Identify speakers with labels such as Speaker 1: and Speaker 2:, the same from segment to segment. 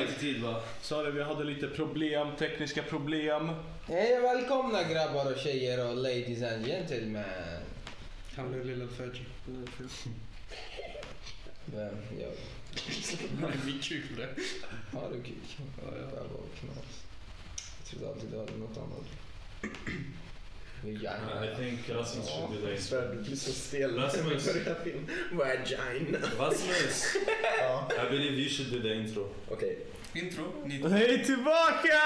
Speaker 1: inte tid va? Sorry, vi hade lite problem, tekniska problem.
Speaker 2: Hej och välkomna grabbar och tjejer och ladies and gentlemen.
Speaker 3: Han blev lilla Fergie. Det är fel.
Speaker 2: Vem? Jag.
Speaker 3: Nej, vi kul det.
Speaker 2: Har du kuk?
Speaker 3: Ja,
Speaker 2: Jag
Speaker 3: ja.
Speaker 2: bara knas. Jag trodde alltid du hade något annat.
Speaker 4: I
Speaker 2: Vagina.
Speaker 4: think Rasmus should be late.
Speaker 5: Svär, du blir så stel.
Speaker 4: Rasmus.
Speaker 5: Börja film. Vagina.
Speaker 4: Rasmus!
Speaker 5: Ja.
Speaker 4: I believe you should do the intro.
Speaker 5: Okej.
Speaker 3: Intro. Ni...
Speaker 1: Hej tillbaka!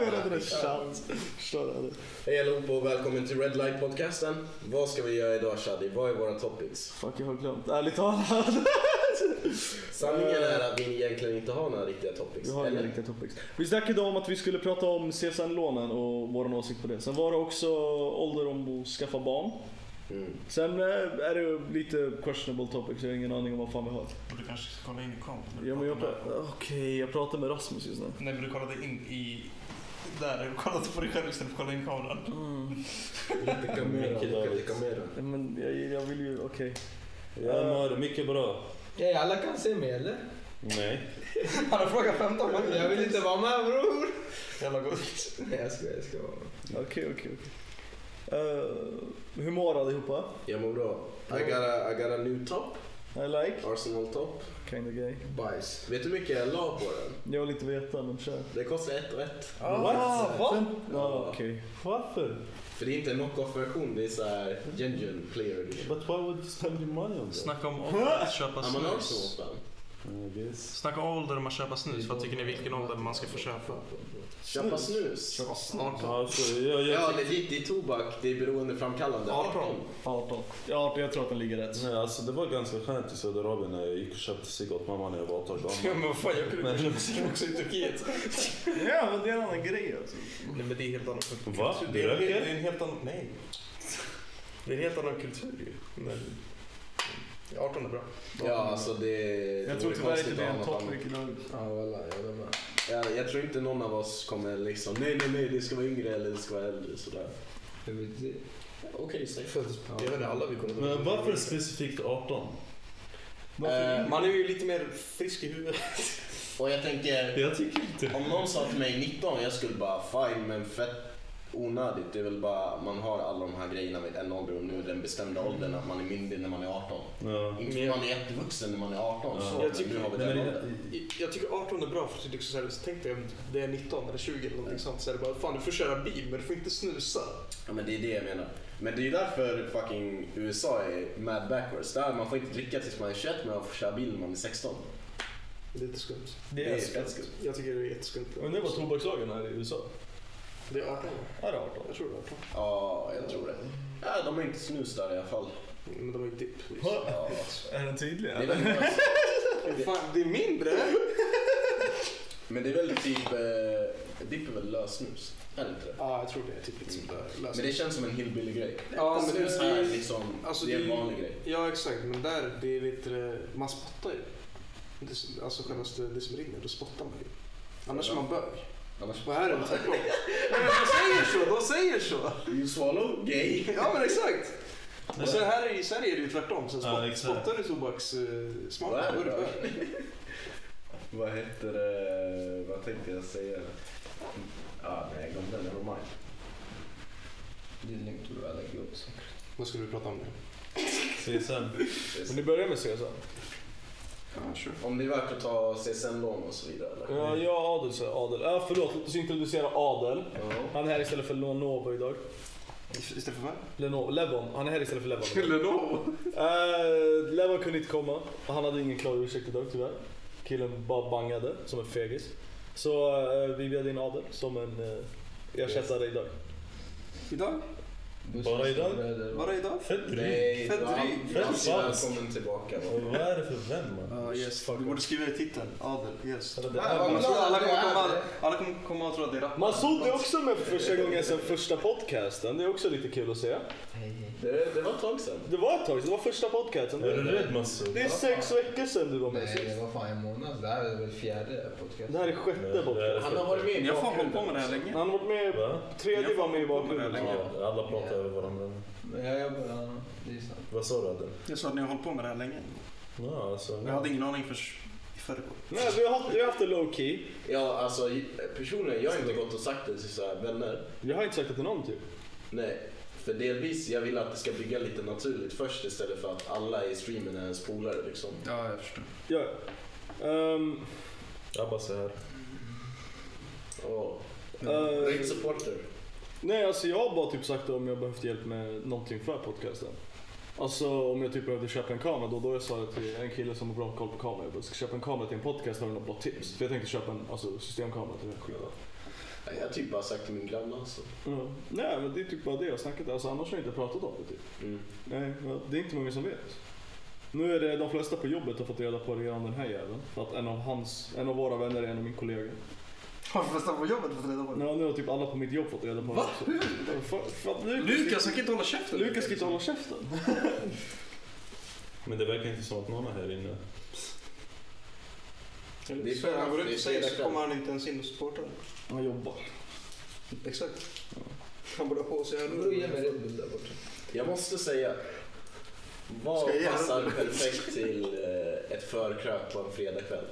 Speaker 1: Vi hade redan tjatt. Förstår du?
Speaker 5: Hej allihopa och välkommen till Red Light podcasten. Vad ska vi göra idag Shadi? Vad är våra topics?
Speaker 1: Fuck, jag har glömt. Ärligt talat.
Speaker 5: Sanningen
Speaker 1: Eh.
Speaker 5: är att vi egentligen inte har några riktiga topics.
Speaker 1: Vi har inga
Speaker 5: eller?
Speaker 1: riktiga topics. Vi snackade om att vi skulle prata om CSN-lånen och vår åsikt på det. Sen var det också ålderdom och skaffa barn.
Speaker 5: Mm.
Speaker 1: Sen eh, är det lite questionable topics, jag har ingen aning om vad fan vi har.
Speaker 3: Du kanske ska kolla in i kamp.
Speaker 1: Ja, men jag pra- Okej, jag pratar med Rasmus just nu.
Speaker 3: Nej, men du kollade in i... Där, du kollade på dig själv istället för att kolla in kameran.
Speaker 5: Lite kamera. Lite kamera.
Speaker 1: Mm. Ja, Men jag, jag vill ju, okej.
Speaker 4: Jag mår mycket bra.
Speaker 2: Hej, alla kan se mig eller?
Speaker 4: Nej.
Speaker 3: Han har frågat 15 gånger.
Speaker 2: Jag vill inte vara med bror.
Speaker 3: Jävla gott.
Speaker 2: Nej jag skojar, jag ska vara med.
Speaker 1: Okej, okej, okej. Eh, Hur mår allihopa?
Speaker 5: Jag mår bra. I
Speaker 2: Mm.
Speaker 5: got, a, I got a new top.
Speaker 1: I like,
Speaker 5: Arsenal top.
Speaker 1: kind of gay.
Speaker 5: Bajs. Vet du hur mycket jag la på den?
Speaker 1: Jag vill inte veta, men kör.
Speaker 5: Det kostar ett och ett.
Speaker 2: Ah,
Speaker 1: What?
Speaker 3: Vad?
Speaker 1: Fem- Ja, okej.
Speaker 6: Varför?
Speaker 5: För det är inte en knock-off-version, det är såhär genuine player edition.
Speaker 6: But why would you spend your money on that?
Speaker 3: Snacka om ålder att köpa
Speaker 5: Ja, man har också
Speaker 3: snus.
Speaker 5: något fan.
Speaker 6: Mm, I guess.
Speaker 3: Snacka om ålder om att köpa snus. Vad tycker ni vilken ålder man ska få köpa?
Speaker 5: Köpa snus?
Speaker 4: Alltså, jag, jag,
Speaker 5: Ja, legit. Det är tobak. Det är beroendeframkallande.
Speaker 3: 18.
Speaker 1: 18. Ja, 18, jag tror att den ligger rätt.
Speaker 4: Nej, alltså det var ganska skönt i Saudiarabien när jag gick och köpte cigg åt mamma när jag var 18 år
Speaker 3: Ja,
Speaker 4: gammal.
Speaker 3: men vad fan, jag kunde köpa snus också i Turkiet.
Speaker 1: Ja, men det är en annan grej alltså.
Speaker 3: Nej, men det är helt annan kultur.
Speaker 4: Va?
Speaker 3: Det
Speaker 4: Du
Speaker 3: är, det
Speaker 4: röker?
Speaker 3: är en helt annan... Nej. Det är en helt annan kultur ju. Men... 18 är bra.
Speaker 5: Ja, alltså det...
Speaker 1: Jag tror
Speaker 5: vore
Speaker 1: tyvärr
Speaker 5: konstigt
Speaker 1: inte det är
Speaker 5: att ha
Speaker 1: en
Speaker 5: något annat.
Speaker 1: topic idag.
Speaker 5: Ja, voilà, jag håller med. Jag, jag tror inte någon av oss kommer liksom, nej, nej, nej, det ska vara yngre eller det ska vara äldre. Sådär.
Speaker 2: Jag vet inte.
Speaker 5: Okej, säg.
Speaker 3: Jag vet inte, alla vi kommer
Speaker 6: Men varför specifikt 18?
Speaker 5: Eh,
Speaker 3: Man är ju lite mer frisk i huvudet.
Speaker 5: och jag tänker,
Speaker 6: Jag tycker inte.
Speaker 5: om någon sa till mig 19, jag skulle bara fine, men fett onödigt. Det är väl bara, man har alla de här grejerna vid en ålder och nu den bestämda åldern att man är myndig när man är 18.
Speaker 4: Ja.
Speaker 5: Inte för man är jättevuxen när man är 18,
Speaker 4: Ja.
Speaker 5: så,
Speaker 3: Jag
Speaker 5: men
Speaker 3: tycker-
Speaker 5: nu har vi
Speaker 4: Nej,
Speaker 5: den
Speaker 4: men
Speaker 5: åldern.
Speaker 3: Jag- Jag tycker 18 är bra för det är liksom så här, så tänk dig om det är 19 eller 20 eller någonting sånt så är det bara fan du får köra bil men du får inte snusa.
Speaker 5: Ja men det är det jag menar. Men det är ju därför fucking USA är mad backwards. Där man får inte dricka tills man är 21 men man får köra bil när man är 16.
Speaker 3: Det är lite skumt.
Speaker 1: Det
Speaker 5: Det är
Speaker 1: är
Speaker 5: fett
Speaker 1: skumt.
Speaker 3: Jag tycker det är jätteskumt.
Speaker 6: Undrar vad tobakslagen är i USA?
Speaker 3: Det är 18 va?
Speaker 6: Är det 18?
Speaker 3: Jag tror det är 18.
Speaker 5: Ja, jag tror det. Ja, de har inte snus där i alla fall.
Speaker 3: Men de har ju dipp.
Speaker 5: Ja.
Speaker 1: Är den tydlig?
Speaker 5: Det är väldigt löst.
Speaker 3: Fan det är mindre!
Speaker 5: Men det är väl typ, eh, dipp är väl lössnus? Är det inte det?
Speaker 3: Ja jag tror det är typ lite sånt där
Speaker 5: Men det känns som en hillbilly-grej.
Speaker 3: Ja, men
Speaker 5: snus
Speaker 3: det-
Speaker 5: här liksom,
Speaker 3: alltså,
Speaker 5: det är en
Speaker 3: det-
Speaker 5: vanlig grej.
Speaker 3: Ja exakt men där det är lite, man spottar ju. Det, är som- alltså självaste det som rinner då spottar man ju. Annars är man bög.
Speaker 5: Annars,
Speaker 3: Vad är det? Tvärtom. Nej, men De säger så, de säger så!
Speaker 5: you swallow gay.
Speaker 3: Ja men exakt! Och sen här i Sverige är det ju tvärtom. Sen spot,
Speaker 4: Ja, exakt.
Speaker 3: spottar du tobakssmaken
Speaker 5: Vad är det
Speaker 3: då är det
Speaker 5: då?
Speaker 3: bög.
Speaker 5: Vad heter det? Vad tänkte jag säga? Ah, nej, jag glömde. Nevermind.
Speaker 2: Det är lugnt bror, alla går åt saker.
Speaker 3: Vad skulle vi prata om nu?
Speaker 4: CSN.
Speaker 6: Men ni börjar med CSN?
Speaker 3: Ja, sure.
Speaker 5: Om det är värt att ta CSN-lån och så vidare eller?
Speaker 6: Ja, jag och Adel säger Adel. Ja, förlåt, låt oss introducera Adel.
Speaker 5: Ja.
Speaker 6: Han är här istället för Lenovo idag.
Speaker 3: Istället för vad?
Speaker 6: Lenovo, Levon. Han är här istället för Levon. idag.
Speaker 3: Lenovo?
Speaker 6: Eh, Levon kunde inte komma. Han hade ingen klar ursäkt idag tyvärr. Killen bara bangade som en fegis. Så eh, vi bjöd in Adel som en eh, ersättare idag.
Speaker 3: Idag?
Speaker 4: Bara idag?
Speaker 3: Var det idag?
Speaker 4: Fett drygt.
Speaker 5: Nej,
Speaker 3: Fett
Speaker 5: du är all-
Speaker 3: dryg.
Speaker 5: du är alltid
Speaker 4: Fett falsk.
Speaker 5: välkommen tillbaka. va?
Speaker 4: Och Vad är det för vän man?
Speaker 3: Ja, yes. Du borde skriva i titeln. Adel, yes.
Speaker 6: Eller det
Speaker 2: Nej,
Speaker 6: är-
Speaker 2: vad glad
Speaker 3: Alla
Speaker 2: jag
Speaker 3: kommer,
Speaker 2: är.
Speaker 3: komma, alla kommer komma och tro att det är rapp.
Speaker 6: Masoud är också med för första gången sedan första podcasten. Det är också lite kul att se.
Speaker 5: Det, det var ett tag sedan.
Speaker 6: Det var ett tag sedan, det var första podcasten.
Speaker 4: Är du rädd Masoud?
Speaker 6: Det är sex veckor sedan du var med
Speaker 2: Nej det
Speaker 6: sist.
Speaker 2: var fan en månad. Det här är väl fjärde podcast.
Speaker 6: Det här är sjätte podcasten.
Speaker 5: Han har varit med i
Speaker 3: Jag får hålla
Speaker 5: bakgrunden
Speaker 3: på med det här
Speaker 5: också.
Speaker 3: länge.
Speaker 6: Han har varit med,
Speaker 4: Va?
Speaker 6: tredje var med i bakgrunden.
Speaker 4: Ja, alla pratar över varandra.
Speaker 2: Men jag jobbar, ja, eh, det är sant.
Speaker 4: Vad sa du Adel?
Speaker 3: Jag sa att ni har hållit på med det här länge.
Speaker 4: Ja, alltså.
Speaker 3: Jag hade ingen aning för förrgår.
Speaker 1: Nej, vi har haft, vi har haft det low key.
Speaker 4: Ja, alltså personligen, jag har inte gått och sagt det till så här vänner.
Speaker 1: Jag har inte sagt det till någon typ.
Speaker 4: Nej, för delvis jag vill att det ska bygga lite naturligt först istället för att alla i streamen är ens polare liksom.
Speaker 3: Ja, jag förstår.
Speaker 1: Ja. Ehm,
Speaker 7: Jag bara så här.
Speaker 4: Oh.
Speaker 1: eh,
Speaker 4: Rate supporter.
Speaker 1: nej, alltså jag har bara typ sagt om jag behövt hjälp med någonting för podcasten. Alltså om jag typ behövde köpa en kamera då, då jag sa det till en kille som har bra koll på kameror. Jag bara, ska köpa en kamera till en podcast, har du något bra tips? För jag tänkte köpa en alltså, systemkamera till den här skiten.
Speaker 4: Jag har typ bara sagt till min granne alltså.
Speaker 1: Ja. Nej men det är typ bara det jag har snackat alltså, annars har jag inte pratat om det typ.
Speaker 4: Mm.
Speaker 1: Nej, ja, det är inte många som vet. Nu är det de flesta på jobbet har fått reda på redan den här jäveln. För att en av, hans, en av våra vänner är en av min kollega.
Speaker 3: Har du förresten på jobbet fått reda på det?
Speaker 1: Ja, nu har typ alla på mitt jobb fått reda på
Speaker 3: Va?
Speaker 1: det. också. För, för att Lukas,
Speaker 3: Lukas, han kan inte hålla käften.
Speaker 1: Lukas kan inte hålla käften.
Speaker 7: Men det verkar inte som att någon är här inne.
Speaker 4: Det är
Speaker 3: Så han går
Speaker 4: fredag-
Speaker 3: ut
Speaker 4: det är
Speaker 3: och säger så
Speaker 4: fredag
Speaker 3: kommer
Speaker 4: kväll.
Speaker 3: han inte ens in och supportar.
Speaker 1: Han jobbar.
Speaker 3: Exakt. Han borde ha på sig
Speaker 5: Bror, ge mig
Speaker 3: hörlurar.
Speaker 5: Red Bull där borta.
Speaker 4: Jag måste säga, vad
Speaker 3: Ska jag göra
Speaker 4: passar
Speaker 3: det?
Speaker 4: perfekt till eh, ett förkrök på en fredagkväll?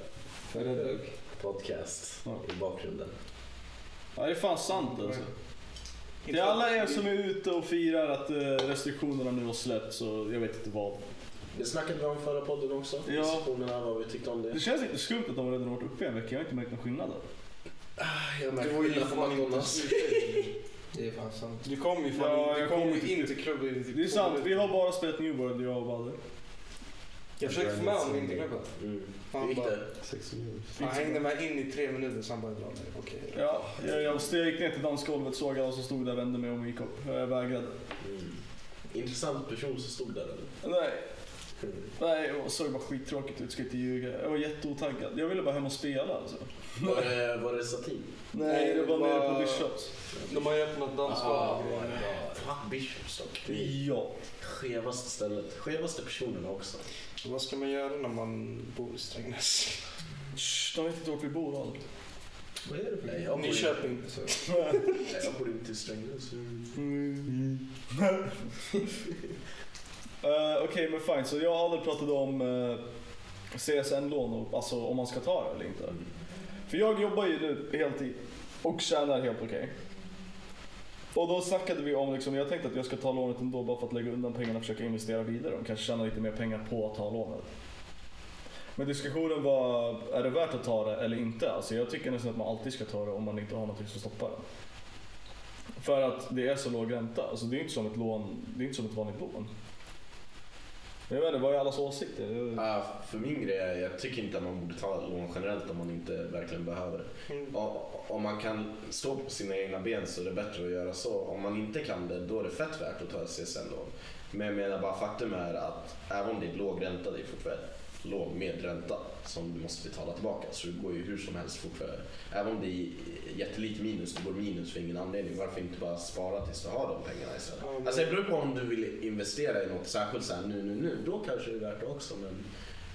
Speaker 1: Red
Speaker 5: Fuck.
Speaker 4: Podcast
Speaker 1: Ja.
Speaker 4: i bakgrunden.
Speaker 1: Ja, det är fan sant alltså. Till alla er som är ute och firar att eh, restriktionerna nu har släppts så jag vet inte vad.
Speaker 4: Det snackade vi om förra podden också.
Speaker 1: Ja.
Speaker 4: Diskussionerna, vad vi tyckte om
Speaker 1: Det
Speaker 4: det.
Speaker 1: känns inte skumt att de redan har varit uppe i en vecka. Jag har inte märkt någon skillnad. än.
Speaker 4: Jag
Speaker 3: Du var
Speaker 4: märker
Speaker 3: ju
Speaker 4: skillnad på
Speaker 3: fan inte
Speaker 4: McDonalds.
Speaker 5: Det är fan sant.
Speaker 3: Du kom ju fan
Speaker 1: Ja,
Speaker 3: du
Speaker 1: jag
Speaker 3: kom
Speaker 1: kom
Speaker 3: ju
Speaker 1: inte
Speaker 3: in
Speaker 1: till-
Speaker 3: till klubben. i typ
Speaker 1: Det är
Speaker 3: två
Speaker 1: sant,
Speaker 3: minuter.
Speaker 1: vi har bara spelat New World, jag och Valle.
Speaker 3: Jag försökte få med honom in till klubben.
Speaker 4: Mm.
Speaker 3: Han
Speaker 4: Hur gick
Speaker 3: bara-
Speaker 4: det?
Speaker 7: Sex miljoner.
Speaker 3: Han hängde med in i tre minuter, sen bara dra mig. Okej.
Speaker 1: Ja, jag, jag steg ner till dansgolvet, såg alla som stod där, vände mig om och gick upp. Jag vägrade.
Speaker 4: Mm. Intressant person som stod där eller?
Speaker 1: Nej, nej, jag såg bara skittråkigt ut, ska inte ljuga. Jag var jätteotaggad. Jag ville bara hem och spela alltså.
Speaker 4: Var det, var det satin?
Speaker 1: Nej, det var
Speaker 3: det
Speaker 1: nere
Speaker 3: var-
Speaker 1: på Bishops.
Speaker 3: De har ju öppnat dansgolv.
Speaker 4: vad Ah, bra. Fan, Bishopstock. Det
Speaker 5: Mm.
Speaker 4: är
Speaker 1: Ja.
Speaker 4: Skevaste stället. Skevaste personerna också.
Speaker 3: Vad ska man göra när man bor i Strängnäs?
Speaker 1: Shh, de vet inte vart vi bor och allt.
Speaker 5: Vad är det för
Speaker 4: Nej, jag bor ju-
Speaker 3: Nyköping. så.
Speaker 4: nej, jag bor inte i Strängnäs. så-
Speaker 5: Mm.
Speaker 1: Eh, Okej, men fine. Så jag hade pratat om eh, CSN-lån, och- alltså om man ska ta det eller inte. För jag jobbar ju nu heltid och tjänar helt okej. Och då snackade vi om, liksom, jag tänkte att jag ska ta lånet ändå bara för att lägga undan pengarna och försöka investera vidare och kanske tjäna lite mer pengar på att ta lånet. Men diskussionen var, är det värt att ta det eller inte? Alltså jag tycker nästan att man alltid ska ta det om man inte har någonting som stoppar det. För att det är så låg ränta. Alltså det är inte som ett lån, det är inte som ett vanligt lån. Jag vet inte, vad är allas åsikter? Jag-
Speaker 4: Ah, för min grej är, jag tycker inte att man borde ta lån generellt om man inte verkligen behöver det.
Speaker 3: Mm.
Speaker 4: Ja, Om man kan stå på sina egna ben så är det bättre att göra så. Om man inte kan det, då är det fett värt att ta ett CSN-lån. Men jag menar bara faktum är att även om det är låg ränta, det är fortfarande låg medränta som du måste betala tillbaka. Så det går ju hur som helst fortfarande. Även om det är jättelite minus, det går minus för ingen anledning. Varför inte bara spara tills du har de pengarna istället?
Speaker 3: Ja, men-
Speaker 4: Alltså det beror på om du vill investera i något särskilt så här nu, nu, nu. Då kanske det är värt det också. Men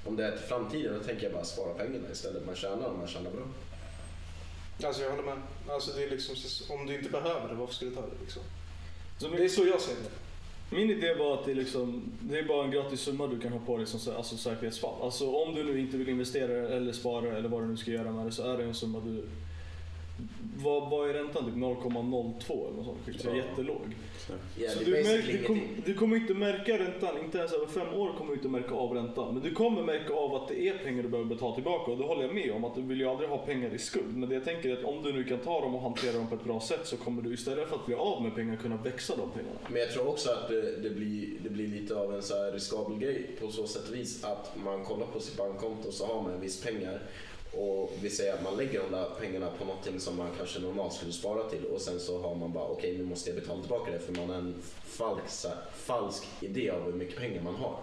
Speaker 4: om det är till framtiden, då tänker jag bara spara pengarna istället. Man tjänar om man tjänar bra.
Speaker 3: Alltså jag håller med. Alltså det är liksom, så- om du inte behöver det, varför ska du ta det liksom?
Speaker 1: Så
Speaker 3: Det är så jag ser det.
Speaker 1: Min idé var att det, är liksom, det är bara en gratis summa du kan ha på dig som sä- alltså, säkerhetsfall. Alltså om du nu inte vill investera eller spara eller vad du nu ska göra med det så är det en summa du... Vad, vad är räntan? Typ 0,02 eller något sånt. Vilket är
Speaker 7: Ja.
Speaker 1: jättelåg.
Speaker 4: Ja,
Speaker 1: så
Speaker 4: det är
Speaker 1: du, mär,
Speaker 4: basically
Speaker 1: du, kom,
Speaker 4: ingenting.
Speaker 1: du kommer inte märka räntan, inte ens över fem år kommer du inte märka av räntan. Men du kommer märka av att det är pengar du behöver betala tillbaka och det håller jag med om att du vill ju aldrig ha pengar i skuld. Men det jag tänker är att om du nu kan ta dem och hantera dem på ett bra sätt så kommer du istället för att bli av med pengar kunna växa de pengarna.
Speaker 4: Men jag tror också att det, det, blir, det blir lite av en så här riskabel grej på så sätt vis att man kollar på sitt bankkonto och så har man en viss pengar och vi säger att man lägger de där pengarna på någonting som man kanske normalt skulle spara till och sen så har man bara okej nu måste jag betala tillbaka det för man har en falsk, så här, falsk idé av hur mycket pengar man har.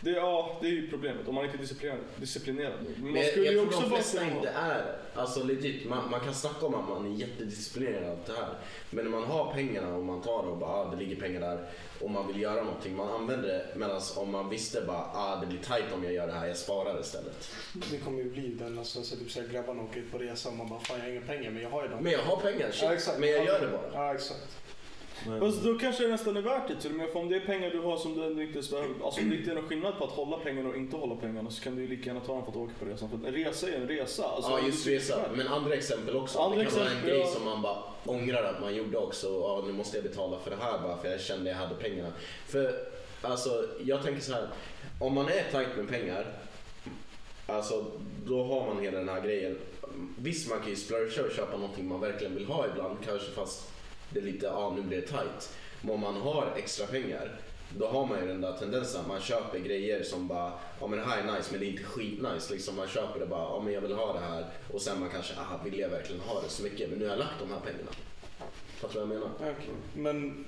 Speaker 1: Det, ja, det är ju problemet om man inte är disciplinerad. disciplinerad. Men man
Speaker 4: Men jag,
Speaker 1: skulle
Speaker 4: jag
Speaker 1: ju
Speaker 4: tror
Speaker 1: också
Speaker 4: de
Speaker 1: vara
Speaker 4: flesta inte är, alltså legit, man, man kan snacka om att man är jättedisciplinerad och allt det här. Men när man har pengarna och man tar det och bara ah, det ligger pengar där och man vill göra någonting, man använder det. Medan om man visste bara ah, det blir tajt om jag gör det här, jag sparar istället.
Speaker 3: Det kommer ju bli den, alltså så typ såhär grabbarna åker ut på resa och man bara fan jag har inga pengar men jag har ju dem.
Speaker 4: Men jag har pengar, shit,
Speaker 3: Ja, exakt.
Speaker 4: men jag gör det bara.
Speaker 3: Ja exakt.
Speaker 1: Men,
Speaker 3: Fast alltså, då kanske det nästan är värt det till och med. För om det är pengar du har som du ändå inte ens behöver. Alltså om det inte är någon skillnad på att hålla pengarna och inte hålla pengarna så kan du ju lika gärna ta dem för att åka på resan. För en resa är en resa. Alltså,
Speaker 4: ja, just resa. Men andra exempel också.
Speaker 3: Andra
Speaker 4: det kan vara en
Speaker 3: exempel,
Speaker 4: grej
Speaker 3: ja.
Speaker 4: som man bara ångrar att man gjorde också. Ja, nu måste jag betala för det här bara för jag kände jag hade pengarna. För alltså, jag tänker så här. Om man är tajt med pengar, alltså då har man hela den här grejen. Visst, man kan ju splurga och köpa någonting man verkligen vill ha ibland, kanske fast det är lite, ja nu blir det tajt. Men om man har extra pengar, då har man ju den där tendensen att man köper grejer som bara, ja men det här är nice men det är inte skitnice. Liksom man köper det bara, ja men jag vill ha det här. Och sen man kanske, aha vill jag verkligen ha det så mycket? Men nu har jag lagt de här pengarna. Fattar du vad jag menar?
Speaker 3: Men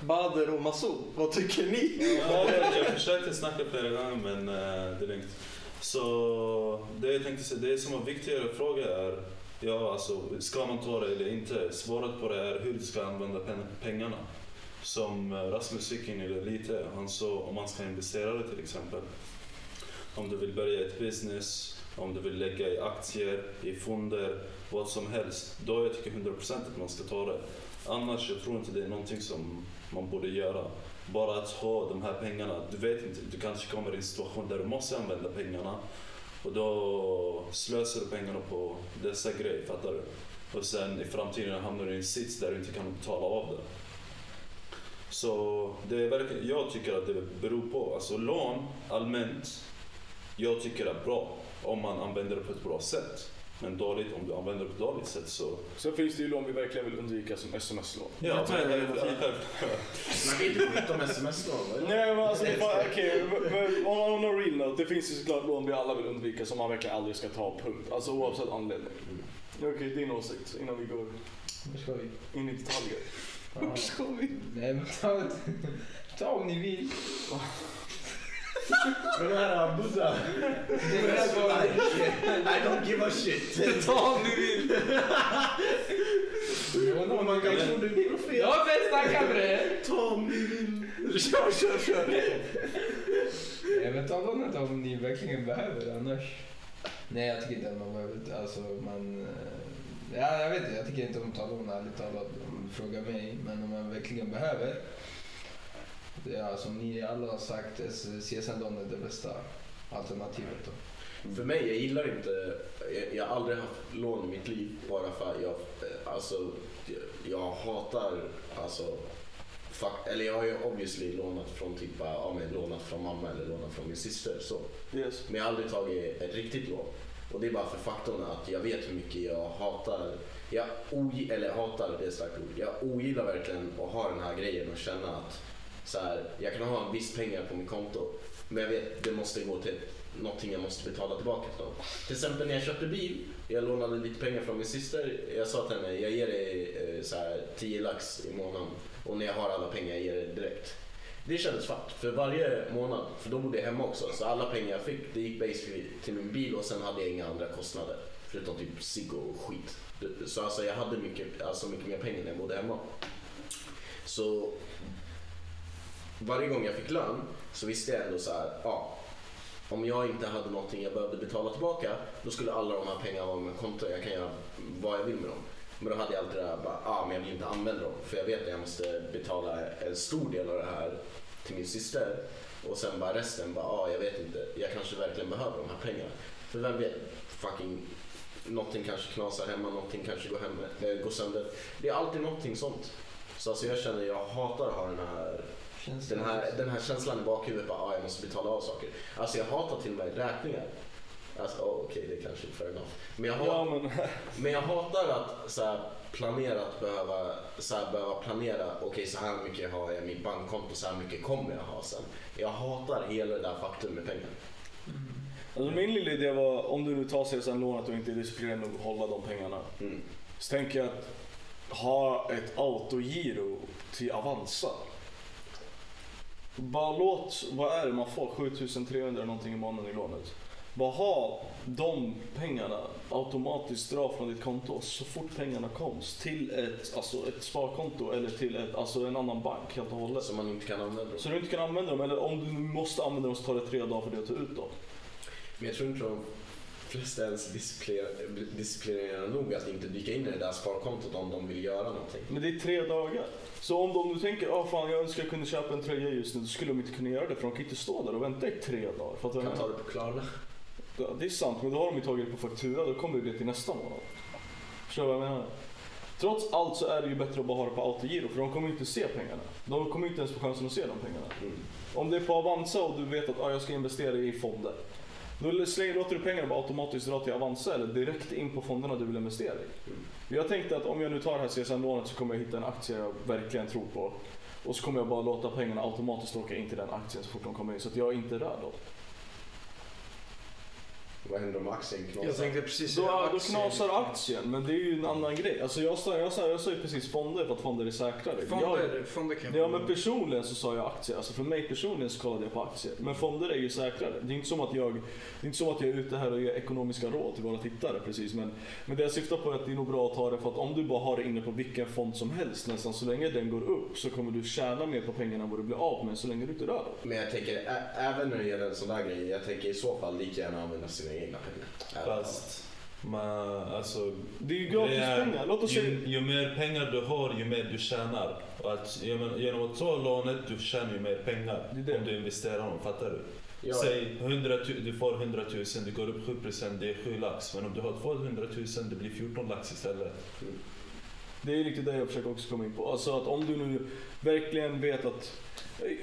Speaker 3: Bader och Massoud, vad tycker ni?
Speaker 1: ja, jag, jag försökte snacka flera gånger men eh, det är lugnt. Så det jag tänkte säga, det som är viktigare fråga är, ja alltså ska man ta det eller inte? Svaret på det är hur du ska använda pen- pengarna. Som eh, Rasmus gick in i det lite, han sa om man ska investera det till exempel. Om du vill börja ett business, om du vill lägga i aktier, i fonder, vad som helst. Då jag tycker 100% att man ska ta det. Annars jag tror inte det är någonting som man borde göra. Bara att ha de här pengarna, du vet inte, du kanske kommer i en situation där du måste använda pengarna och då slösar du pengarna på dessa grejer, fattar du? Och sen i framtiden hamnar du i en sits där du inte kan betala av det. Så det är verkligen, jag tycker att det beror på. Alltså lån allmänt, jag tycker är bra om man använder det på ett bra sätt. Men dåligt, om du använder det på ett dåligt sätt så...
Speaker 3: Sen finns det ju lån vi verkligen vill undvika som sms-lån.
Speaker 1: Ja, men,
Speaker 8: Snacka inte skit om sms-lån.
Speaker 3: Nej men alltså, fan, okej. men on, on a real note, det finns ju såklart lån vi alla vill undvika som man verkligen aldrig ska ta, punkt. Alltså oavsett anledning. Okej, din åsikt innan vi
Speaker 2: Oh,
Speaker 3: går
Speaker 5: Var ska vi?
Speaker 3: in i detaljer.
Speaker 5: Ja. Nej men ta, ta om ni vill.
Speaker 8: Men här äh, Buddha.
Speaker 5: Det är väl bara-
Speaker 8: I don't give a shit.
Speaker 5: Ta om ni vill.
Speaker 8: Oh my god, jag trodde du var fel.
Speaker 5: Jag har bäst snackat med det.
Speaker 8: Tom! Kör, kör, kör!
Speaker 5: Nej men ta lånet om ni verkligen behöver det, annars. Nej jag tycker inte att man behöver, alltså man. eh, Ja jag vet inte, jag tycker inte om ta lån ärligt talat om du frågar mig. Men om man verkligen behöver. Ja som ni alla har sagt, CSN-lån är det bästa alternativet då.
Speaker 4: För mig, jag gillar inte, jag, jag har aldrig haft lån i mitt liv bara för att jag, eh, alltså, jag- jag hatar, alltså, fuck, eller jag har ju obviously lånat från typ, bara, ja men lånat från mamma eller lånat från min syster så.
Speaker 3: Yes.
Speaker 4: Men jag har aldrig tagit ett riktigt lån. Och det är bara för faktorn att jag vet hur mycket jag hatar, jag ogi- eller hatar, det är ett starkt ord. Jag ogillar verkligen att ha den här grejen och känna att så här, jag kan ha en viss pengar på mitt konto. Men jag vet, det måste gå till någonting jag måste betala tillbaka till dem. Till exempel när jag köpte bil, jag lånade lite pengar från min syster. Jag sa till henne, jag ger dig eh, så här, 10 lax i månaden och när jag har alla pengar, jag ger dig direkt. Det kändes fatt, för varje månad, för då bodde jag hemma också, så alla pengar jag fick det gick basically till min bil och sen hade jag inga andra kostnader. Förutom typ cigg och skit. Så alltså jag hade mycket, alltså mycket mer pengar när jag bodde hemma. Så varje gång jag fick lön så visste jag ändå så här, ja. Om jag inte hade någonting jag behövde betala tillbaka då skulle alla de här pengarna vara på mitt konto. Jag kan göra vad jag vill med dem. Men då hade jag alltid det här, bara, ah, men jag vill inte använda dem. För jag vet att jag måste betala en stor del av det här till min syster. Och sen bara resten, bara, ah, jag vet inte. Jag kanske verkligen behöver de här pengarna. För vem vet? Fucking, någonting kanske knasar hemma, någonting kanske går, hem, eh, går sönder. Det är alltid någonting sånt. Så alltså jag känner, jag hatar att ha den här
Speaker 5: Känns
Speaker 4: den
Speaker 5: det-
Speaker 4: här, den här känslan i bakhuvudet bara, ah, jag måste betala av saker. Alltså jag hatar till och med räkningar. Alltså, oh, okej, det kanske inte är fair enough. Men jag,
Speaker 3: Ja
Speaker 4: hat,
Speaker 3: men
Speaker 4: men jag hatar att så här, planera att behöva, så här, behöva planera, okej så här mycket har jag i mitt bankkonto, så här mycket kommer jag ha sen. Jag hatar hela det där faktum med pengar.
Speaker 5: Mm.
Speaker 3: Alltså min lilla idé var om du nu tar CSN-lånet och inte är disciplinerad nog att hålla de pengarna.
Speaker 4: Mm.
Speaker 3: Så tänker jag att ha ett autogiro till Avanza. Bara låt, vad är det man får? 7300 någonting i månaden i lånet. Bara ha de pengarna automatiskt dra från ditt konto så fort pengarna koms till ett, alltså ett sparkonto eller till ett, alltså en annan bank helt och
Speaker 5: Mm.
Speaker 3: hållet.
Speaker 4: Som man inte kan använda dem.
Speaker 3: Så du inte kan använda dem eller om du måste använda dem så tar det tre dagar för dig att ta ut dem.
Speaker 4: Men jag tror inte de flesta ens disciplin- disciplinerade nog att inte dyka in i det där sparkontot om de vill göra någonting.
Speaker 5: Mm.
Speaker 1: Men det är tre dagar. Så om de nu tänker åh fan jag önskar jag kunde köpa en tröja just nu, då skulle de inte kunna göra det för de kan inte stå där och vänta i tre dagar. Fattar du vad jag
Speaker 4: Kan ta det på Klarna.
Speaker 1: menar? Ja, Det är sant, men då har de ju tagit det på faktura, då kommer det bli till nästa månad. Förstår du vad jag menar? Trots allt så är det ju bättre att bara ha det på autogiro för de kommer ju inte se pengarna. De kommer ju inte ens få chansen att se de pengarna.
Speaker 4: Mm.
Speaker 1: Om det är på Avanza och du vet att ah, jag ska investera i fonder. Då slänger, låter du pengarna bara automatiskt dra till Avanza eller direkt in på fonderna du vill investera i. Jag tänkte att om jag nu tar det här CSN-lånet så kommer jag hitta en aktie jag verkligen tror på. Och så kommer jag bara låta pengarna automatiskt åka in till den aktien så fort de kommer in så att jag inte rör dem.
Speaker 4: Vad händer om aktien
Speaker 3: Jag
Speaker 4: knasar?
Speaker 3: tänkte precis säga
Speaker 1: Då, då
Speaker 3: aktier.
Speaker 1: knasar aktien men det är ju en annan grej. Alltså jag sa jag sa, jag sa ju precis fonder för att fonder är säkrare. Jag,
Speaker 3: Fonder, fonder kan
Speaker 1: Ja men personligen så sa jag aktier, alltså för mig personligen så kollade jag på aktier. Men fonder är ju säkrare. Det är inte som att jag, det är, inte som att jag är ute här och ger ekonomiska råd till våra tittare precis. Men, men det jag syftar på är att det är nog bra att ha det för att om du bara har det inne på vilken fond som helst nästan så länge den går upp så kommer du tjäna mer på pengarna än vad du blir av med så länge du inte rör dem.
Speaker 4: Men jag tänker, ä- även när det gäller en sån där grej, jag tänker i så fall lika gärna använda sina egna pengar. Ärligt talat.
Speaker 5: Fast, man, alltså,
Speaker 1: Det är ju gratis
Speaker 5: Det är-
Speaker 1: pengar. Låt oss säga...
Speaker 5: ju, ju mer pengar du har, ju mer du tjänar. Och att, jag menar, genom att ta lånet, du tjänar ju mer pengar
Speaker 1: Det är det.
Speaker 5: om du investerar dem, fattar du?
Speaker 4: Ja.
Speaker 5: Säg 100, tu- du får 100 000, det går upp 7%, det är 7 lax. Men om du har 200 000, det blir 14 lax istället.
Speaker 1: Det är ju riktigt det jag försöker också komma in på. Alltså att om du nu verkligen vet att...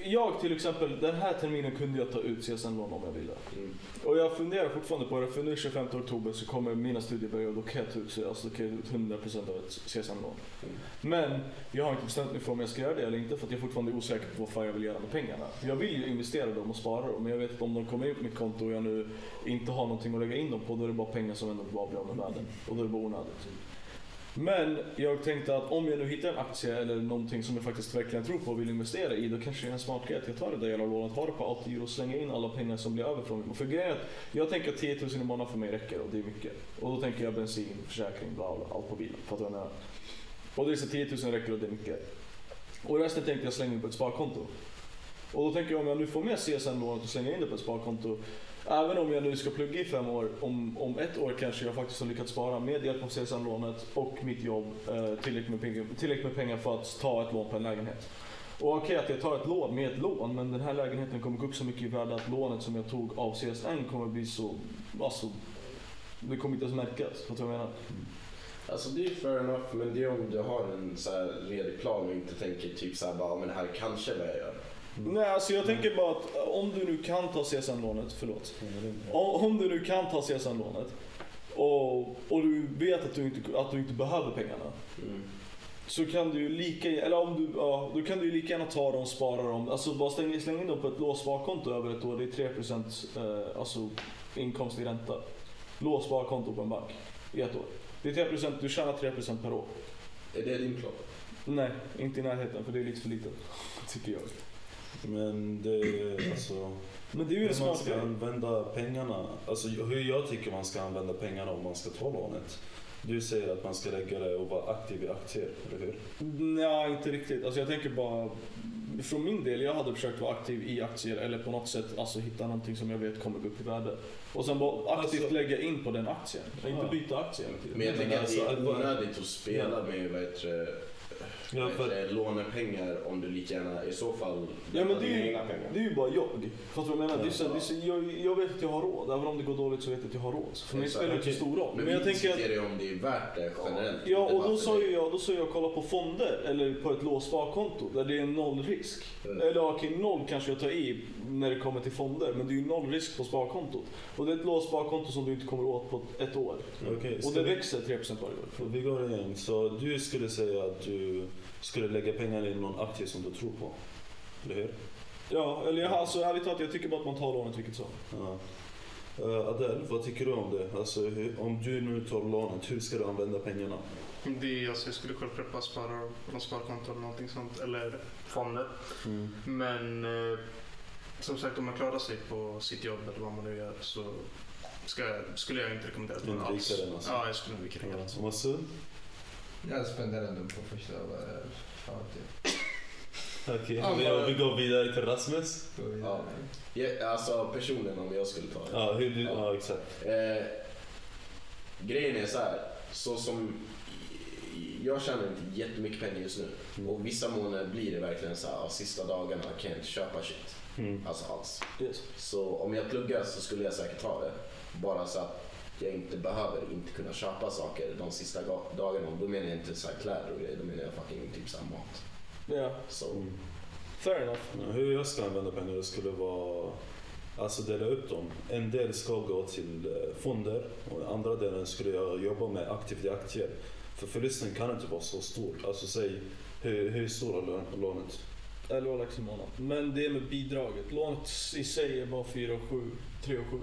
Speaker 1: Jag till exempel, den här terminen kunde jag ta ut CSN-lån om jag ville.
Speaker 4: Mm.
Speaker 1: Och jag funderar fortfarande på det, för nu 25 oktober så kommer mina studier börja och då kan jag ta ut, alltså, då kan jag ta ut 100% av ett CSN-lån.
Speaker 4: Mm.
Speaker 1: Men jag har inte bestämt mig för om jag ska göra det eller inte för att jag är fortfarande osäker på vad fan jag vill göra med pengarna. Jag vill ju investera dem och spara dem men jag vet att om de kommer in på mitt konto och jag nu inte har någonting att lägga in dem på då är det bara pengar som ändå bara blir av med världen. Och då är det bara onödigt. Men jag tänkte att om jag nu hittar en aktie eller någonting som jag faktiskt verkligen tror på och vill investera i då kanske det är en smart grej att jag tar det där jävla lånet, har det på autogiro och slänger in alla pengar som blir över från mig. För grejen är att jag tänker att 10 000 i månaden för mig räcker och det är mycket. Och då tänker jag bensin, försäkring, bla bla, allt på bilen. Fattar du vad jag menar? Och det är så 10 000 räcker och det är mycket. Och resten tänkte jag slänga in på ett sparkonto. Och då tänker jag om jag nu får med CSN-lånet och slänger in det på ett sparkonto. Även om jag nu ska plugga i fem år, om, om ett år kanske jag faktiskt har lyckats spara med hjälp av CSN-lånet och mitt jobb eh, tillräckligt, med pengar, tillräckligt med pengar för att ta ett lån på en lägenhet. Och okej att jag tar ett lån med ett lån men den här lägenheten kommer gå upp så mycket i värde att lånet som jag tog av CSN kommer bli så, alltså, det kommer inte ens märkas. Fattar du vad jag menar?
Speaker 4: Alltså det är fair enough, men det är om du har en så här redig plan och inte tänker typ så här bara, "Ja, men det här kanske är vad jag gör.
Speaker 1: Nej, alltså jag tänker bara att eh, om du nu kan ta CSN-lånet, förlåt. Om, om du nu kan ta CSN-lånet och, och du vet att du, inte, att du inte behöver pengarna. Så kan du ju lika, eller om du, ja, då kan du ju lika gärna ta dem, spara dem. Alltså bara släng, släng in dem på ett låst sparkonto över ett år. Det är 3% eh, alltså, inkomst i ränta. Låst sparkonto på en bank i ett år. Det är 3%, du tjänar 3% per år.
Speaker 4: Är det din plan?
Speaker 1: Nej, inte i närheten för det är lite för litet. Tycker jag.
Speaker 5: Men det är alltså...
Speaker 1: Men det är ju en
Speaker 5: Hur man
Speaker 1: smart
Speaker 5: ska
Speaker 1: grej.
Speaker 5: använda pengarna. Alltså hur jag tycker man ska använda pengarna om man ska ta lånet. Du säger att man ska lägga det och vara aktiv i aktier, eller hur?
Speaker 1: Nej, inte riktigt. Alltså jag tänker bara, från min del, jag hade försökt vara aktiv i aktier eller på något sätt alltså hitta någonting som jag vet kommer gå upp i värde. Och sen bara aktivt
Speaker 5: Alltså-
Speaker 1: lägga in på den aktien. Inte byta aktie.
Speaker 4: Men jag
Speaker 5: Men
Speaker 4: tänker
Speaker 5: alltså,
Speaker 4: att
Speaker 5: att
Speaker 4: det är
Speaker 5: bara-
Speaker 4: onödigt att spela med vad heter, det,
Speaker 5: Ja,
Speaker 4: vad heter,
Speaker 5: för,
Speaker 4: det, lånepengar om du lika gärna i så fall
Speaker 1: Ja, men
Speaker 4: tar
Speaker 1: det är
Speaker 4: dina
Speaker 1: ju-
Speaker 4: egna pengar.
Speaker 1: Det är ju bara jag. Fast vad jag menar, det är så, det är så, jag, jag vet att jag har råd. Även om det går dåligt så vet jag att jag har råd. Så För mig
Speaker 4: Exakt,
Speaker 1: spelar det inte så
Speaker 4: okej.
Speaker 1: stor roll.
Speaker 4: Men,
Speaker 1: Men jag
Speaker 4: vi
Speaker 1: tänker att
Speaker 4: diskuterar ju om det är värt det generellt.
Speaker 1: Ja,
Speaker 4: inte
Speaker 1: och
Speaker 4: bara
Speaker 1: då
Speaker 4: för
Speaker 1: sa
Speaker 4: dig.
Speaker 1: ju jag, då sa jag kolla på fonder eller på ett låst sparkonto där det är noll risk.
Speaker 4: Mm.
Speaker 1: Eller okej, noll kanske jag tar i när det kommer till fonder, men det är ju noll risk på sparkontot. Och det är ett låst sparkonto som du inte kommer åt på ett år.
Speaker 5: Okej,
Speaker 1: Och det
Speaker 5: ska vi-
Speaker 1: växer 3% varje år.
Speaker 5: för vi går igen. Så du skulle säga att du skulle lägga pengar i någon aktie som du tror på, eller hur?
Speaker 1: Ja, eller jag, alltså ärligt talat, jag tycker bara att man tar lånet vilket som.
Speaker 5: Ja. Eh, Adele, vad tycker du om det? Alltså, hur, om du nu tar lånet, hur ska du använda pengarna?
Speaker 3: Det är, alltså, jag skulle självklart bara spara på något sparkonto eller någonting sånt. Eller fonder.
Speaker 5: Mm.
Speaker 3: Men eh, som sagt, om man klarar sig på sitt jobb eller vad man nu gör så ska, skulle jag inte rekommendera att man
Speaker 5: Undvika den, alltså.
Speaker 3: Ja, jag skulle undvika den.
Speaker 5: Ja, som Masu?
Speaker 9: Jag spenderar ändå på första... eh, Fan, typ.
Speaker 5: Okej,
Speaker 9: Ja,
Speaker 5: vi-
Speaker 9: bara-
Speaker 5: vi går vidare till Rasmus.
Speaker 9: Gå
Speaker 4: Ja.
Speaker 9: vidare.
Speaker 4: Ja, alltså personen om jag skulle ta det.
Speaker 5: Ja, hur du, ja exakt.
Speaker 4: Eh, Grejen är så här, så som jag tjänar inte jättemycket pengar just nu och vissa månader blir det verkligen så här, ja, sista dagarna kan jag inte köpa shit.
Speaker 10: Mm.
Speaker 1: Mm.
Speaker 4: Alltså alls.
Speaker 1: Yes.
Speaker 4: Så om jag pluggar så skulle jag säkert ta det. Bara så att jag inte behöver inte kunna köpa saker de sista ga- dagarna. Och då menar jag inte så här kläder och grejer, då menar jag fucking typ så här mat.
Speaker 1: Ja,
Speaker 4: Så
Speaker 1: fair enough.
Speaker 10: Mm. Hur jag ska använda pengarna skulle vara Alltså dela upp dem. En del ska gå till eh, fonder och den andra delen skulle jag jobba med aktivt i aktier. För förlusten kan inte vara så stor. Alltså säg, hur, hur stor är lön- lånet?
Speaker 1: 11 lax i månaden. Men det är med bidraget. Lånet i sig är bara 4 och 7. 3 och 7.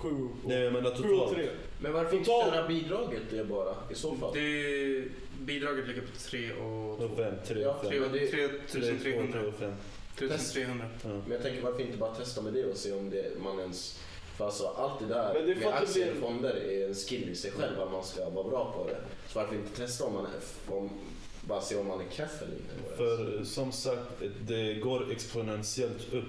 Speaker 1: 7 och,
Speaker 10: Nej men det är
Speaker 1: 7 och
Speaker 10: totalt.
Speaker 1: 3.
Speaker 4: Men varför inte
Speaker 1: Total-
Speaker 4: köra bidraget det bara i så fall?
Speaker 3: Det, bidraget ligger på 3 och 2.
Speaker 10: Och Fem, tre,
Speaker 4: Ja,
Speaker 10: fem.
Speaker 4: tre- men det-
Speaker 3: 3300.
Speaker 10: och fem.
Speaker 3: 3300.
Speaker 10: Ja.
Speaker 4: Men jag tänker varför inte bara testa med det och se om det man ens... För alltså allt det där
Speaker 1: Men det är för
Speaker 4: med
Speaker 1: att det
Speaker 4: aktier
Speaker 1: blir-
Speaker 4: och fonder är en skill i sig själv att man ska vara bra på det. Så varför inte testa om man är... Om, bara se om man är keff eller inte. på det?
Speaker 10: För eh, som sagt, det går exponentiellt upp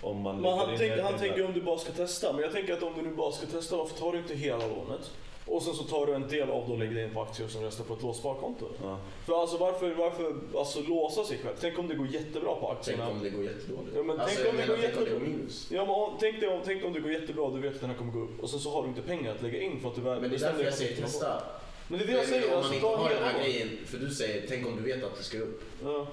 Speaker 10: om man
Speaker 1: Men han,
Speaker 10: lägger in
Speaker 1: tänker-
Speaker 10: mer
Speaker 1: han
Speaker 10: pengar.
Speaker 1: tänker om du bara ska testa. Men jag tänker att om du nu bara ska testa, varför tar du inte hela lånet? Och sen så tar du en del av det och lägger in på aktier som resten på ett låst sparkonto.
Speaker 10: Ja.
Speaker 1: För alltså varför, varför alltså, låsa sig själv? Tänk om det går jättebra på
Speaker 4: Tänk
Speaker 1: aktierna.
Speaker 4: om det går jättedåligt.
Speaker 1: Ja, men
Speaker 4: alltså,
Speaker 1: tänk om
Speaker 4: jag
Speaker 1: det
Speaker 4: menar,
Speaker 1: går
Speaker 4: tänk om
Speaker 1: jättedåligt.
Speaker 4: minus.
Speaker 1: Ja, men om, tänk, dig om, tänk om det går jättebra och du vet att den här kommer gå upp och sen så har du inte pengar att lägga in för att du väl
Speaker 4: Men det är
Speaker 1: bestämde
Speaker 4: därför
Speaker 1: dig
Speaker 4: jag
Speaker 1: för att du ska ta
Speaker 4: säger
Speaker 1: bort.
Speaker 4: testa.
Speaker 1: Men det är det
Speaker 4: Jag
Speaker 1: jag
Speaker 4: menar,
Speaker 1: säger,
Speaker 4: om man
Speaker 1: alltså
Speaker 4: inte
Speaker 1: ta
Speaker 4: har den
Speaker 1: hela
Speaker 4: här
Speaker 1: lånet.
Speaker 4: grejen, för du säger tänk om du vet att det ska upp.
Speaker 1: Ja.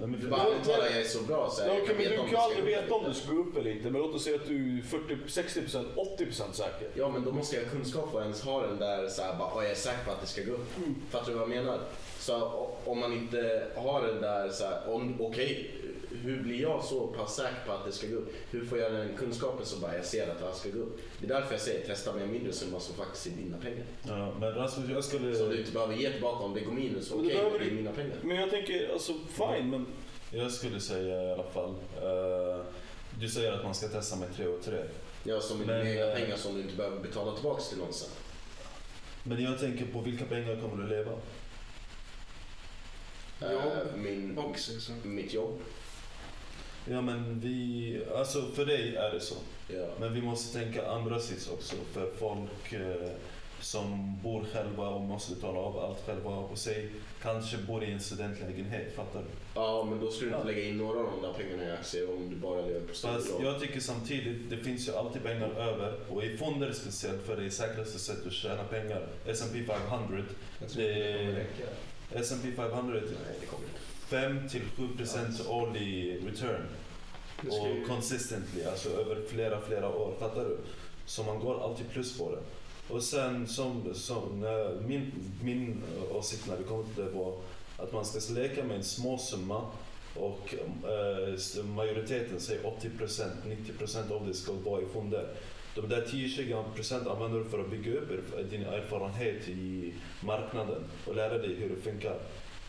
Speaker 10: Ja, men
Speaker 4: Du
Speaker 10: för-
Speaker 4: bara
Speaker 1: Ja,
Speaker 4: antar
Speaker 1: men-
Speaker 4: jag är så bra så här,
Speaker 1: Ja,
Speaker 4: jag
Speaker 1: okej, men
Speaker 4: veta
Speaker 1: du
Speaker 4: om
Speaker 1: kan
Speaker 4: det
Speaker 1: ju
Speaker 4: ska
Speaker 1: aldrig
Speaker 4: upp eller
Speaker 1: veta om
Speaker 4: inte.
Speaker 1: du ska gå upp eller inte, men låt oss säga att du är 40, 60%, 80% säker.
Speaker 4: Ja men då måste jag ha kunskap och ens ha den där så här, bara, "Åh, jag är säker på att det ska gå upp. Fattar du vad jag menar? Så o- om man inte har den där så här, om, okej, hur blir jag så pass säker på att det ska gå upp? Hur får jag den kunskapen så bara jag ser att det här ska gå upp? Det är därför jag säger testa med en mindre summa som faktiskt är dina pengar.
Speaker 10: Ja, men Rasmus, jag skulle...
Speaker 4: Så du inte behöver ge tillbaka om det går minus,
Speaker 1: Mm. Men
Speaker 4: okej,
Speaker 1: det behöver
Speaker 4: men det är
Speaker 1: du-
Speaker 4: mina pengar.
Speaker 1: Men jag tänker, alltså fine, men
Speaker 10: Jag skulle säga i alla fall. eh, du säger att man ska testa med 3 och 3.
Speaker 4: Ja, som är
Speaker 10: Men,
Speaker 4: dina egna
Speaker 10: eh,
Speaker 4: pengar som du inte behöver betala tillbaka till någon sen.
Speaker 10: Men jag tänker på vilka pengar kommer du leva?
Speaker 3: Jobb
Speaker 4: Eh, min,
Speaker 3: och season.
Speaker 4: mitt jobb.
Speaker 10: Ja men vi, alltså för dig är det så.
Speaker 4: Ja.
Speaker 10: Men vi måste tänka andra sits också för folk eh, som bor själva och måste betala av allt själva och sig kanske bor i en studentlägenhet, fattar du?
Speaker 4: ja, men då skulle du inte lägga in några av de där pengarna i aktier om du bara lever på
Speaker 10: Fast
Speaker 4: stödbolag.
Speaker 10: jag tycker samtidigt, det finns ju alltid pengar över och i fonder speciellt för det är säkraste sättet att tjäna pengar. S&P 500,
Speaker 5: Jag tror inte det kommer räcka.
Speaker 10: S&P 500
Speaker 4: Nej, det kommer inte.
Speaker 10: 5 till 7% årlig return.
Speaker 3: Det ska ju-
Speaker 10: Och consistently, alltså över flera, flera år. Fattar du? Så man går alltid plus på det. Och sen som, som när min, min åsikt när det kommer till det var att man ska leka med en småsumma och eh, s- majoriteten säger 80%, 90% av det ska vara i fonder. De där 10-20% använder du för att bygga upp erf- din erfarenhet i marknaden och lära dig hur det funkar.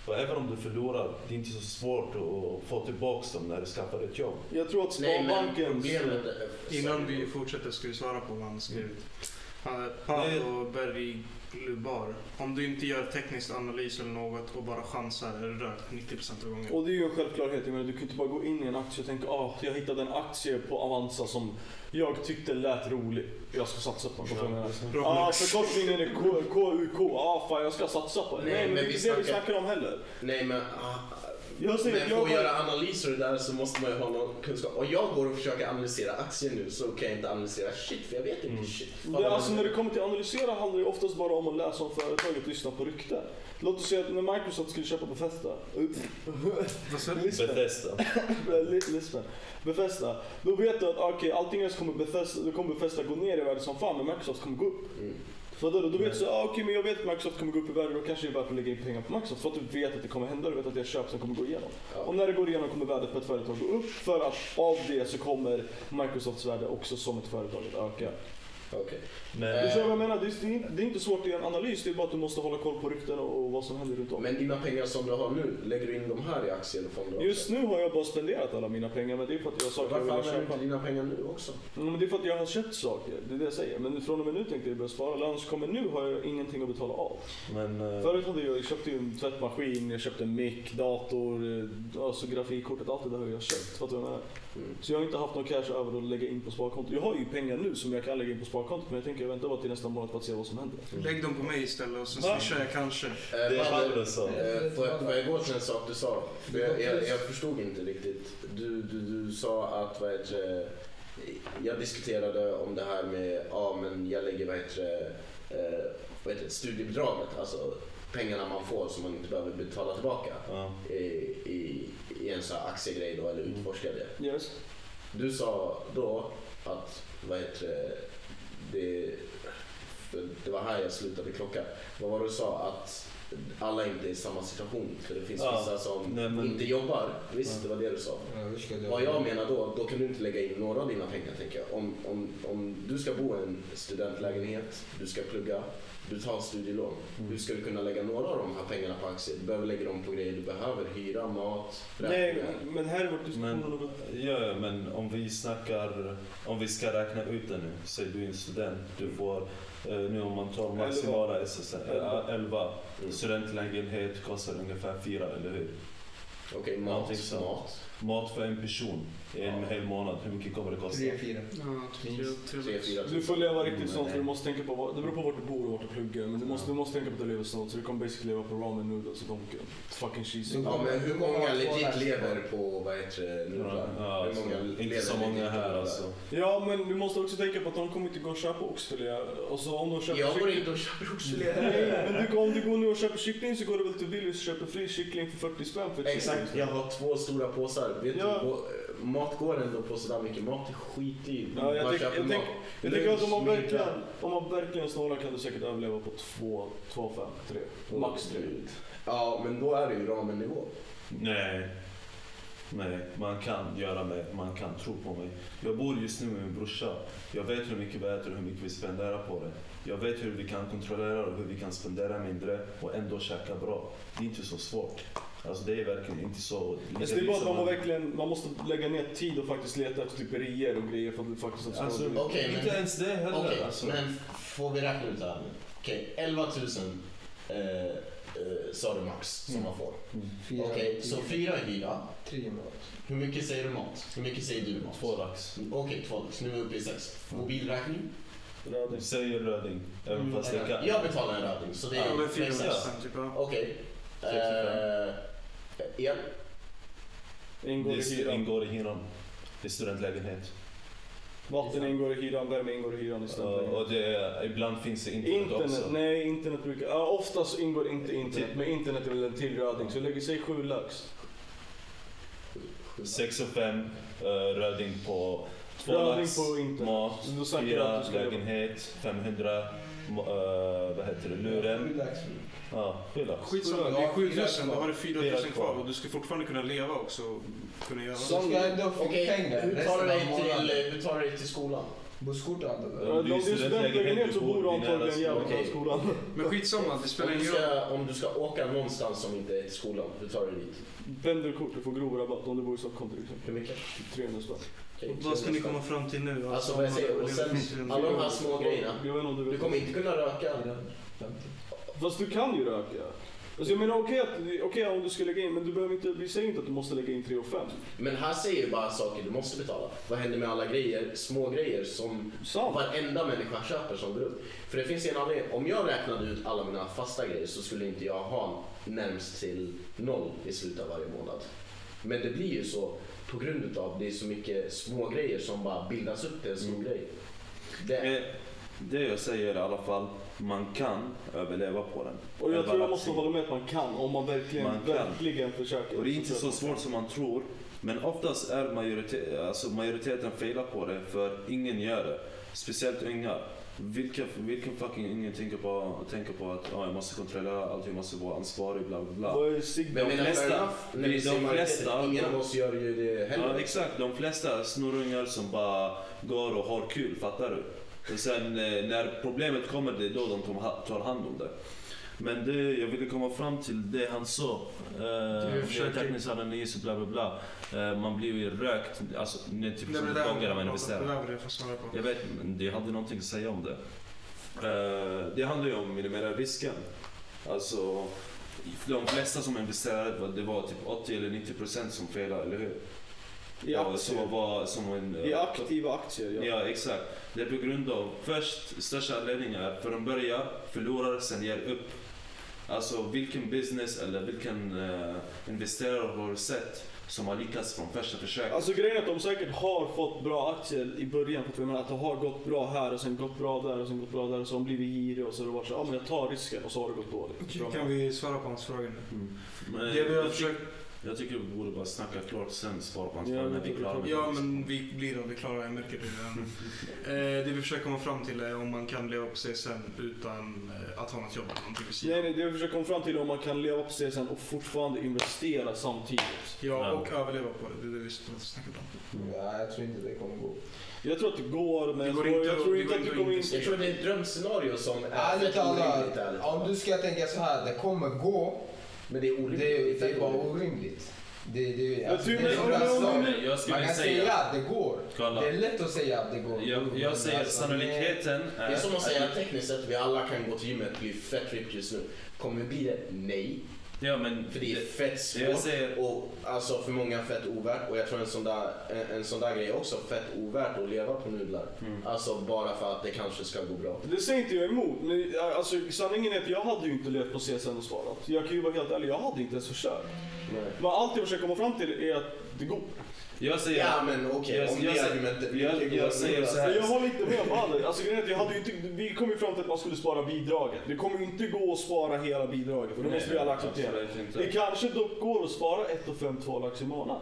Speaker 10: Och även om du förlorar, det är inte så svårt att få tillbaka dem när du skaffar ett jobb.
Speaker 1: jag tror att
Speaker 4: Nej, men
Speaker 1: Sparbanken...
Speaker 4: problemet är...
Speaker 3: Innan vi fortsätter ska vi svara på vad han skrev. Mm. Paolo Berglubar. Om du inte gör teknisk analys eller något och bara chansar är du rökt 90% av gången.
Speaker 1: Och det är ju en självklarhet, jag menar, du kan ju inte bara gå in i en aktie och tänka ah, jag hittade en aktie på Avanza som jag tyckte lät rolig. Jag ska satsa på den. Ja, ah, förkortningen är K- KUK. Ah, fan jag ska satsa på den. Nej,
Speaker 4: Nej,
Speaker 1: men det
Speaker 4: men
Speaker 1: är
Speaker 4: vi
Speaker 1: inte det vi
Speaker 4: snackar-
Speaker 1: snackar om heller.
Speaker 4: Nej, men... ah,
Speaker 1: Jag säger
Speaker 4: Men
Speaker 1: att
Speaker 4: för
Speaker 1: jag...
Speaker 4: att göra analyser och det där så måste man ju ha någon kunskap. Och jag går och försöker analysera aktier nu så kan jag inte analysera shit för jag vet inte shit.
Speaker 1: Det, är alltså när det kommer till att analysera handlar det oftast bara om att läsa om företaget och lyssna på rykten. Låt oss säga att när Microsoft skulle köpa Bethesda.
Speaker 3: Vad sa du?
Speaker 1: Lisbeth.
Speaker 10: Bethesda.
Speaker 1: Li- Lisbon. Bethesda. Då vet du att ah, okej, allting ens kommer Bethesda, då kommer Bethesda gå ner i värde som fan men Microsoft kommer gå upp.
Speaker 4: Mm.
Speaker 1: Så då, då vet du så, ah, okej men jag vet att Microsoft kommer gå upp i värde, då kanske det är värt att lägga in pengar på Microsoft. För att du vet att det kommer hända, du vet att det är köp som kommer gå igenom.
Speaker 4: Ja.
Speaker 1: Och när det går igenom kommer värdet på ett företag gå upp för att av det så kommer Microsofts värde också som ett företag att öka.
Speaker 4: Okej.
Speaker 10: Men
Speaker 1: Du kör vad jag menar, det är, det, är inte, det är inte svårt i en analys, det är bara att du måste hålla koll på rykten och, och vad som händer runt om.
Speaker 4: Men dina pengar som du har nu, lägger du in de här i aktier eller fonder också?
Speaker 1: Just nu har jag bara spenderat alla mina pengar men det är för att jag har saker jag
Speaker 4: Varför
Speaker 1: vill
Speaker 4: använder du
Speaker 1: köpa.
Speaker 4: inte dina pengar nu också?
Speaker 1: Ja, men det är för att jag har köpt saker, det är det jag säger. Men från och med nu tänkte jag börja spara, eller annars kommer nu har jag ingenting att betala av.
Speaker 10: Men, eh,
Speaker 1: Förut hade jag, jag köpte ju en tvättmaskin, jag köpte en mick, dator, eh, alltså grafikkortet, allt det där har jag köpt. Fattar du vad jag menar?
Speaker 4: Mm.
Speaker 1: Så jag har inte haft någon cash över att lägga in på sparkontot. Jag har ju pengar nu som jag kan lägga in på sparkontot men jag tänker vänta bara till nästa månad för att se vad som händer.
Speaker 3: Mm. Lägg dem på mig istället och sen
Speaker 1: Va?
Speaker 3: swishar jag kanske.
Speaker 10: Det är
Speaker 4: Badr,
Speaker 10: Badr sa.
Speaker 4: eh, Får jag, får jag gå till en sak du sa? För jag, jag, jag förstod inte riktigt. Du, du, du sa att vad heter, det, jag diskuterade om det här med ja, men jag lägger vad heter, det, eh, vad heter det, studiebidraget, alltså pengarna man får som man inte behöver betala tillbaka
Speaker 10: Ja.
Speaker 4: i, i, i en sån här aktiegrej då, eller utforska det.
Speaker 1: Yes.
Speaker 4: Du sa då att, vad heter det, det, för det var här jag slutade klocka. Vad var det du sa? Att alla inte är i samma situation. För det finns
Speaker 10: Ja,
Speaker 4: vissa som
Speaker 10: nej, men-
Speaker 4: inte jobbar. Visst, det var det du sa.
Speaker 5: Ja, hur ska det
Speaker 4: Vad jag menar då, då kan du inte lägga in några av dina pengar tänker jag. Om, om, om du ska bo i en studentlägenhet, du ska plugga, du tar studielån.
Speaker 1: Mm.
Speaker 4: Hur ska du kunna lägga några av de här pengarna på aktier? Du behöver lägga dem på grejer du behöver. Hyra, mat,
Speaker 1: Nej,
Speaker 4: räkningar.
Speaker 1: men här är vårt diskussion.
Speaker 10: Men, ja, ja, men om vi snackar, om vi ska räkna ut det nu. Säg du är en student, du får, eh, nu om man tar maximala SSN,
Speaker 1: Elva.
Speaker 10: eh, 11.
Speaker 4: Mm.
Speaker 10: Studentlägenhet kostar ungefär 4, eller hur?
Speaker 4: Okej, mat,
Speaker 10: Någonting sånt.
Speaker 4: mat.
Speaker 10: Mat för en person i en hel månad, hur mycket kommer det kosta?
Speaker 5: Tre, fyra.
Speaker 3: Ja, tre, tre,
Speaker 4: Tre, fyra
Speaker 1: Du Alltså, får leva riktigt
Speaker 10: Mm,
Speaker 1: sånt för
Speaker 10: nej.
Speaker 1: du måste tänka på, vad- det beror på vart du bor och vart du pluggar men du måste, du måste tänka på att du lever sånt så du kommer basically leva på ramen noodles och donken. Fucking cheesy.
Speaker 4: Ja, men hur många legit lever på vad heter det, nudlar?
Speaker 10: Ja,
Speaker 4: hur
Speaker 10: alltså, inte så
Speaker 4: lever
Speaker 10: många
Speaker 4: legit på
Speaker 10: här
Speaker 4: nudlar?
Speaker 10: alltså.
Speaker 1: Ja men du måste också tänka på att de kommer inte gå och köpa oxfilé och så om de köper
Speaker 4: Jag går
Speaker 1: kyckling-
Speaker 4: inte och köper oxfilé.
Speaker 1: Nej, men du, om du går nu och köper kyckling så går du väl till Willys och köper fri kyckling för 40 spänn för ett
Speaker 4: Exakt, jag har två stora påsar. Vet
Speaker 1: Ja.
Speaker 4: du, på, eh, mat går ändå på sådär mycket. Mat är skitdyrt.
Speaker 1: Ja, jag
Speaker 4: man
Speaker 1: tänk-
Speaker 4: köper
Speaker 1: jag
Speaker 4: mat.
Speaker 1: tänk- Jag tänker att om man
Speaker 4: Lunch,
Speaker 1: verkligen,
Speaker 4: middag.
Speaker 1: om man verkligen snålar kan du säkert överleva på 2, 2, 5, 3. Max 3.
Speaker 4: Ja, men då är det ju ramennivå.
Speaker 10: Nej. Nej, man kan göra mig, man kan tro på mig. Jag bor just nu med min brorsa. Jag vet hur mycket vi äter och hur mycket vi spenderar på det. Jag vet hur vi kan kontrollera och hur vi kan spendera mindre och ändå käka bra. Det är inte så svårt. Alltså det är verkligen inte så...
Speaker 1: Alltså det är bara att man, må verkligen, man måste lägga ner tid och faktiskt leta efter typerier och grejer för att faktiskt att det ska
Speaker 10: Alltså,
Speaker 1: vara dyrt.
Speaker 4: Okej,
Speaker 10: inte
Speaker 4: men-
Speaker 10: ens det heller.
Speaker 4: Okej,
Speaker 10: alltså.
Speaker 4: men får vi räkna ut det här nu? Okej, 11 000 eh, eh, sa du max som
Speaker 10: Mm.
Speaker 4: man får.
Speaker 5: Fyra,
Speaker 4: Okej, så
Speaker 5: fyra.
Speaker 4: fyra hyra.
Speaker 5: Tre mat.
Speaker 4: Hur mycket säger du mat? Hur mycket säger du mat?
Speaker 10: Två lax.
Speaker 4: Okej, två. Så nu är vi uppe i sex. Mobilräkning?
Speaker 10: Du säger röding, även
Speaker 4: Mm,
Speaker 10: fast jag kan...
Speaker 4: Jag betalar en röding, så det är
Speaker 3: Ja, men fyra
Speaker 4: sex.
Speaker 3: nästan typ. ja.
Speaker 4: Okej.
Speaker 10: 65.
Speaker 4: Eh, El?
Speaker 1: Ingår i
Speaker 10: Det
Speaker 1: hyran.
Speaker 10: ingår i hyran. Det är studentlägenhet.
Speaker 1: Vatten ingår i hyran, värme ingår i hyran
Speaker 10: Och,
Speaker 1: istället.
Speaker 10: och det är, ibland finns det internet,
Speaker 1: Internet,
Speaker 10: också.
Speaker 1: nej internet brukar, ja, oftast ingår inte internet, men internet är väl en tillrödning så lägger sig 7 lax.
Speaker 10: 6 och 5, röding på 2
Speaker 1: Röding
Speaker 10: lax,
Speaker 1: på inte.
Speaker 10: mat,
Speaker 1: Då snackar vi att du
Speaker 10: 4
Speaker 1: ska leva.
Speaker 10: lägenhet, 500, mo- eh, vad heter det, luren.
Speaker 5: Sju lax.
Speaker 10: Ja, sju lax.
Speaker 3: Skitsamma, det är 7000. Då har du 4000
Speaker 10: Fyra kvar.
Speaker 3: kvar och du ska fortfarande kunna leva också. och Kunna göra
Speaker 5: Så- ska jag ändå få pengar
Speaker 4: hur
Speaker 5: resten
Speaker 4: tar du
Speaker 5: av
Speaker 4: dig till,
Speaker 5: månaden.
Speaker 4: hur tar du dig till skolan?
Speaker 5: Busskort och allt det där.
Speaker 1: Om
Speaker 10: du
Speaker 1: det
Speaker 10: är
Speaker 1: är studentlägenhet
Speaker 10: studentlägenhet,
Speaker 1: så
Speaker 10: du
Speaker 1: bor du
Speaker 10: bor i nära
Speaker 1: antagligen jävligt
Speaker 4: skola.
Speaker 1: nära skolan.
Speaker 3: Men skitsamma, det
Speaker 4: Om
Speaker 3: spelar
Speaker 4: du,
Speaker 3: ingen roll.
Speaker 4: ska, om du ska åka någonstans som inte är till skolan, hur tar du dig dit?
Speaker 1: Pendelkort, du får grov rabatt om du bor i Stockholm till exempel. Typ
Speaker 4: Hur mycket?
Speaker 1: 300 spänn.
Speaker 4: Okej,
Speaker 3: Vad ska ni
Speaker 4: 300
Speaker 3: komma fram till nu?
Speaker 4: Alltså, vad jag säger, och sen- Alla de här små grejerna.
Speaker 1: Jag vet inte om du
Speaker 4: spänn?
Speaker 1: vet.
Speaker 4: Du kommer inte kunna röka.
Speaker 5: Femtio.
Speaker 1: Fast du kan ju röka. Alltså jag menar okej okay, om du ska lägga in, men du behöver inte, vi säger inte att du måste lägga in 3 och 5.
Speaker 4: Men här säger ju bara saker du måste betala. Vad händer med alla grejer, små grejer som
Speaker 1: Sant.
Speaker 4: varenda människa köper som går upp? För det finns en anledning. Om jag räknade ut alla mina fasta grejer så skulle inte jag ha närmst till noll i slutet av varje månad. Men det blir ju så på grund av det är så mycket små grejer som bara bildas upp till en stor grej. Det,
Speaker 10: Eh, Det jag säger i alla fall, man kan överleva på den.
Speaker 1: Och jag
Speaker 10: Elva
Speaker 1: tror jag
Speaker 10: lax
Speaker 1: måste
Speaker 10: i-
Speaker 1: hålla med att man kan om man verkligen,
Speaker 10: Man kan.
Speaker 1: verkligen försöker.
Speaker 10: Och det är inte så svårt som man tror. Men oftast är majorite- alltså majoriteten failar på det för ingen gör det. Speciellt unga. Vilken, vilken fucking unge tänker på, tänker på att "Ja, jag måste kontrollera allt, jag måste vara ansvarig, bla bla bla.
Speaker 1: Vad är signalet?
Speaker 4: men jag menar,
Speaker 10: flesta-
Speaker 4: fair enough. När
Speaker 10: de-
Speaker 4: vi
Speaker 10: de
Speaker 4: ser majoriteten,
Speaker 10: flesta-
Speaker 4: Ingen av oss gör ju det heller.
Speaker 10: Ja, exakt. De flesta snorungar som bara går och har kul, fattar du? Och sen eh, när problemet kommer, det är då de tar- tar hand om det. Men det jag ville komma fram till, det han sa.
Speaker 3: Du
Speaker 10: Eh,
Speaker 3: försöker-
Speaker 10: teknisk analys och bla bla bla. Eh, man blir ju rökt, alltså nej, typ
Speaker 3: Nej, men
Speaker 10: som
Speaker 3: det där
Speaker 10: gånger man
Speaker 3: det
Speaker 10: investerar.
Speaker 3: där vill jag få svara på.
Speaker 10: Jag vet, men jag hade någonting att säga om det. Eh, det handlar ju om att minimera risken. Alltså, de flesta som investerade, var- det var typ 80 eller 90 procent som felade, eller hur?
Speaker 1: I
Speaker 10: och
Speaker 1: aktier.
Speaker 10: som var som en... eh,
Speaker 1: I aktiva aktier, ja.
Speaker 10: Ja, exakt. Det är på grund av först största anledningen är för de börjar, förlorar, sen ger upp. Alltså vilken business eller vilken eh, investerare har du sett som har lyckats från första försöket?
Speaker 1: Alltså grejen är att de säkert har fått bra aktier i början. För att, jag menar, att det har gått bra här och sen gått bra där och sen gått bra där. Och så har de blivit giriga och så har det varit så ja men jag tar risken och så har det gått dåligt. Bra.
Speaker 3: Typ, Kan vi svara på hans fråga nu?
Speaker 10: Men
Speaker 3: Det vi har
Speaker 10: jag,
Speaker 3: försökt...
Speaker 10: tyck- jag tycker vi borde bara snacka klart sen svara på hans
Speaker 1: Ja,
Speaker 10: fråga
Speaker 1: vi
Speaker 10: när vi är
Speaker 1: borde
Speaker 10: klara
Speaker 1: ta-
Speaker 10: med
Speaker 3: Ja,
Speaker 10: det.
Speaker 3: men vi blir aldrig klara, jag märker det redan. eh, det vi försöker komma fram till är om man kan leva på CSN utan eh, att ha något jobb eller någonting vid sidan.
Speaker 1: Nej, nej, det jag försöker komma fram till är om man kan leva på CSN och fortfarande investera samtidigt.
Speaker 3: Ja,
Speaker 10: Ja.
Speaker 3: och överleva på det. Det är det vi snackar om.
Speaker 5: Ja, jag tror inte det kommer gå.
Speaker 1: Jag tror att det går, men
Speaker 3: Det
Speaker 1: jag
Speaker 3: går
Speaker 1: tror,
Speaker 3: inte
Speaker 1: jag
Speaker 3: att-
Speaker 1: tror
Speaker 3: det
Speaker 1: inte
Speaker 3: går
Speaker 1: att
Speaker 3: inte
Speaker 1: du
Speaker 3: att
Speaker 1: kommer in...
Speaker 3: investera.
Speaker 11: Jag tror det är ett drömscenario som är
Speaker 5: Ärligt
Speaker 11: fett
Speaker 5: talat,
Speaker 11: orimligt ärligt
Speaker 5: om
Speaker 11: talat.
Speaker 5: du ska tänka så här, det kommer gå.
Speaker 11: Men det är
Speaker 5: Det,
Speaker 11: orimligt.
Speaker 5: det är
Speaker 11: fett
Speaker 5: bara
Speaker 11: orimligt.
Speaker 5: orimligt. Det, det, alltså,
Speaker 1: tror-
Speaker 5: det är
Speaker 1: men-
Speaker 5: bra
Speaker 1: men-
Speaker 5: slag.
Speaker 1: men-
Speaker 10: Nej, Jag
Speaker 5: Man
Speaker 10: skulle
Speaker 5: kan säga
Speaker 10: säga...
Speaker 5: att det går.
Speaker 10: Kolla.
Speaker 5: Det är lätt att säga att det går.
Speaker 10: Jag, jag säger
Speaker 5: Alltså,
Speaker 10: sannolikheten är...
Speaker 11: Det är som att säga tekniskt sett vi alla kan gå till gymmet och bli fett ripped just nu. Kommer vi bli det? Nej.
Speaker 10: Ja, men...
Speaker 11: För det är
Speaker 10: det-
Speaker 11: fett
Speaker 10: det jag
Speaker 11: svårt.
Speaker 10: säger...
Speaker 11: Och alltså för många fett ovärt. Och jag tror en sån där, en, en sån där grej är också fett ovärt att leva på nudlar.
Speaker 10: Mm.
Speaker 11: Alltså bara för att det kanske ska gå bra.
Speaker 1: Det säger inte jag emot. men, äh, Alltså, sanningen är att jag hade ju inte levt på CSN och sparat. Jag kan ju vara helt ärlig, jag hade inte ens försökt.
Speaker 11: Nej.
Speaker 1: Men allt jag försöker komma fram till är att det går.
Speaker 10: Jag säger...
Speaker 11: Ja men okej,
Speaker 10: Jag-
Speaker 11: om
Speaker 10: jag
Speaker 11: det
Speaker 10: säger-
Speaker 11: argumentet...
Speaker 10: jag-
Speaker 11: mycket går
Speaker 10: jag
Speaker 11: att
Speaker 10: säger
Speaker 11: nudla.
Speaker 10: så här.
Speaker 1: Men Jag håller inte med Bader. Alltså, grejen är att jag hade ju inte, vi kom ju fram till att man skulle spara bidraget. Det kommer ju inte gå att spara hela bidraget, för det måste vi alla acceptera.
Speaker 10: absolut inte.
Speaker 1: Det kanske dock går att spara 1 och 5 2 lax i månaden.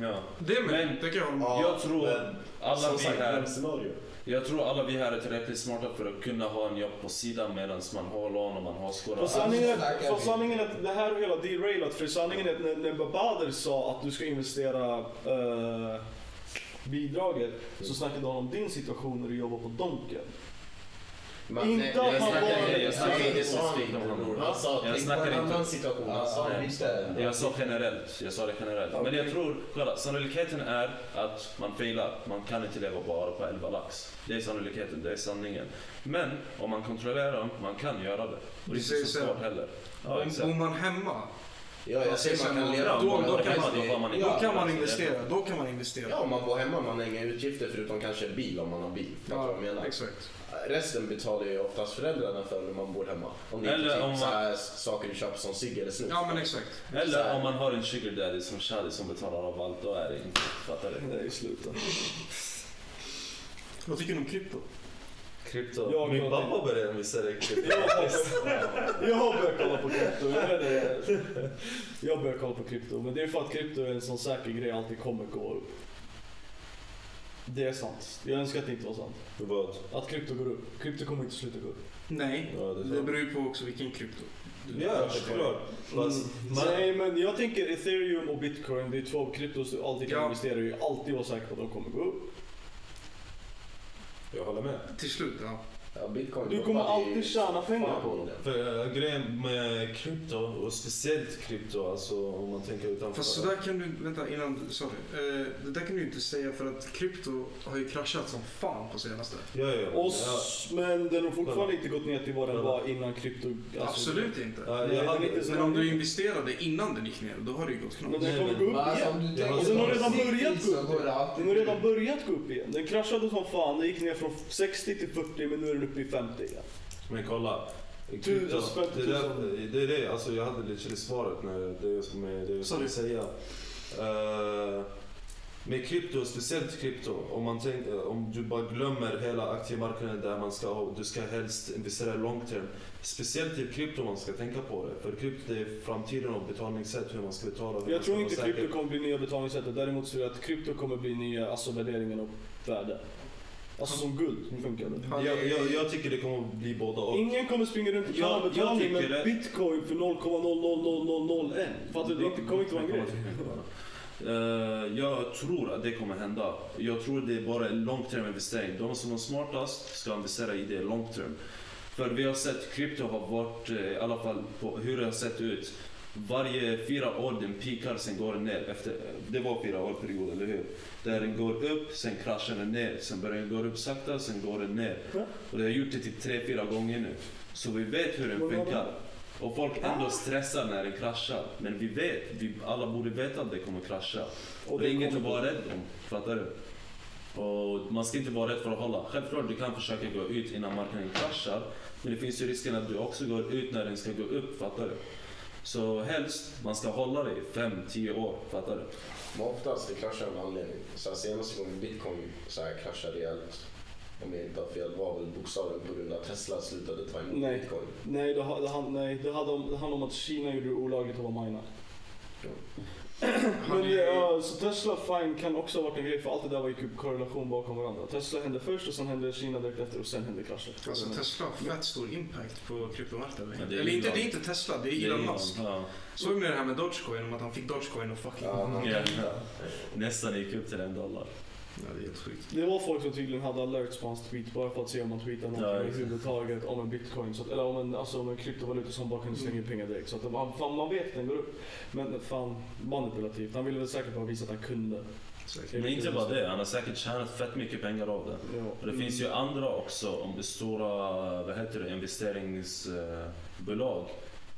Speaker 10: Ja.
Speaker 3: Det är
Speaker 10: Men-
Speaker 3: med. Det kan jag hålla med om.
Speaker 11: Ja,
Speaker 10: Jag tror
Speaker 11: men
Speaker 10: alla
Speaker 11: Som
Speaker 10: vi
Speaker 11: sagt,
Speaker 10: här...
Speaker 11: drömscenario.
Speaker 10: Jag tror alla vi här är tillräckligt smarta för att kunna ha en jobb på sidan medan man har lån och man har skola.
Speaker 1: För sanningen, Alltså, är-
Speaker 5: snackar
Speaker 1: för
Speaker 5: vi.
Speaker 1: sanningen är att det här har hela derailat. För sanningen är att när, när Bader sa att du ska investera eh, bidraget så snackade han om din situation när du jobbar på Donken.
Speaker 11: Men-
Speaker 1: Inte
Speaker 11: nej,
Speaker 1: att
Speaker 11: nej,
Speaker 1: man
Speaker 11: jag snackar-
Speaker 1: bara-
Speaker 11: jag snackar inte specifikt om honom. Han sa
Speaker 10: Jag
Speaker 11: tänk på
Speaker 10: snackar
Speaker 11: en
Speaker 10: inte-
Speaker 11: annan situation. Han sa
Speaker 4: Alltså,
Speaker 5: Ja,
Speaker 11: visst
Speaker 5: ja.
Speaker 11: det.
Speaker 10: Jag sa generellt, jag sa det generellt. Men jag tror, kolla, sannolikheten är att man failar. Man kan inte leva bara på 11 lax. Det är sannolikheten, det är sanningen. Men om man kontrollerar dem, man kan göra det. Och det är
Speaker 3: säger
Speaker 10: inte så
Speaker 3: så.
Speaker 10: svårt heller. Ja,
Speaker 3: Om-
Speaker 10: exakt.
Speaker 3: Bor man hemma,
Speaker 11: Ja, jag säger man kan leva
Speaker 10: Ja,
Speaker 11: på
Speaker 10: då, då
Speaker 11: det.
Speaker 10: kan man, då har man
Speaker 3: då kan man investera. Då kan man investera.
Speaker 11: Ja, om man bor hemma man har inga utgifter förutom kanske bil om man har bil. Fattar du vad jag menar?
Speaker 3: exakt.
Speaker 11: Resten betalar ju oftast föräldrarna för när man bor hemma. Om det
Speaker 10: Eller
Speaker 11: inte är
Speaker 10: om
Speaker 11: typ
Speaker 10: man-
Speaker 11: så här saker du köper som cigg eller snus.
Speaker 3: Ja, men exakt.
Speaker 11: Så
Speaker 10: Eller
Speaker 11: här.
Speaker 10: om man har en sugar daddy som Shadi som betalar av allt, då är det inte. Fattar du?
Speaker 1: Nej, sluta.
Speaker 3: Vad tycker ni om krypto?
Speaker 10: Krypto.
Speaker 1: Jag
Speaker 10: Min
Speaker 1: kan-
Speaker 10: pappa började investera i krypto.
Speaker 1: Jag har börjat kolla på krypto. Jag, vet inte. jag börjar kolla på krypto, men det är för att krypto är en sån säker grej, alltid kommer gå upp. Det är sant. Jag önskar att det inte var sant.
Speaker 10: Vad?
Speaker 1: Att krypto går upp. Krypto kommer inte sluta gå upp.
Speaker 3: Nej.
Speaker 10: Ja, det är
Speaker 3: Det
Speaker 10: sant.
Speaker 3: beror ju på också vilken krypto.
Speaker 10: Ja, såklart.
Speaker 3: Mm.
Speaker 10: Fast man-
Speaker 1: Nej, men jag tänker ethereum och bitcoin, det är två kryptos du alltid kan
Speaker 3: Ja.
Speaker 1: investera i. Alltid vara säker på att de kommer gå upp.
Speaker 10: Jag håller med.
Speaker 3: Till slut, ja.
Speaker 11: Ja, bitcoin
Speaker 1: Du kommer
Speaker 11: hoppade ju
Speaker 1: alltid tjäna pengar
Speaker 11: fan
Speaker 1: på
Speaker 11: i
Speaker 1: dem.
Speaker 11: det.
Speaker 10: För eh, grejen med krypto, och speciellt krypto, alltså om man tänker utanför...
Speaker 3: Fast sådär kan du, vänta innan, sorry. Eh, det där kan du ju inte säga för att krypto har ju kraschat som fan på senaste.
Speaker 10: Ja, ja.
Speaker 1: Och,
Speaker 10: ja.
Speaker 1: s- men den har fortfarande inte gått ner till vad den var innan krypto... alltså-
Speaker 3: Absolut inte.
Speaker 10: Ja,
Speaker 1: Nej,
Speaker 10: jag
Speaker 1: den är
Speaker 10: hade,
Speaker 1: inte så
Speaker 3: Men om
Speaker 1: lång.
Speaker 3: du investerade innan den gick ner, då har det ju gått
Speaker 1: Men
Speaker 3: knappt.
Speaker 1: den kommer gå
Speaker 5: Men
Speaker 1: upp
Speaker 5: alltså,
Speaker 1: igen.
Speaker 5: om du
Speaker 10: Ja,
Speaker 5: tänker
Speaker 10: och den
Speaker 1: har redan
Speaker 5: långsiktigt
Speaker 1: börjat
Speaker 5: så
Speaker 1: gå upp
Speaker 5: går
Speaker 1: igen.
Speaker 5: det alltid
Speaker 1: Den har
Speaker 5: upp.
Speaker 1: redan börjat gå upp igen. Den kraschade som fan, den gick ner från 60 till 40 men nu är den uppe i 50 igen.
Speaker 10: men kolla.
Speaker 1: Tusen
Speaker 10: Krypto,
Speaker 1: spänn,
Speaker 10: det, är där,
Speaker 1: tusen.
Speaker 10: det är det, alltså jag hade lite till svaret när det som är det jag
Speaker 3: Sorry.
Speaker 10: skulle säga. Eh, med krypto, speciellt krypto, om, man tänk, eh, om du bara glömmer hela aktiemarknaden där man ska ha, du ska helst investera long term. Speciellt i krypto man ska tänka på det, för krypto det är framtiden och betalningssätt hur man ska betala. hur man
Speaker 1: Jag
Speaker 10: ska
Speaker 1: tror
Speaker 10: vara
Speaker 1: inte
Speaker 10: säker.
Speaker 1: krypto kommer bli nya betalningssättet. Däremot tror jag att krypto kommer bli nya alltså värderingen och värde. Alltså som guld funkar det.
Speaker 3: Ja,
Speaker 10: Jag,
Speaker 3: det-
Speaker 10: jag, jag tycker det kommer bli båda och.
Speaker 1: Ingen kommer springa runt och
Speaker 10: Jag-
Speaker 1: kalla
Speaker 10: jag
Speaker 1: betalning
Speaker 10: tycker
Speaker 1: med
Speaker 10: det-
Speaker 1: bitcoin för 0,00001. Fattar du? Det inte- kommer inte vara en grej.
Speaker 10: Eh, jag tror att det kommer hända. Jag tror det är bara en long term investering. De som är smartast ska investera i det long term. För vi har sett krypto har varit, eh, i alla fall på hur det har sett ut. Varje fyra år den pikar, sen går den ner. Efter, det var fyra år period, eller hur? Där den går upp, sen kraschar den ner. Sen börjar den gå upp sakta, sen går den ner.
Speaker 1: Ja.
Speaker 10: Och det har gjort det till tre, fyra gånger nu. Så vi vet hur den
Speaker 1: Vad var det? Ah.
Speaker 10: funkar. Och folk ändå stressar när det kraschar. Men vi vet, vi alla borde veta att det kommer krascha. Och det är inget att vara rädd om, fattar du? Och man ska inte vara rädd för att hålla. Självklart, du kan försöka gå ut innan marknaden kraschar. Men det finns ju risken att du också går ut när den ska gå upp, fattar du? Så helst, man ska hålla det i 5-10 år, fattar du?
Speaker 4: Men oftast det kraschar av en anledning. Så här, senaste gången bitcoin så här, kraschade rejält, om jag inte har fel, var väl bokstavligen på grund av att Tesla slutade ta emot
Speaker 1: Nej.
Speaker 4: bitcoin.
Speaker 1: Nej, det, ha- det, hand- nej, det hade om, det handlade om att Kina gjorde det olagligt att vara mina. Men det, ja, så Tesla fine kan också ha varit en grej för allt det där var i korrelation bakom varandra. Tesla hände först och sen hände Kina direkt efter och sen hände kraschen.
Speaker 3: Alltså Tesla har fett stor impact på kryptomarknaden.
Speaker 10: Ja, det är
Speaker 3: Eller inte,
Speaker 10: Elon.
Speaker 3: det är inte Tesla, det är Elon Musk.
Speaker 10: Ja.
Speaker 3: Såg ni det här med Dogecoin? Om att han fick Dogecoin och fucking...
Speaker 4: Ja, han-
Speaker 10: Ja. Nästan gick upp till en dollar.
Speaker 3: Ja, det är helt sjukt.
Speaker 1: Det var folk som tydligen hade alerts på hans tweet bara för att se om han tweetade något
Speaker 10: Ja, exakt.
Speaker 1: överhuvudtaget om en bitcoin. Så att, eller om en, alltså om en kryptovaluta som bara kunde slänga in pengar direkt. Så att det var, fan, man vet att den går upp. Men fan, manipulativt. Han ville väl säkert bara visa att han kunde.
Speaker 3: Säkert.
Speaker 10: Men inte bara det, han har säkert tjänat fett mycket pengar av det.
Speaker 1: Ja.
Speaker 10: Och det finns ju andra också, om stora vad heter det, investeringsbolag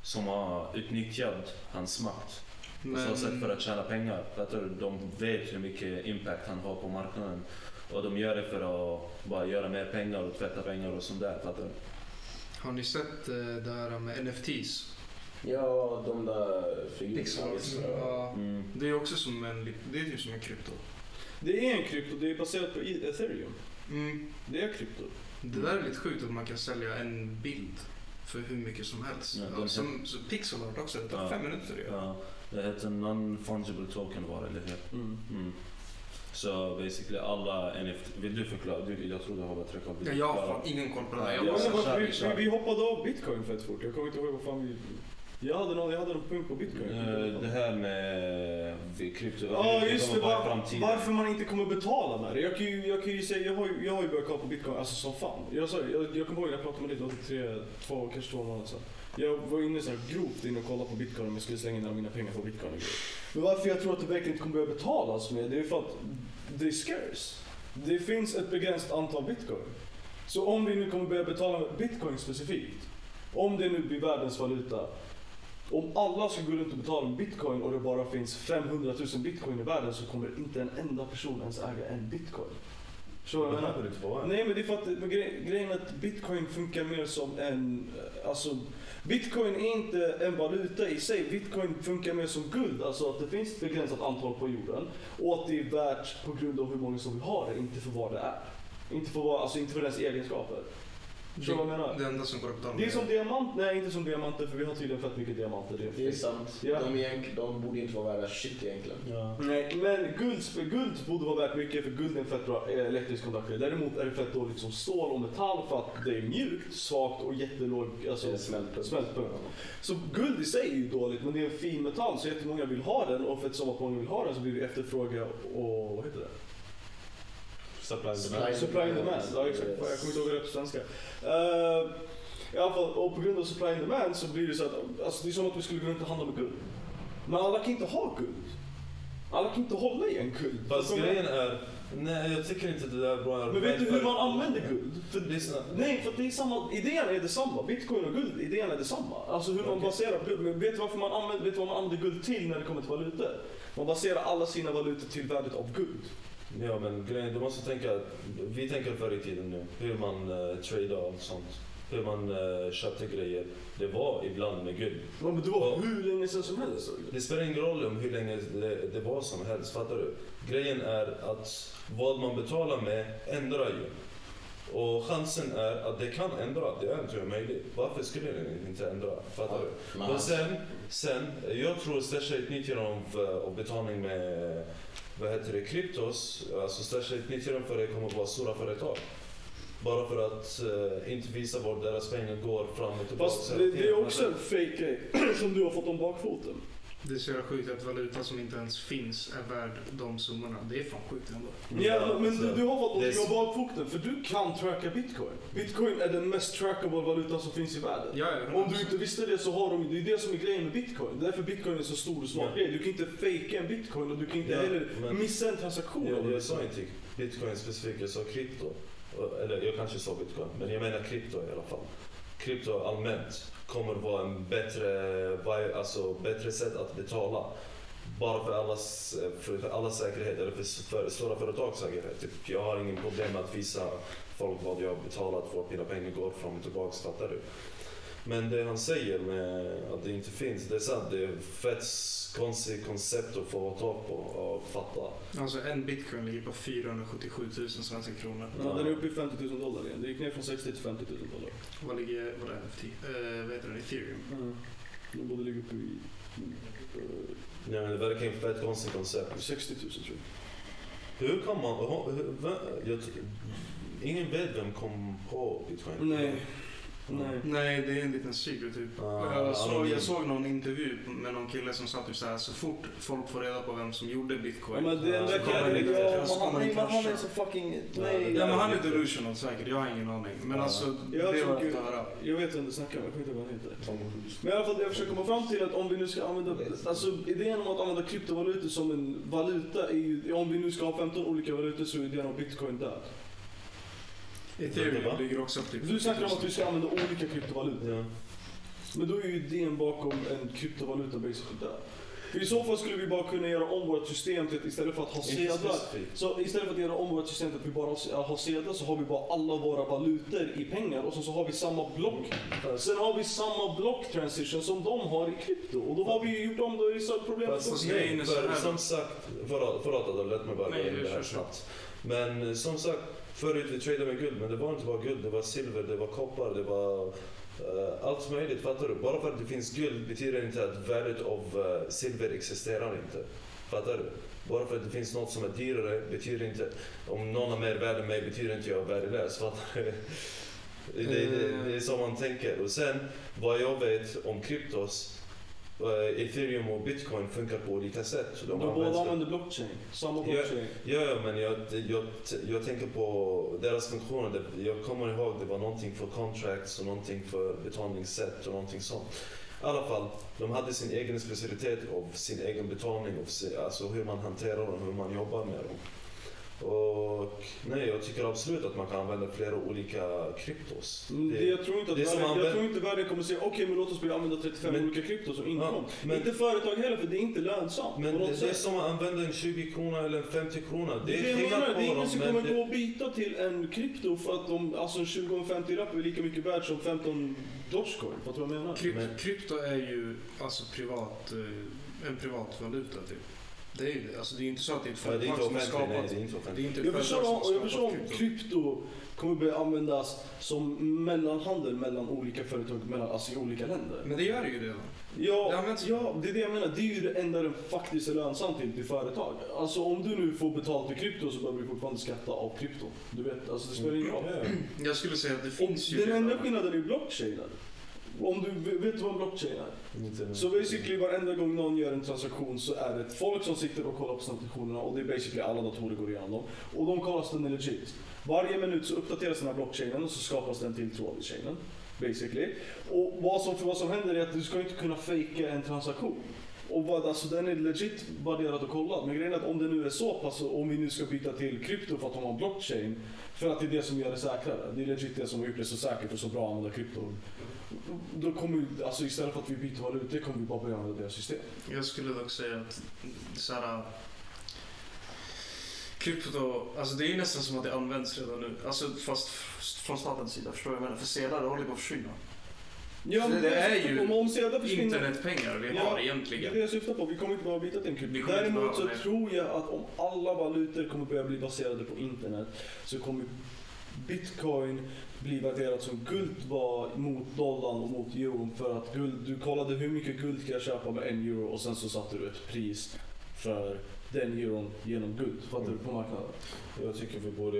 Speaker 10: som har utnyttjat hans makt. På
Speaker 3: Mm.
Speaker 10: så sätt för att tjäna pengar. För att de vet hur mycket impact han har på marknaden. Och de gör det för att bara göra mer pengar och tvätta pengar och sånt där. Fattar du?
Speaker 3: Har ni sett eh, det här med NFTs?
Speaker 4: Ja, de där figurerna. liksom.
Speaker 3: Pixar.
Speaker 4: visst, ja.
Speaker 3: Liksom. Ja.
Speaker 10: Mm.
Speaker 3: Det är också som en... li- Det är typ som en krypto.
Speaker 1: Det är en krypto, det är baserat på i- ethereum.
Speaker 3: Mm.
Speaker 1: Det är krypto.
Speaker 3: Det där är lite sjukt att man kan sälja en bild för hur mycket som helst.
Speaker 10: Ja,
Speaker 3: Ja,
Speaker 10: de här-
Speaker 3: som, så pixel art också, det tar
Speaker 10: Ja.
Speaker 3: fem minuter att göra.
Speaker 10: Ja, det heter non-fungible token var det, eller hur?
Speaker 1: Mm.
Speaker 10: Mm. Så basically alla NFT... Vill du förklara? Du, jag tror du har bättre koll.
Speaker 3: Ja, jag har fan ingen koll på det där.
Speaker 10: Ja,
Speaker 3: Jag
Speaker 1: Ja,
Speaker 3: bara,
Speaker 1: men
Speaker 10: så
Speaker 1: vad-
Speaker 10: kör vi,
Speaker 1: vi,
Speaker 10: kör
Speaker 1: vi,
Speaker 10: vi.
Speaker 1: vi hoppade av bitcoin fett fort. Jag kommer inte ihåg vad fan vi... Jag hade någon, jag hade någon punkt på bitcoin.
Speaker 10: Eh, Det här med krypto...
Speaker 1: Ja just det,
Speaker 10: kommer vara i
Speaker 1: var,
Speaker 10: framtiden.
Speaker 1: varför man inte kommer betala med det. Jag kan ju, jag kan ju säga, jag har ju, jag har ju börjat kolla på bitcoin, alltså som fan. Jag, sa, ju, jag, jag kommer ihåg när jag pratade med dig, det var typ tre, två, kanske två månader sedan. Jag var inne så här grovt inne och kollade på bitcoin om jag skulle slänga in alla mina pengar på bitcoin och grejer. Men varför jag tror att det verkligen inte kommer börja betalas med, det är för att det är scarce. Det finns ett begränsat antal bitcoin. Så om vi nu kommer börja betala med bitcoin specifikt, om det nu blir världens valuta, om alla ska gå runt och betala med bitcoin och det bara finns 500 000 bitcoin i världen så kommer inte en enda person ens äga en bitcoin. Så jag menar? Nej men det är för att men gre- grejen är att bitcoin funkar mer som en, eh, alltså bitcoin är inte en valuta i sig, bitcoin funkar mer som guld, alltså att det finns ett begränsat antal på jorden och att det är värt på grund av hur många som vill ha det, inte för vad det är. Inte för, vad, alltså inte för dess egenskaper. Förstår du vad jag menar?
Speaker 3: det enda som går att betala
Speaker 1: Det är
Speaker 3: med.
Speaker 1: som diamant, nej inte som diamanter för vi har tydligen fett mycket diamanter. Det är
Speaker 4: Det är sant.
Speaker 1: Ja.
Speaker 4: De, är, egent- de borde inte vara värda shit egentligen.
Speaker 1: Nej, men guld, guld borde vara värt mycket för guld är en fett bra eh, elektrisk kontaktare. Däremot är det fett dåligt som stål och metall för att det är mjukt, svagt och jättelåg alltså,
Speaker 4: Det är smältpunkt.
Speaker 1: smältpunkt. Så guld i sig är ju dåligt men det är en fin metall så jättemånga vill ha den och för att så att många vill ha den så blir det efterfråga och vad heter det?
Speaker 10: Supply and demand.
Speaker 4: Supply and
Speaker 1: Supply and demand, ja exakt.
Speaker 4: Yes.
Speaker 1: Jag kommer inte ihåg det på svenska. Eh, I alla fall, och på grund av supply and demand så blir det så att alltså, det är som att vi skulle gå runt och handla med guld. Men alla kan inte ha guld. Alla kan inte hålla i en guld.
Speaker 10: Fast
Speaker 1: För-
Speaker 10: grejen är, nej jag tycker inte det där är bra.
Speaker 1: Men vet du hur man använder guld?
Speaker 10: För lyssna.
Speaker 1: Nej, för att det är samma, idén är detsamma. Bitcoin och guld, idén är detsamma. Alltså hur man
Speaker 10: Okej.
Speaker 1: baserar guld. Men vet du varför man använder, vet du vad man använder guld till när det kommer till valutor? Man baserar alla sina valutor till värdet av guld.
Speaker 10: Ja men grejen, du måste tänka, att- vi tänker förr i tiden nu, hur man uh, tradar och sånt. Hur man eh, köpte grejer. Det var ibland med guld.
Speaker 1: Ja, men det
Speaker 10: Ja.
Speaker 1: var hur länge sedan som helst.
Speaker 10: Det spelar ingen roll om hur länge det, det var som helst, fattar du? Grejen är att vad man betalar med ändrar ju. Och chansen är att det kan ändra, det är inte möjligt. Varför skulle det inte ändra? Fattar du?
Speaker 4: Men
Speaker 10: Och
Speaker 4: han-
Speaker 10: sen, sen, jag tror Stasha utnyttjar dem för, av betalning med vad heter det, kryptos. Alltså Stasha utnyttjar dem för det kommer att vara stora företag. Bara för att eh, inte visa var deras pengar går fram och tillbaka.
Speaker 1: Fast det, det är också en fake grej som du har fått om bakfoten.
Speaker 3: Det är så jävla sjukt att valuta som inte ens finns är värd de summorna. Det är fan sjukt ändå.
Speaker 1: Mm. Ja, men du, du har fått
Speaker 10: det är
Speaker 1: någonting om bakfoten för du kan tracka bitcoin. Bitcoin är den mest trackable valutan som finns i världen.
Speaker 3: Ja, ja.
Speaker 1: Om du inte visste det så har de, det är det som är grejen med bitcoin. Det är därför bitcoin är så stor och smart
Speaker 10: Ja.
Speaker 1: grej. Du kan inte fejka en bitcoin och du kan inte
Speaker 10: Ja,
Speaker 1: heller
Speaker 10: men-
Speaker 1: missa en transaktion.
Speaker 10: Jag, jag sa inte bitcoin specifikt, jag sa krypto. Eller jag kanske sa bitcoin, men jag menar krypto i alla fall. krypto allmänt kommer vara en bättre, vi- alltså bättre sätt att betala. Bara för allas, för alla säkerhet eller för, för stora företags säkerhet. Typ, jag har ingen problem med att visa folk vad jag har betalat, vart mina pengar går fram och tillbaka. Fattar du? Men det han säger med att det inte finns, det är sant. Det är fett konstigt koncept att få tag på och fatta.
Speaker 3: Alltså en bitcoin ligger på 477 000 svenska kronor.
Speaker 1: Ja, den är uppe i 50 000 dollar igen. Det gick ner från 60 till 50 000 dollar.
Speaker 3: Vad ligger, vad är det? Ti- eh, vad heter det? Ethereum?
Speaker 1: Mm. Den borde ligga uppe i
Speaker 10: Ja, men det verkar ju fett konstigt koncept.
Speaker 1: eh, 60 000 tror jag.
Speaker 10: Hur kom man... hur- hur- vem- Jag, tror- ingen vet vem kom på bitcoin.
Speaker 1: Nej.
Speaker 3: Nej, det är en liten cykel typ.
Speaker 10: Ah,
Speaker 3: jag, såg,
Speaker 10: anonym.
Speaker 3: jag såg någon intervju med någon kille som sa typ så här, så fort folk får reda på vem som gjorde bitcoin.
Speaker 1: Ja, men det
Speaker 10: Ja,
Speaker 1: är
Speaker 10: så
Speaker 1: en
Speaker 10: kommer det
Speaker 1: riktigt.
Speaker 10: riktigt.
Speaker 1: Ja,
Speaker 3: Så
Speaker 1: men han,
Speaker 3: kommer det
Speaker 1: nej, men han är
Speaker 3: krascha.
Speaker 1: så fucking...
Speaker 10: Ja,
Speaker 1: Nej.
Speaker 10: det
Speaker 3: Ja,
Speaker 10: där-
Speaker 3: men han är delusional säkert, jag har ingen aning. Men
Speaker 10: Ja.
Speaker 3: alltså,
Speaker 1: Jag
Speaker 3: det
Speaker 1: tror
Speaker 3: var
Speaker 1: gud-
Speaker 3: att höra.
Speaker 1: Jag vet inte, snacka om, jag kommer inte ihåg vad han heter. Men i alla fall, jag försöker komma fram till att om vi nu ska använda... Alltså idén om att använda kryptovalutor som en valuta är ju... Om vi nu ska ha 15 olika valutor så är idén om bitcoin död.
Speaker 10: Va?
Speaker 3: Ethereum ligger också typ- upp till
Speaker 1: Du snackar om att vi ska använda olika kryptovalutor.
Speaker 10: Ja.
Speaker 1: Men då är ju idén bakom en kryptovaluta basically död. För i så fall skulle vi bara kunna göra om vårt system till att istället för att ha
Speaker 10: Inte
Speaker 1: sedlar
Speaker 10: specifikt.
Speaker 1: Så istället för att göra om vårt system till att vi bara har- har sedlar så har vi bara alla våra valutor i pengar och sen så har vi samma block. Sen har vi samma block transition som de har i krypto och då har vi ju gjort om det i så att problemet
Speaker 10: Fast
Speaker 3: Fast
Speaker 1: också.
Speaker 3: grejen Alltså, är så
Speaker 10: nej, för
Speaker 3: här.
Speaker 10: som sagt, förlåt förlåt att jag lät mig bara gå
Speaker 3: Nej,
Speaker 10: in i
Speaker 3: det
Speaker 10: det här
Speaker 3: kör, kör.
Speaker 10: snabbt. Men eh, som sagt, förut vi tradeade med guld, men det var inte bara guld, det var silver, det var koppar, det var eh, allt möjligt. Fattar du? Bara för att det finns guld betyder inte att värdet av eh, silver existerar inte. Fattar du? Bara för att det finns något som är dyrare betyder inte, om någon har mer värde än mig betyder inte jag är värdelös. Fattar du? Det, det, det är så man tänker. Och sen, vad jag vet om kryptos, eh, ethereum och bitcoin funkar på olika sätt. Så
Speaker 1: De
Speaker 10: de används
Speaker 1: båda
Speaker 10: för-
Speaker 1: använder blockchain, samma
Speaker 10: Ja.
Speaker 1: blockchain.
Speaker 10: Ja, ja, men jag, jag, jag tänker på deras funktioner. Det- Jag kommer ihåg det var någonting för contracts och någonting för betalningssätt och någonting sånt. I alla fall, de hade sin egen specialitet av sin egen betalning, och sin, alltså hur man hanterar dem, hur man jobbar med dem. Och nej, jag tycker absolut att man kan använda flera olika kryptos.
Speaker 1: Mm, Det, jag tror inte att
Speaker 10: det är som
Speaker 1: världen, jag
Speaker 10: använd-
Speaker 1: tror inte världen kommer säga okej men låt oss börja använda 35
Speaker 10: Men-
Speaker 1: olika krypto som
Speaker 10: Ja,
Speaker 1: inkomst.
Speaker 10: men-
Speaker 1: inte företag heller för det är inte lönsamt
Speaker 10: men
Speaker 1: på
Speaker 10: det,
Speaker 1: något
Speaker 10: det är
Speaker 1: sätt.
Speaker 10: som att använda en 20 krona eller en 50 krona.
Speaker 1: Det är det jag
Speaker 10: skillnad
Speaker 1: menar, det är
Speaker 10: på
Speaker 1: ingen
Speaker 10: dem,
Speaker 1: som
Speaker 10: men
Speaker 1: kommer
Speaker 10: det-
Speaker 1: gå och byta till en krypto för att de, alltså en 20-50 lapp är lika mycket värd som 15 dogecoin. Fattar du vad jag menar?
Speaker 3: Krypt,
Speaker 10: Men-
Speaker 3: Krypto är ju alltså privat, eh, en privat valuta typ. Det är ju det. Alltså, det är ju inte så att det är ett
Speaker 10: Ja, det är
Speaker 3: företag
Speaker 10: inte
Speaker 3: som har skapat...
Speaker 10: offentligt, nej, det är inte
Speaker 3: det
Speaker 10: offentligt.
Speaker 3: är inte ett
Speaker 1: Jag
Speaker 3: företag som
Speaker 1: förstår,
Speaker 3: har
Speaker 1: om- jag förstår
Speaker 3: skapat
Speaker 1: om
Speaker 3: krypto.
Speaker 1: krypto kommer börja användas som mellanhandel mellan olika företag mellan, alltså i olika länder.
Speaker 3: Men det gör det ju redan. Det
Speaker 1: Ja,
Speaker 3: används-
Speaker 1: ja, det är det jag menar. Det är ju det enda den faktiskt är lönsam till, till företag. Alltså om du nu får betalt i krypto så behöver du fortfarande skatta av krypto. Du vet, alltså det spelar ingen roll.
Speaker 10: Ja, ja.
Speaker 3: Jag skulle säga att det
Speaker 1: Och
Speaker 3: finns ju
Speaker 1: Den enda
Speaker 3: redan.
Speaker 1: skillnaden är ju blockchainen. Om du vet du vad en blockchain är?
Speaker 5: Mm.
Speaker 10: Inte-
Speaker 1: Så basically varenda gång någon gör en transaktion så är det ett folk som sitter och kollar på transaktionerna och det är basically alla datorer går igenom dem. Och de kollar så den är legit. Varje minut så uppdateras den här blockchainen och så skapas den till tråd i chainen. Basically. Och vad som, för vad som händer är att du ska inte kunna fejka en transaktion. Och vad, alltså den är legit värderad och kollad. Men grejen är att om det nu är så pass, och om vi nu ska byta till krypto för att de har blockchain. För att det är det som gör det säkrare. Det är legit det som har gjort det så säkert och så bra att använda krypto då kommer vi, alltså istället för att vi byter valutor kommer vi bara börja använda deras system.
Speaker 3: Jag skulle dock säga att så här, krypto, alltså det är ju nästan som att det används redan nu. Alltså fast f- från statens sida, förstår du vad jag menar? För sedlar det håller på att försvinna.
Speaker 1: Ja,
Speaker 3: Så det är ju
Speaker 1: om, om sedlar försvinner,
Speaker 3: Internetpengar vi
Speaker 1: Ja,
Speaker 3: har
Speaker 1: det är
Speaker 3: egentligen.
Speaker 1: det jag syftar på. Vi kommer inte behöva byta till en
Speaker 3: Vi
Speaker 1: krypto.
Speaker 3: kommer inte
Speaker 1: Däremot så
Speaker 3: behöva det.
Speaker 1: tror jag att om alla valutor kommer börja bli baserade på internet så kommer bitcoin bli värderat som guld var mot dollarn och mot euron för att guld, du kollade hur mycket guld kan jag köpa med en euro och sen så satte du ett pris för den euron genom guld. Fattar du? På marknaden.
Speaker 10: Mm. Jag tycker vi borde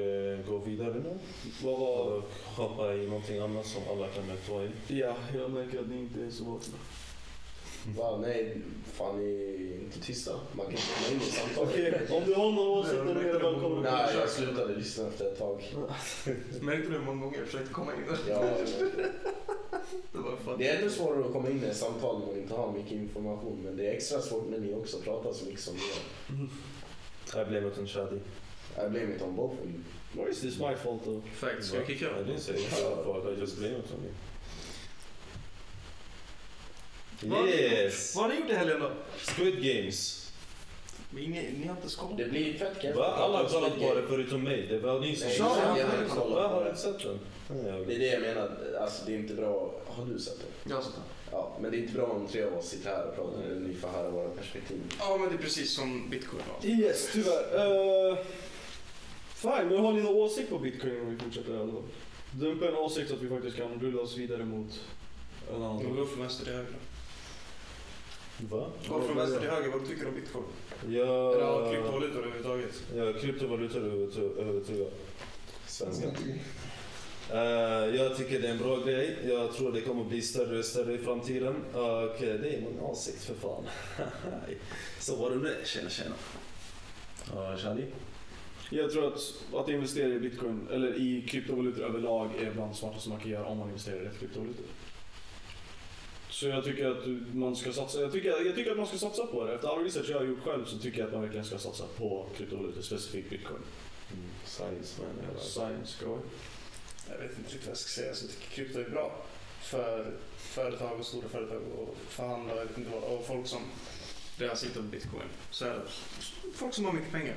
Speaker 10: gå vidare nu
Speaker 1: Vad var...
Speaker 10: och hoppa i någonting annat som alla kan ta i.
Speaker 1: Ja, jag märker att ni inte är så vakna.
Speaker 11: Va, nej, fan ni är inte tysta. Man kan inte komma in i samtalet.
Speaker 1: Okej, om du har några åsikter mer välkommen.
Speaker 11: Nej, jag slutade lyssna efter ett tag.
Speaker 3: Märkte du hur många gånger jag försökte komma in?
Speaker 11: Ja,
Speaker 3: Det var fan-
Speaker 11: det är ännu svårare att komma in i ett samtal när man inte har mycket information. Men det är extra svårt när ni också pratar så mycket som ni gör.
Speaker 10: Jag blev åt en shadi.
Speaker 11: I blame it on both of you.
Speaker 1: Why is this my fault though?
Speaker 3: Fact, ska jag kicka?
Speaker 10: Ja, det säger jag. För att jag just blev åt en Yes!
Speaker 3: Vad har ni gjort i helgen då?
Speaker 10: Squid Games.
Speaker 3: Ni, ni har inte skadat?
Speaker 4: Det blir fett kul.
Speaker 10: Va? Alla har kollat på det förutom mig. Det var ni som...
Speaker 4: Nej,
Speaker 3: Ja,
Speaker 4: jag har
Speaker 3: ja, ja.
Speaker 4: inte
Speaker 10: Va?
Speaker 4: kollat på
Speaker 10: Har du
Speaker 4: det.
Speaker 10: inte sett den?
Speaker 4: Det är det jag menar, alltså det är inte bra. Har du sett det?
Speaker 3: Jag har sett den.
Speaker 4: Ja, men det är inte bra om tre av oss sitter här och pratar och ni får höra våra perspektiv.
Speaker 3: Ja, men det är precis som bitcoin. va?
Speaker 1: Yes, tyvärr. Uh, fine, men har ni någon åsikt på bitcoin om vi fortsätter här då? Dumpa en åsikt så att vi faktiskt kan rulla oss vidare mot en
Speaker 3: Då
Speaker 1: annan.
Speaker 3: går från vänster till höger.
Speaker 10: Va?
Speaker 3: Gå från vänster till höger. Vad du tycker om bitcoin?
Speaker 10: Jag...
Speaker 3: Eller kryptovalutor överhuvudtaget.
Speaker 10: Ja, kryptovalutor övertro-
Speaker 1: eh,
Speaker 10: övertygar.
Speaker 4: Svenska.
Speaker 10: Eh, jag tycker det är en bra grej. Jag tror det kommer bli större och större i framtiden. Och eh, det är min åsikt för fan. Så var det med det. Tjena tjena.
Speaker 11: Ja, Shadi?
Speaker 1: Jag tror att, att investera i bitcoin, eller i kryptovalutor överlag, är bland det smartaste man kan göra om man investerar i rätt kryptovalutor. Så jag tycker att du- man ska satsa, jag tycker, jag tycker att man ska satsa på det. Efter all research jag har gjort själv så tycker jag att man verkligen ska satsa på kryptovalutor, specifikt bitcoin.
Speaker 11: Mm, Science man. jag bara-
Speaker 1: Science, go.
Speaker 3: Jag vet inte riktigt vad jag ska säga. Så jag tycker krypto är bra för företag och stora företag och förhandlare jag vet inte vad, och folk som redan sitter med bitcoin. Så här, folk som har mycket pengar.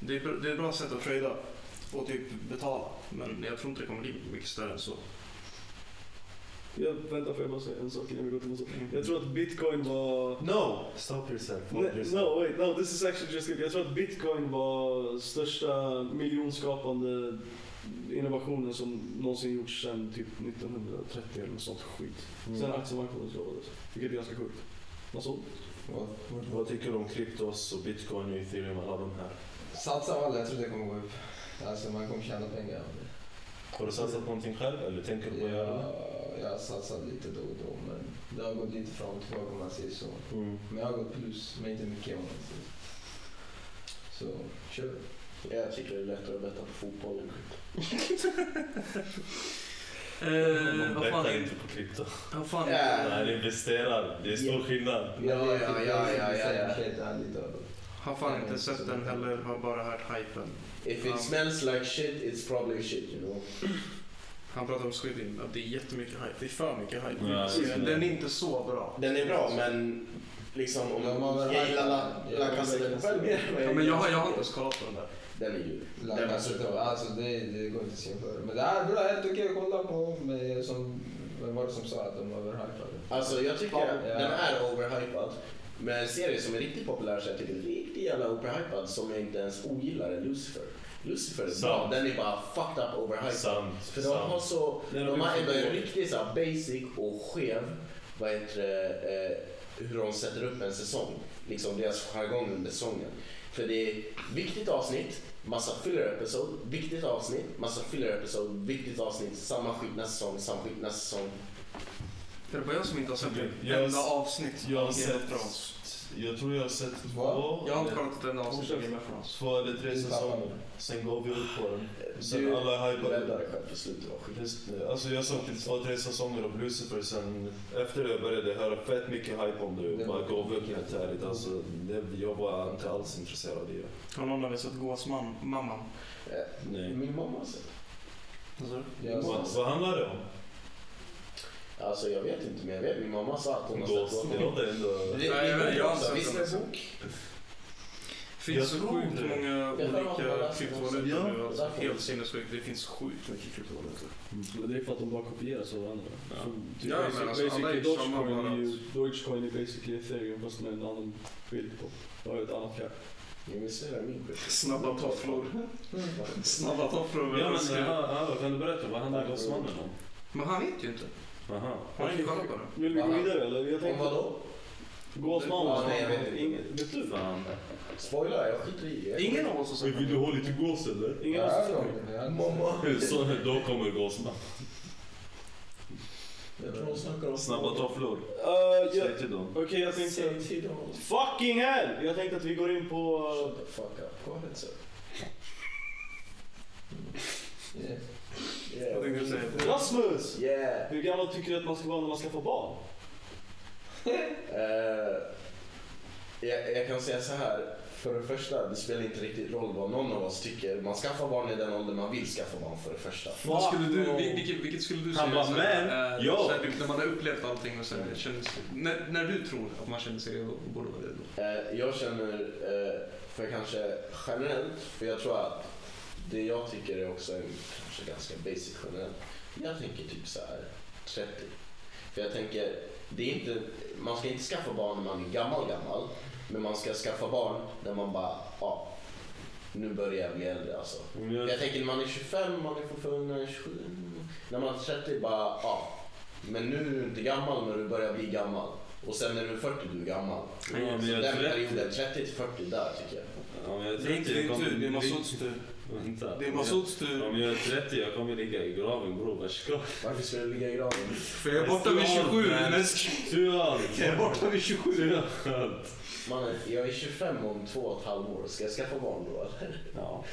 Speaker 3: Det är, bra- det är ett bra sätt att trada och typ betala. Men jag tror inte det kommer bli mycket större än så.
Speaker 1: Jag väntar får jag bara säga en sak innan vi går till nästa. Jag tror att bitcoin var...
Speaker 10: Mm. No! Stop yourself.
Speaker 1: Nej, No, wait, no, this is actually just good. Jag tror att bitcoin var största miljonskapande innovationen som någonsin gjorts sedan typ 1930 eller något sånt skit.
Speaker 10: Mm.
Speaker 1: Sen aktiemarknaden skapades, vilket är ganska sjukt. Alltså,
Speaker 10: Vad tycker du om kryptos och bitcoin och ethereum alla de här?
Speaker 5: Satsa på alla, jag tror det kommer gå upp. Alltså man kommer tjäna pengar av det.
Speaker 10: Har du satsat på någonting själv eller tänker du på att göra det?
Speaker 5: Jag, jag har satsat lite då och då men det har gått lite fram och tillbaka om man säger så.
Speaker 10: Mm.
Speaker 5: Men jag har gått plus, men inte mycket om man säger så. Så kör.
Speaker 4: Jag tycker det är lättare att betta på fotboll än
Speaker 10: Man
Speaker 3: vad Eh, fan
Speaker 10: bettar
Speaker 3: är
Speaker 10: inte på krypto.
Speaker 3: Vad fan
Speaker 4: är-
Speaker 10: Nej, det investerar. Det är stor skillnad.
Speaker 4: Ja, ja, ja, ja, ja, ja.
Speaker 3: Har fan inte sett den heller, har bara hört hypen.
Speaker 4: If
Speaker 3: Ja.
Speaker 4: it smells like shit, it's probably shit, you know.
Speaker 3: Han pratar om Squid Game, att det är jättemycket hype. Det är för mycket hype.
Speaker 10: Ja, det är-
Speaker 3: den är inte så bra.
Speaker 4: Den är bra, men liksom om
Speaker 5: Ja, man-
Speaker 4: jag gillar La, la Casa de Papel mer. än
Speaker 3: Ja,
Speaker 4: jag
Speaker 3: men jag,
Speaker 4: gillar-
Speaker 3: har- jag har inte ens kollat på den där.
Speaker 4: Den är ju...
Speaker 5: Den alltså det, det går inte att jämföra. Men det här är bra, helt okej att kolla på. Men som, vem var det som sa att de överhypade?
Speaker 4: Alltså jag tycker
Speaker 5: Ja.
Speaker 4: den är overhypad. Men en serie som är riktigt populär så jag tycker är riktigt jävla overhypad som jag inte ens ogillar är Lucifer. Lucifer är bra,
Speaker 10: Sant.
Speaker 4: den är bara fucked up overhyped.
Speaker 10: Sant.
Speaker 4: För de har
Speaker 10: sant.
Speaker 4: så,
Speaker 1: Den har
Speaker 4: de har
Speaker 1: blivit
Speaker 4: ändå en
Speaker 1: för
Speaker 4: riktigt så här basic och skev, vad heter det, eh, hur de sätter upp en säsong. Liksom deras jargong under säsongen. För det är viktigt avsnitt, massa filler episode, viktigt avsnitt, massa filler episode, viktigt avsnitt, samma skit nästa säsong, samma skit nästa säsong.
Speaker 3: Det är bara jag som inte har sett
Speaker 10: Okej,
Speaker 3: ett
Speaker 10: jag-
Speaker 3: enda avsnitt
Speaker 10: Jag har
Speaker 3: av Game of
Speaker 10: sett...
Speaker 3: Thrones.
Speaker 10: Jag tror jag har sett två...
Speaker 5: Va?
Speaker 3: Jag har inte kollat ett enda avsnitt av Game of Thrones.
Speaker 10: Två eller tre säsonger. Sen gav vi upp på den. Sen
Speaker 4: Du
Speaker 10: alla
Speaker 4: räddade
Speaker 10: hypade.
Speaker 4: dig själv på slutet, vad skit.
Speaker 10: Just det. Alltså jag såg till två, tre säsonger av Lucifer sen efter det började jag höra fett mycket hype om det och bara gav upp helt ärligt. Alltså, det, jag var inte alls intresserad av det.
Speaker 3: Har någon av er sett Gåsmamman?
Speaker 10: Nej.
Speaker 4: Eh, Min mamma har sett.
Speaker 3: Vad sa du?
Speaker 5: Jag
Speaker 10: Vad, vad handlar det om?
Speaker 4: Alltså jag vet inte men jag vet min mamma sa att hon har sett
Speaker 10: Gås?
Speaker 4: Ghost.
Speaker 10: Det låter ändå...
Speaker 4: Det-
Speaker 3: Nej, jag vet-
Speaker 4: det-
Speaker 3: jag har inte
Speaker 4: Visst är det
Speaker 3: sett
Speaker 4: så?
Speaker 3: den. finns
Speaker 10: Jag
Speaker 3: så
Speaker 10: tror
Speaker 3: sjukt
Speaker 10: det.
Speaker 3: många
Speaker 4: tror att man
Speaker 3: olika
Speaker 4: läser
Speaker 3: kryptovalutor
Speaker 4: också.
Speaker 3: nu.
Speaker 4: Ja.
Speaker 3: Alltså, helt sinnessjukt. Det finns sjukt mycket kryptovalutor.
Speaker 1: Mm, det är för att de bara kopieras av varandra.
Speaker 3: Ja.
Speaker 1: Så Typ
Speaker 3: Ja,
Speaker 1: basic-
Speaker 3: men alltså, alla är ju
Speaker 1: basically
Speaker 3: samma
Speaker 1: Dogecoin
Speaker 3: bara.
Speaker 1: är ju... Dogecoin är basically ethereum fast med en annan bild på. Jag har ett annat kär.
Speaker 4: Jag vill se det min skit.
Speaker 3: Snabba tofflor. Mm. Snabba tofflor med
Speaker 10: Ja men
Speaker 3: buskar.
Speaker 10: aha, aha, kan du berätta, vad handlar Gåsmannen om?
Speaker 3: Men han vet ju inte.
Speaker 10: Aha.
Speaker 3: Har ni kollat på det?
Speaker 1: Vill vi gå vidare eller? Jag
Speaker 4: Om
Speaker 1: tänkte...
Speaker 4: vadå?
Speaker 1: Gåsmannen.
Speaker 4: Ja, nej, jag vet inte.
Speaker 1: Ingen- Vet du?
Speaker 10: Fan.
Speaker 4: Spoilar, jag skiter i det.
Speaker 3: Ingen av oss har sett den.
Speaker 10: ha lite gås eller?
Speaker 1: Ingen av oss har sett den.
Speaker 4: Mamma.
Speaker 10: Så, då kommer gåsman.
Speaker 4: Jag tror hon snackar om...
Speaker 10: Snabba tofflor.
Speaker 1: Eh, jag-
Speaker 10: Säg till dem.
Speaker 1: Okej, jag tänkte...
Speaker 4: Säg till dem.
Speaker 1: Fucking hell! Jag tänkte att vi går in på...
Speaker 4: Shut the fuck up. Go ahead sir.
Speaker 3: Vad tänkte du säga?
Speaker 1: eh, Rasmus!
Speaker 4: Yeah.
Speaker 1: Hur gammal tycker du att man ska vara när man ska få barn?
Speaker 4: Eh, jag, jag kan säga så här. för det första, det spelar inte riktigt roll vad någon av oss tycker. Man skaffar barn i den ålder man vill skaffa barn för det första.
Speaker 3: Vad skulle du, vil- vilket, vilket skulle du
Speaker 10: Han
Speaker 3: säga?
Speaker 10: bara,
Speaker 3: så här,
Speaker 10: "Men,
Speaker 3: är-
Speaker 10: ja."
Speaker 3: så här, du- När man har upplevt allting och sen känner sig, när, när du tror att man känner sig redo, borde vara redo.
Speaker 4: Eh, Jag känner, eh, för kanske generellt, för jag tror att det jag tycker är också en, kanske ganska basic generellt. Jag tänker typ så här 30. För jag tänker, det är inte, man ska inte skaffa barn när man är gammal gammal. Men man ska skaffa barn när man bara, ja, nu börjar jag bli äldre alltså. Jag tänker när man är 25, man är fortfarande när man är 27. När man är 30 bara, ja. Men nu är du inte gammal, men du börjar bli gammal. Och sen när du är 40, du är gammal.
Speaker 10: Ja, men
Speaker 4: Så
Speaker 10: jag
Speaker 4: den
Speaker 10: tror alltså, det.
Speaker 4: perioden, 30 till 40 där tycker jag.
Speaker 10: Ja, men jag
Speaker 3: Det är inte din tur, det är Masouds
Speaker 10: tur.
Speaker 3: tur.
Speaker 10: Vänta.
Speaker 3: Det är Masouds tur.
Speaker 10: Om jag är 30, jag kommer ligga i graven bror. Varsågod.
Speaker 4: Varför ska du ligga i graven?
Speaker 3: För jag är borta vid 27. men-
Speaker 10: Du är allt.
Speaker 3: Jag är borta vid 27.
Speaker 4: Mannen, jag är 25 om två och ett halvt år. Ska jag skaffa barn då eller?
Speaker 1: Ja.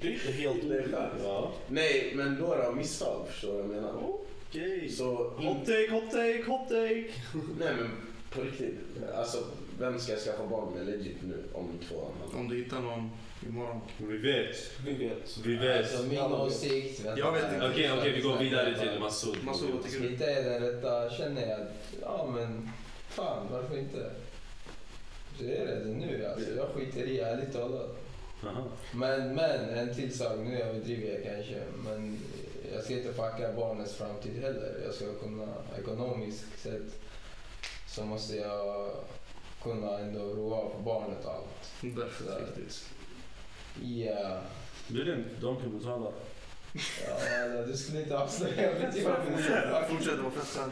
Speaker 1: Det är inte helt
Speaker 4: Det är skönt.
Speaker 10: Ja.
Speaker 4: Nej, men då är det av misstag. Förstår du vad jag menar?
Speaker 1: Okej.
Speaker 4: Så
Speaker 1: Hot
Speaker 4: in...
Speaker 1: take, hot take, hot take.
Speaker 4: Nej men på riktigt. Alltså, vem ska jag skaffa barn med legit nu om två och ett halvt år?
Speaker 3: Om du hittar någon imorgon.
Speaker 10: Vi vet.
Speaker 1: Vi vet.
Speaker 10: Vi vet.
Speaker 5: Alltså, min åsikt... vänta.
Speaker 3: Jag vet inte.
Speaker 10: Okej, okej, vi går vidare till Masoud.
Speaker 3: Masoud, vad tycker du?
Speaker 5: Inte är den rätta, känner jag att, ja men, fan varför inte? Så är det det nu alltså, jag skiter i ärligt talat.
Speaker 10: Aha.
Speaker 5: Men, men, en till sak, nu överdriver jag kanske, men jag ska inte fucka barnens framtid heller. Jag ska kunna, ekonomiskt sett, så måste jag kunna ändå roa på barnet och allt.
Speaker 3: Därför
Speaker 5: är det
Speaker 3: viktigt.
Speaker 5: Ja,
Speaker 10: Det är den, de kan betala.
Speaker 5: ja du skulle inte avslöja mitt jobb.
Speaker 3: Fortsätt vara fett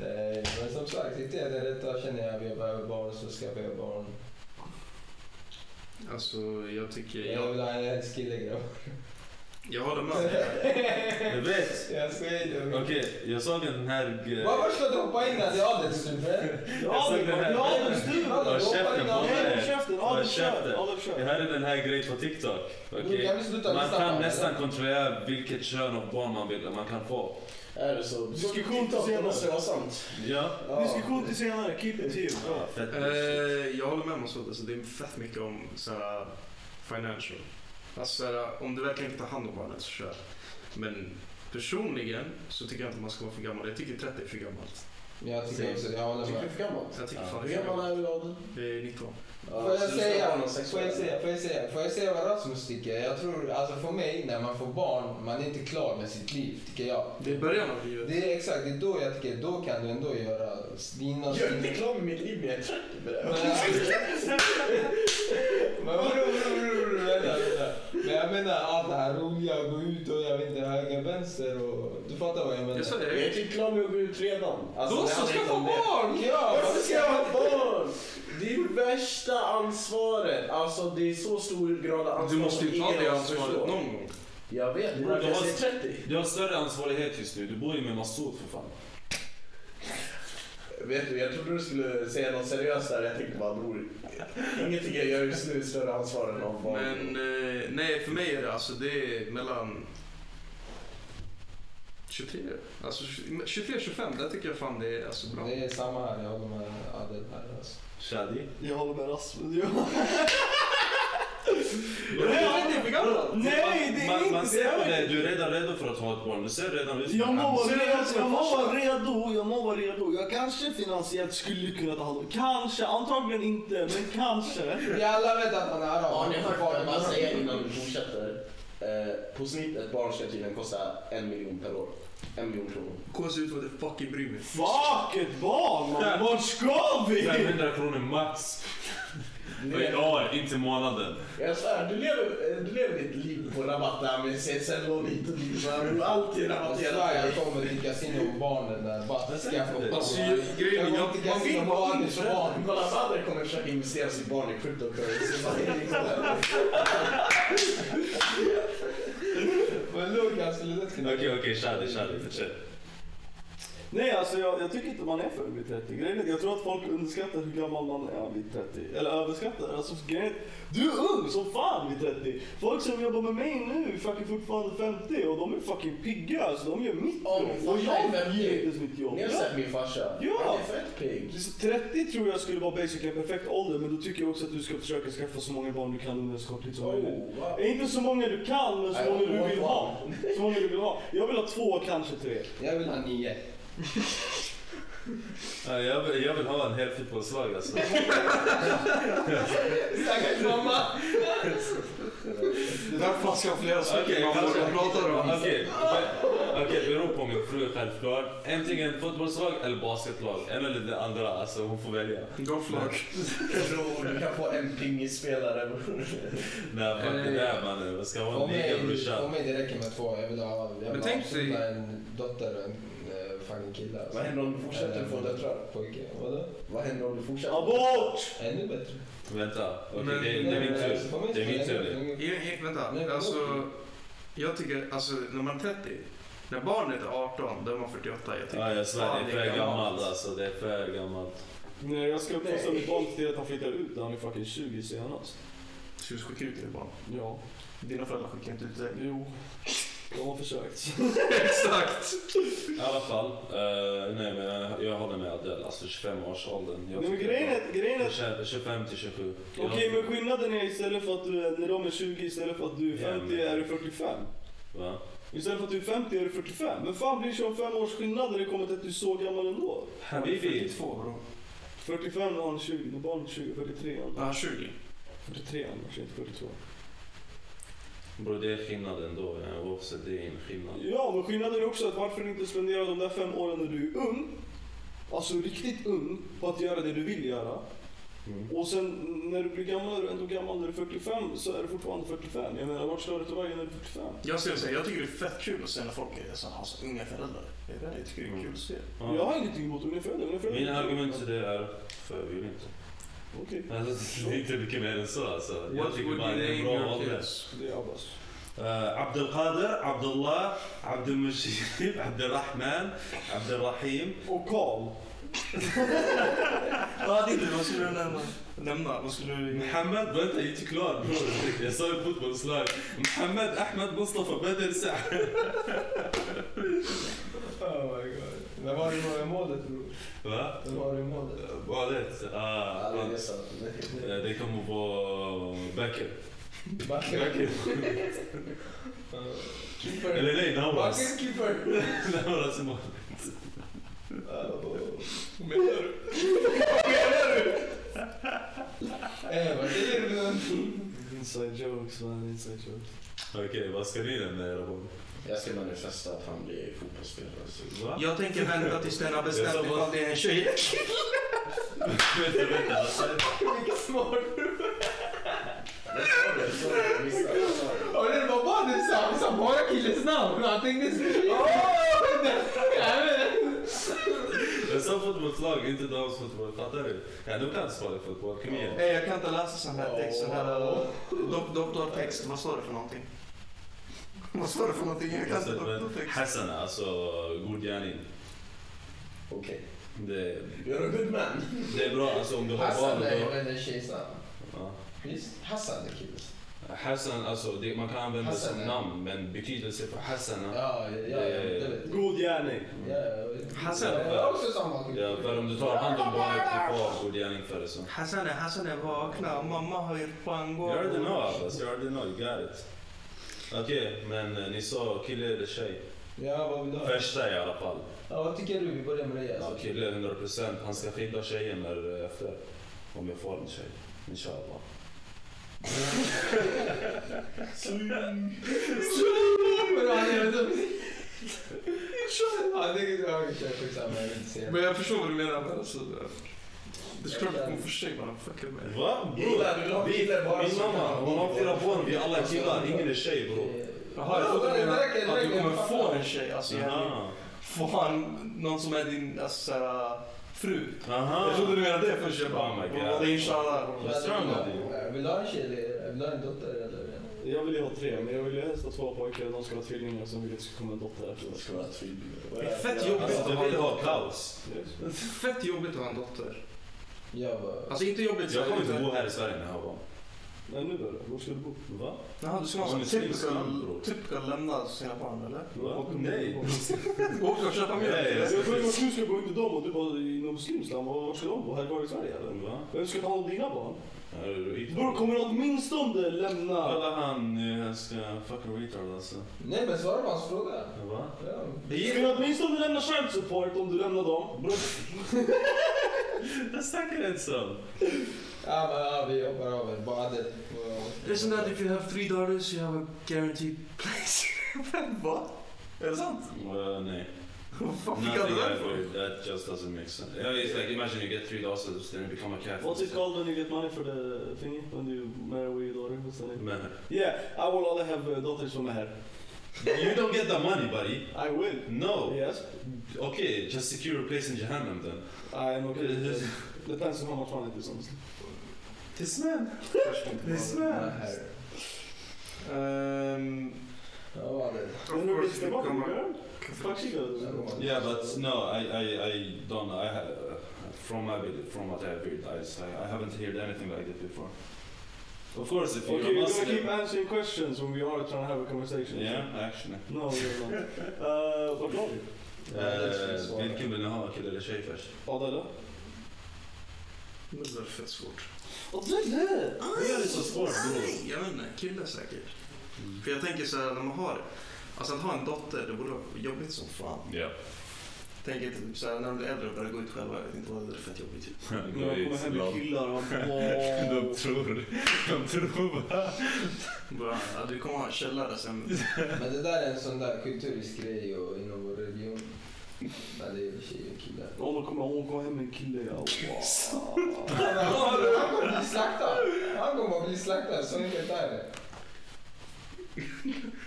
Speaker 5: Nej, men som sagt, inte är det rätta. Känner jag att jag behöver barn så ska jag behöva barn.
Speaker 3: Alltså, jag tycker...
Speaker 5: Jag
Speaker 3: Jag,
Speaker 5: vill ha en kille grabb.
Speaker 3: jag håller med.
Speaker 10: Jag vet.
Speaker 5: Jag skojar inte.
Speaker 10: Okej, jag såg en här... eh, g-
Speaker 5: Varför ska du hoppa in när det är typ, adelsstuprä?
Speaker 10: Jag såg den här... Håll käften på
Speaker 1: Håll
Speaker 10: dig!
Speaker 1: käften, Adam
Speaker 10: Håll
Speaker 1: kör.
Speaker 10: käften.
Speaker 1: Adam
Speaker 10: Jag
Speaker 1: kör.
Speaker 10: hörde den här grejen på TikTok.
Speaker 1: Mm,
Speaker 5: Nu
Speaker 10: Okej.
Speaker 5: kan vi sluta
Speaker 10: Man
Speaker 5: lyssna
Speaker 10: kan
Speaker 5: på
Speaker 10: nästan
Speaker 5: det.
Speaker 10: kontrollera vilket kön av barn man vill man kan få.
Speaker 4: Är det så?
Speaker 1: Diskussion till
Speaker 4: Det
Speaker 1: senare.
Speaker 4: måste vara sant.
Speaker 10: Ja.
Speaker 1: Diskussion till senare, keep it to you.
Speaker 10: Ja, fett
Speaker 3: Eh, jag håller med Masoud. Alltså, det är fett mycket om såhär, financial. Alltså, såhär, om du verkligen inte tar hand om barnet så kör. Men personligen så tycker jag inte man ska vara för gammal. Jag tycker 30 är för gammalt.
Speaker 5: Jag tycker också det, jag håller
Speaker 4: Tycker du
Speaker 5: med.
Speaker 4: är för gammalt?
Speaker 3: Jag tycker fan
Speaker 4: Hur
Speaker 3: det är för gammalt.
Speaker 4: gammal är du Adel?
Speaker 3: Det är 19.
Speaker 5: Får jag,
Speaker 4: så du ska ha
Speaker 5: säga,
Speaker 4: någon
Speaker 5: får, jag
Speaker 4: sexuell-
Speaker 5: säga, får, jag säga, får jag säga vad Rasmus tycker? Jag tror, alltså för mig, när man får barn, man är inte klar med sitt liv, tycker jag.
Speaker 3: Det är början av livet.
Speaker 5: Det är exakt, det är då jag tycker, då kan du ändå göra dina...
Speaker 4: Jag är inte klar med mitt liv men jag är 30 med det.
Speaker 5: Men Men vadå, vadå, vadå, vadå, vänta, vänta. Men jag menar allt det här roliga, gå ut och jag vet inte höger, vänster och... Du fattar vad jag menar?
Speaker 3: Jag sa
Speaker 4: Jag är
Speaker 3: det.
Speaker 4: typ klar med att gå ut redan.
Speaker 3: Alltså,
Speaker 5: Då
Speaker 4: Alltså, det
Speaker 5: så,
Speaker 4: handlar inte
Speaker 5: skaffa
Speaker 4: om
Speaker 5: barn!
Speaker 4: det.
Speaker 5: Ja!
Speaker 4: Varför ska jag ha barn? Det är värsta ansvaret. Alltså det är så stor grad av ansvar
Speaker 3: Du måste ju
Speaker 4: som
Speaker 3: ta
Speaker 4: Alltså, ingen
Speaker 3: det
Speaker 4: av oss
Speaker 3: ansvaret
Speaker 4: förstår.
Speaker 3: någon gång.
Speaker 4: Jag vet, det är
Speaker 10: Bro,
Speaker 4: därför
Speaker 10: du
Speaker 4: jag
Speaker 10: har-
Speaker 4: säger 30.
Speaker 10: Du har större ansvarighet just nu. Du bor ju med Masoud för fan.
Speaker 4: Vet du, jag trodde du skulle säga något seriöst där. Jag tänkte bara bror, ingenting jag gör just nu är större ansvar än någon barn.
Speaker 3: Men eh, nej, för mig är det alltså det är mellan 23, alltså 23-25, där tycker jag fan det är alltså bra.
Speaker 5: Det är samma här, jag håller med Adel här alltså.
Speaker 10: Shadi.
Speaker 1: Jag håller med Rasmus.
Speaker 3: Jag vet inte, för gammalt.
Speaker 1: Nej, det
Speaker 10: Man,
Speaker 1: är
Speaker 10: man
Speaker 1: inte det.
Speaker 10: ser på
Speaker 1: Jag
Speaker 10: dig,
Speaker 1: vet
Speaker 10: du är redan redo för att ha ett barn. Du ser redan ut som
Speaker 1: Jag
Speaker 10: en
Speaker 1: må
Speaker 10: man.
Speaker 1: vara
Speaker 3: Ser det
Speaker 1: redo,
Speaker 3: som
Speaker 1: jag
Speaker 3: en
Speaker 1: må
Speaker 3: farsa.
Speaker 1: vara redo, jag må vara redo. Jag kanske finansiellt skulle kunna ta hand om, kanske, antagligen inte, men kanske.
Speaker 5: Vi alla vet att han är arab.
Speaker 4: Ja, ni
Speaker 5: Han
Speaker 4: har hört
Speaker 5: får
Speaker 4: vad
Speaker 5: barn
Speaker 4: jag bara
Speaker 5: imorgon.
Speaker 4: säga innan vi fortsätter. Eh, på snitt ett barn ska tydligen kosta en miljon per år. En miljon kronor.
Speaker 3: Kommer se ut som att jag fucking bryr mig.
Speaker 1: Fuck ett barn man. vart ska vi?
Speaker 10: 500 kronor max.
Speaker 4: Du
Speaker 10: I
Speaker 4: lever,
Speaker 10: år, inte i månaden.
Speaker 4: jag svär, du lever, eh, du lever ditt liv på rabatt där med CSN-lån hit och dit. Man har alltid
Speaker 5: Jag
Speaker 4: rabatterat.
Speaker 5: svär, jag kommer till kasino med barnen där. Bara skaffa barn.
Speaker 3: Alltså, ju- grejen är,
Speaker 5: Jag
Speaker 3: jag,
Speaker 5: går till
Speaker 3: man vill
Speaker 5: kasino med
Speaker 3: vara
Speaker 5: Adels barn.
Speaker 4: Kolla, Badr kommer försöka investera sitt barn i cryptocurrency.
Speaker 5: Men Lukas, skulle lätt kunna...
Speaker 10: Okej, okej, Shadi, Shadi, fortsätt.
Speaker 1: Nej, alltså jag, jag tycker inte man är för vid 30. Grejen är, jag tror att folk underskattar hur gammal man är vid 30. Eller överskattar. Alltså, grejen är, att du är ung som fan vid 30. Folk som jobbar med mig nu är fucking fortfarande 50 och de är fucking pigga. Alltså, de gör mitt
Speaker 4: Ja,
Speaker 1: jobb.
Speaker 4: men
Speaker 1: Och
Speaker 4: jag är
Speaker 1: jag
Speaker 4: 50.
Speaker 1: gör inte ens mitt jobb.
Speaker 4: Ni har
Speaker 1: Ja.
Speaker 4: sett min farsa.
Speaker 1: Ja.
Speaker 4: Han är fett pigg.
Speaker 1: Så 30 tror jag skulle vara basically en perfekt ålder, men då tycker jag också att du ska försöka skaffa så många barn du kan under så kort tid som
Speaker 4: Oh,
Speaker 1: möjligt.
Speaker 4: wow.
Speaker 1: Inte så många du kan, men så
Speaker 4: Nej,
Speaker 1: många
Speaker 4: jag
Speaker 1: du vill
Speaker 4: har
Speaker 1: ha. Så många du vill ha. Jag vill ha två, kanske tre.
Speaker 5: Jag vill ha nio.
Speaker 10: Ja, jag, vill, jag vill ha en hel fotbollslag alltså.
Speaker 5: Stackars mamma!
Speaker 3: Det är därför man ska ha flera
Speaker 10: Okej,
Speaker 3: stycken. Man
Speaker 10: kanske-
Speaker 3: får prata om.
Speaker 10: Okej, be- okej, beror på min fru självklart. Antingen fotbollslag eller basketlag. En eller det andra, alltså hon får välja.
Speaker 3: Golflag.
Speaker 4: Bror, du kan få en pingisspelare.
Speaker 10: Nej, fuck det där mannen. Vad ska hon ligga
Speaker 5: För
Speaker 10: brorsan?
Speaker 5: mig det räcker med två. Jag vill ha jag
Speaker 3: Men
Speaker 5: vill
Speaker 3: tänk dig-
Speaker 5: avsluta en dotter och en eh, fucking kille. alltså.
Speaker 4: Vad händer om du fortsätter
Speaker 5: Eh,
Speaker 4: få döttrar?
Speaker 5: Pojke. Vadå?
Speaker 4: Vad händer om du fortsätter?
Speaker 1: Abort!
Speaker 5: Ännu bättre. Alltså,
Speaker 10: Vänta, okej
Speaker 3: Men-
Speaker 10: det, är- det är min
Speaker 5: Nej,
Speaker 10: tur.
Speaker 5: för mig
Speaker 10: Det är min
Speaker 5: spelar
Speaker 10: tur.
Speaker 5: ingen-
Speaker 3: I- i-
Speaker 5: Nej,
Speaker 3: Vänta,
Speaker 5: vadå?
Speaker 3: alltså. Jag tycker, alltså när man är 30. När barnet är 18, då är man 48. Jag tycker.
Speaker 10: Ja, jag svär, det är
Speaker 3: Fan, det
Speaker 10: för
Speaker 3: är
Speaker 10: gammalt
Speaker 3: gammalt.
Speaker 10: alltså. Det är för gammalt.
Speaker 1: Nej, jag ska uppfostra mitt barn till att han flyttar ut när han är fucking 20 senast.
Speaker 3: Ska du skicka ut ditt barn?
Speaker 1: Ja,
Speaker 3: Dina föräldrar skickar inte ut dig.
Speaker 1: jo. Jag har försökt.
Speaker 3: Exakt!
Speaker 10: I alla fall, eh, nej men jag, jag håller med Adele. Alltså 25-årsåldern. Jag
Speaker 1: Nej, men
Speaker 10: tycker
Speaker 1: grejen
Speaker 10: att-
Speaker 1: är, grejen är
Speaker 10: 25 till 27.
Speaker 1: Okej, men skillnaden är istället för att du är, när de är 20, istället för att du är 50
Speaker 10: Ja, men-
Speaker 1: är du 45.
Speaker 10: Va?
Speaker 1: Istället för att du är 50 är du 45. Men fan blir det 25 års skillnad när det kommer till att du är så gammal ändå?
Speaker 10: Habibi.
Speaker 3: 42 bro.
Speaker 1: 45 när han är 20, när barnet är 20, 43 han.
Speaker 3: Ja, 20.
Speaker 1: 43 annars, inte 42.
Speaker 10: Bror det är skillnad ändå. eh, Oavsett, det är en skillnad.
Speaker 1: Ja, men skillnaden är också att varför inte spendera de där fem åren när du är ung, alltså riktigt ung, på att göra det du vill göra.
Speaker 10: Mm.
Speaker 1: Och sen när du blir gammal är du ändå gammal. När du är 45 så är du fortfarande 45. Jag menar, vart ska du ta vägen när du är 45?
Speaker 3: Jag ska säga, jag tycker det är fett kul att se när folk är så, har så unga föräldrar. Det är det jag tycker det är kul att se.
Speaker 10: Ja.
Speaker 1: Jag har ingenting emot unga föräldrar. Unga föräldrar.
Speaker 10: Mina argument till det är, för jag vill inte.
Speaker 1: Okej,
Speaker 10: Alltså, det är inte mycket mer än så alltså. Jag tycker bara det är en bra ålder.
Speaker 1: det är Abbas.
Speaker 10: Uh, Abdelkader, Abdullah, Abdelmujib, Abdelrahman, Abdelrahim.
Speaker 1: Och Karl.
Speaker 3: Ja, det är det. Vad skulle du nämna? Nämna? Vad skulle du...
Speaker 10: Mohammed, vänta jag är inte klar bror. Jag sa ju fotbollslag. Mohammed, Ahmed, Mustafa, Badr, Saad.
Speaker 5: Oh my god. Men var är målet bror?
Speaker 10: Va?
Speaker 5: Var är målet?
Speaker 10: Valet? Ah,
Speaker 4: Ja, det är
Speaker 10: fan.
Speaker 4: sant.
Speaker 10: Eh, det kommer vara Becker.
Speaker 5: Backen.
Speaker 10: Becker.
Speaker 5: Keeper.
Speaker 10: Eller nej, Navras.
Speaker 5: Backen keeper.
Speaker 10: Navras mål.
Speaker 5: Menar du? Eh, vad säger du?
Speaker 1: Inside jokes man, inside jokes.
Speaker 10: Okej, vad ska ni nämna era barn?
Speaker 4: Jag ska manifesta att han blir fotbollsspelare. så-
Speaker 10: Va?
Speaker 3: Jag tänker vänta tills den har
Speaker 10: Jag sa
Speaker 3: bestämt
Speaker 10: bara-
Speaker 3: ifall det är en tjej.
Speaker 10: Vänta, vänta. alltså.
Speaker 5: Vilken smart.
Speaker 4: Jag sa det, jag sa det, jag missade. jag sa det.
Speaker 5: Och det var bara du sa. Han sa bara killens namn. Han tänkte så. Åh!
Speaker 10: Jag sa fotbollslag, inte damfotboll. Fattar du? Ja, de kan spela fotboll. Kom igen.
Speaker 3: Nej, jag kan inte läsa sån här text. Sån här eh, dok- doktortext. Vad står det för någonting? Vad står det för någonting? Jag kan inte doktortext.
Speaker 10: Alltså, Hassan, alltså god gärning.
Speaker 4: Okej.
Speaker 10: Det,
Speaker 4: You're a good man.
Speaker 10: det är bra alltså, om du har barn.
Speaker 5: Hassan är ju
Speaker 10: Då,
Speaker 5: en tjejs namn.
Speaker 10: ja.
Speaker 5: Visst? Hassan är killes.
Speaker 10: Hassan, alltså det, man kan använda
Speaker 5: Hassan,
Speaker 10: som
Speaker 5: ja.
Speaker 10: namn, men betydelse för Hassan.
Speaker 5: Ja, ja, ja, det vet jag.
Speaker 1: God gärning.
Speaker 5: Ja, ja.
Speaker 3: Hassan.
Speaker 5: Jag har också samma.
Speaker 10: Ja, för om du tar hand om barnet, du får god gärning för det. Så.
Speaker 3: Hassan är, Hassan är vakna. Mamma har gjort
Speaker 10: You
Speaker 3: pango.
Speaker 10: already know Abbas, you already know, you got it. Okej, men eh, ni sa kille eller tjej?
Speaker 5: Ja, vad vill du ha?
Speaker 10: Första i alla fall.
Speaker 5: Ja, vad tycker du? Vi börjar med dig
Speaker 10: Ja,
Speaker 5: alltså.
Speaker 10: kille 100%, han ska skydda tjejen när, eh, efter. Om jag får en tjej. Inshallah.
Speaker 5: Men han är så... Han tänker... Ja, okej, skitsamma. Jag vill inte säga.
Speaker 3: Men jag förstår vad du menar. Men alltså, det är klart att hon får sig bara fuckar med.
Speaker 10: Va?
Speaker 4: Gillar du dem? Gillar bara
Speaker 10: Min
Speaker 4: så
Speaker 10: mamma,
Speaker 4: kan-
Speaker 10: hon har fyra barn, vi är alla killar, ingen är tjej bror.
Speaker 5: Eh,
Speaker 3: Jaha, jag trodde du menade att du kommer få en tjej. Alltså, jag-
Speaker 10: Aha.
Speaker 3: få han någon som är din alltså, så här, fru.
Speaker 10: Aha.
Speaker 3: Jag trodde du menade det först. Jag bara,
Speaker 10: Oh my God.
Speaker 3: vad var det inshallah?
Speaker 5: Eh,
Speaker 10: Vad sa han då?
Speaker 5: Vill du ha en tjej eller vill du ha en dotter eller?
Speaker 1: Jag ville ju ha tre, men jag ville helst ha två pojkar. De skulle ha tvillingar och sen ville jag att det skulle komma en dotter efter.
Speaker 11: Det ska vara tvillingar.
Speaker 10: Det är fett jobbigt. Du vill ha kaos.
Speaker 3: Fett jobbigt att ha en dotter.
Speaker 5: Jag bara...
Speaker 3: Alltså inte jobbigt
Speaker 10: Jag kommer inte bo här i Sverige när jag har barn.
Speaker 1: Nej, nu är det. Var ska du bo?
Speaker 10: Va?
Speaker 3: Jaha, du ska
Speaker 10: Hon
Speaker 3: vara
Speaker 10: är
Speaker 3: sån
Speaker 10: svinskum,
Speaker 3: typical,
Speaker 10: bror.
Speaker 3: typical lämna sina barn eller?
Speaker 1: Va?
Speaker 10: Nej.
Speaker 3: Åka och köpa mjölk.
Speaker 10: Nej,
Speaker 1: Jag
Speaker 10: jag ska-
Speaker 1: frågade vart du ska bo, inte dem. Och du bara, i något muslimskt land. Var ska de bo? Här kvar i Sverige eller?
Speaker 10: Va?
Speaker 1: Vem ska ta hand om dina barn?
Speaker 10: Här är du retard.
Speaker 1: Bror, kommer du åtminstone lämna...
Speaker 10: Kolla han nu, han ska fucking retard alltså.
Speaker 5: Nej men svara på hans fråga.
Speaker 10: Va?
Speaker 5: Ja.
Speaker 1: Ska du åtminstone lämna child support om du lämnar dem? Bror,
Speaker 10: Jag snackar inte så.
Speaker 5: Ja men ja, vi hoppar över. Bara det.
Speaker 3: Isn't that if you have three daughters you have a guaranteed place? Va? Är det sant?
Speaker 10: Well, nej.
Speaker 3: Vad fan fick han
Speaker 10: Nothing
Speaker 3: det där
Speaker 10: I've
Speaker 3: för?
Speaker 10: heard. That just doesn't make sense. Yeah, it's like imagine you get three losses, then you become a cat.
Speaker 1: What's it called when you get money for the thingy? When you marry away your daughter? What's the name?
Speaker 10: Man,
Speaker 1: Yeah, I will only have uh, daughters from her.
Speaker 10: you don't get the money, buddy.
Speaker 1: I will.
Speaker 10: No.
Speaker 1: Yes,
Speaker 10: Okay, just secure a place in Jahannam then. Uh,
Speaker 1: I am okay with this. Depends on how much money it is honestly.
Speaker 10: This man. This
Speaker 5: Ja,
Speaker 10: man.
Speaker 5: här.
Speaker 3: Ehm,
Speaker 5: Ja, vad var det?
Speaker 1: Then we're
Speaker 3: course
Speaker 1: just
Speaker 3: you
Speaker 1: about to
Speaker 3: come
Speaker 1: girl. Fuck she goes.
Speaker 10: Yeah, but no, I, I, I don't. I ha- from my vid- from what I've heard, I, I haven't heard anything like that before. Of course, if you're
Speaker 1: Okay,
Speaker 10: a
Speaker 1: you're gonna keep
Speaker 10: Muslim,
Speaker 1: answering questions when we are trying to have a conversation.
Speaker 10: yeah, actually.
Speaker 1: No, you're not. uh, vad var det?
Speaker 10: Eh, Vilken vill ni ha, kille eller tjej först?
Speaker 1: Ja, det där.
Speaker 3: Det där är fett svårt.
Speaker 1: Och det där!
Speaker 10: Vad är det så svårt, bror?
Speaker 3: Nej, Jag vet inte, kille säkert. För jag tänker så här när man har Alltså att ha en dotter, det borde vara jobbigt som fan.
Speaker 10: Ja.
Speaker 3: Tänker typ så här när de blir äldre och börjar gå ut själva, jag vet inte vad det är fett jobbigt. typ.
Speaker 1: När de kommer hem med killar och
Speaker 10: De tror, de tror bara.
Speaker 3: Bara, ja, du kommer ha en källare sen.
Speaker 5: Men det där är en sån där kulturisk grej och inom vår religion. Men det är ju tjejer och killar.
Speaker 1: Om de kommer, hon kommer hem med en kille, ja. Wow.
Speaker 5: Han kommer bli slaktad. Han kommer bli slaktad. Så enkelt är det.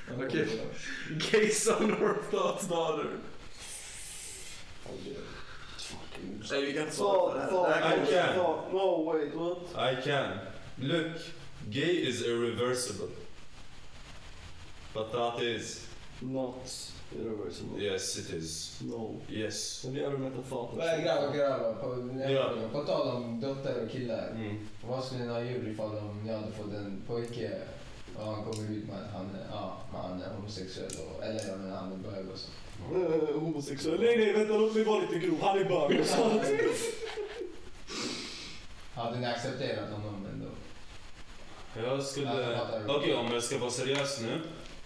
Speaker 5: Han
Speaker 3: Okej.
Speaker 5: kommer-
Speaker 3: Gay son or God's daughter. Nej, vi kan inte svara på det här. Det här.
Speaker 10: I can.
Speaker 1: No, wait, what?
Speaker 10: I can. Look, gay is irreversible. But that is,
Speaker 1: Not irreversible.
Speaker 10: yes it is.
Speaker 1: No.
Speaker 10: Yes.
Speaker 1: Have you ever met a thought?
Speaker 5: Men grabbar, grabbar. På,
Speaker 10: Ja.
Speaker 5: på tal om dotter och killar.
Speaker 10: Mm.
Speaker 5: Vad skulle ni ha gjort ifall om ni hade fått en pojke och han kommer ut med att han är, ja, han är homosexuell och, eller jag menar, han är bög och så?
Speaker 1: Eh, homosexuell. Nej, nej, vänta, låt mig vara lite grov. Han är bög. och sånt.
Speaker 5: Hade ni accepterat honom ändå?
Speaker 10: Jag skulle...
Speaker 5: Ja, jag
Speaker 10: Okej,
Speaker 5: fattar.
Speaker 10: om jag ska vara seriös nu.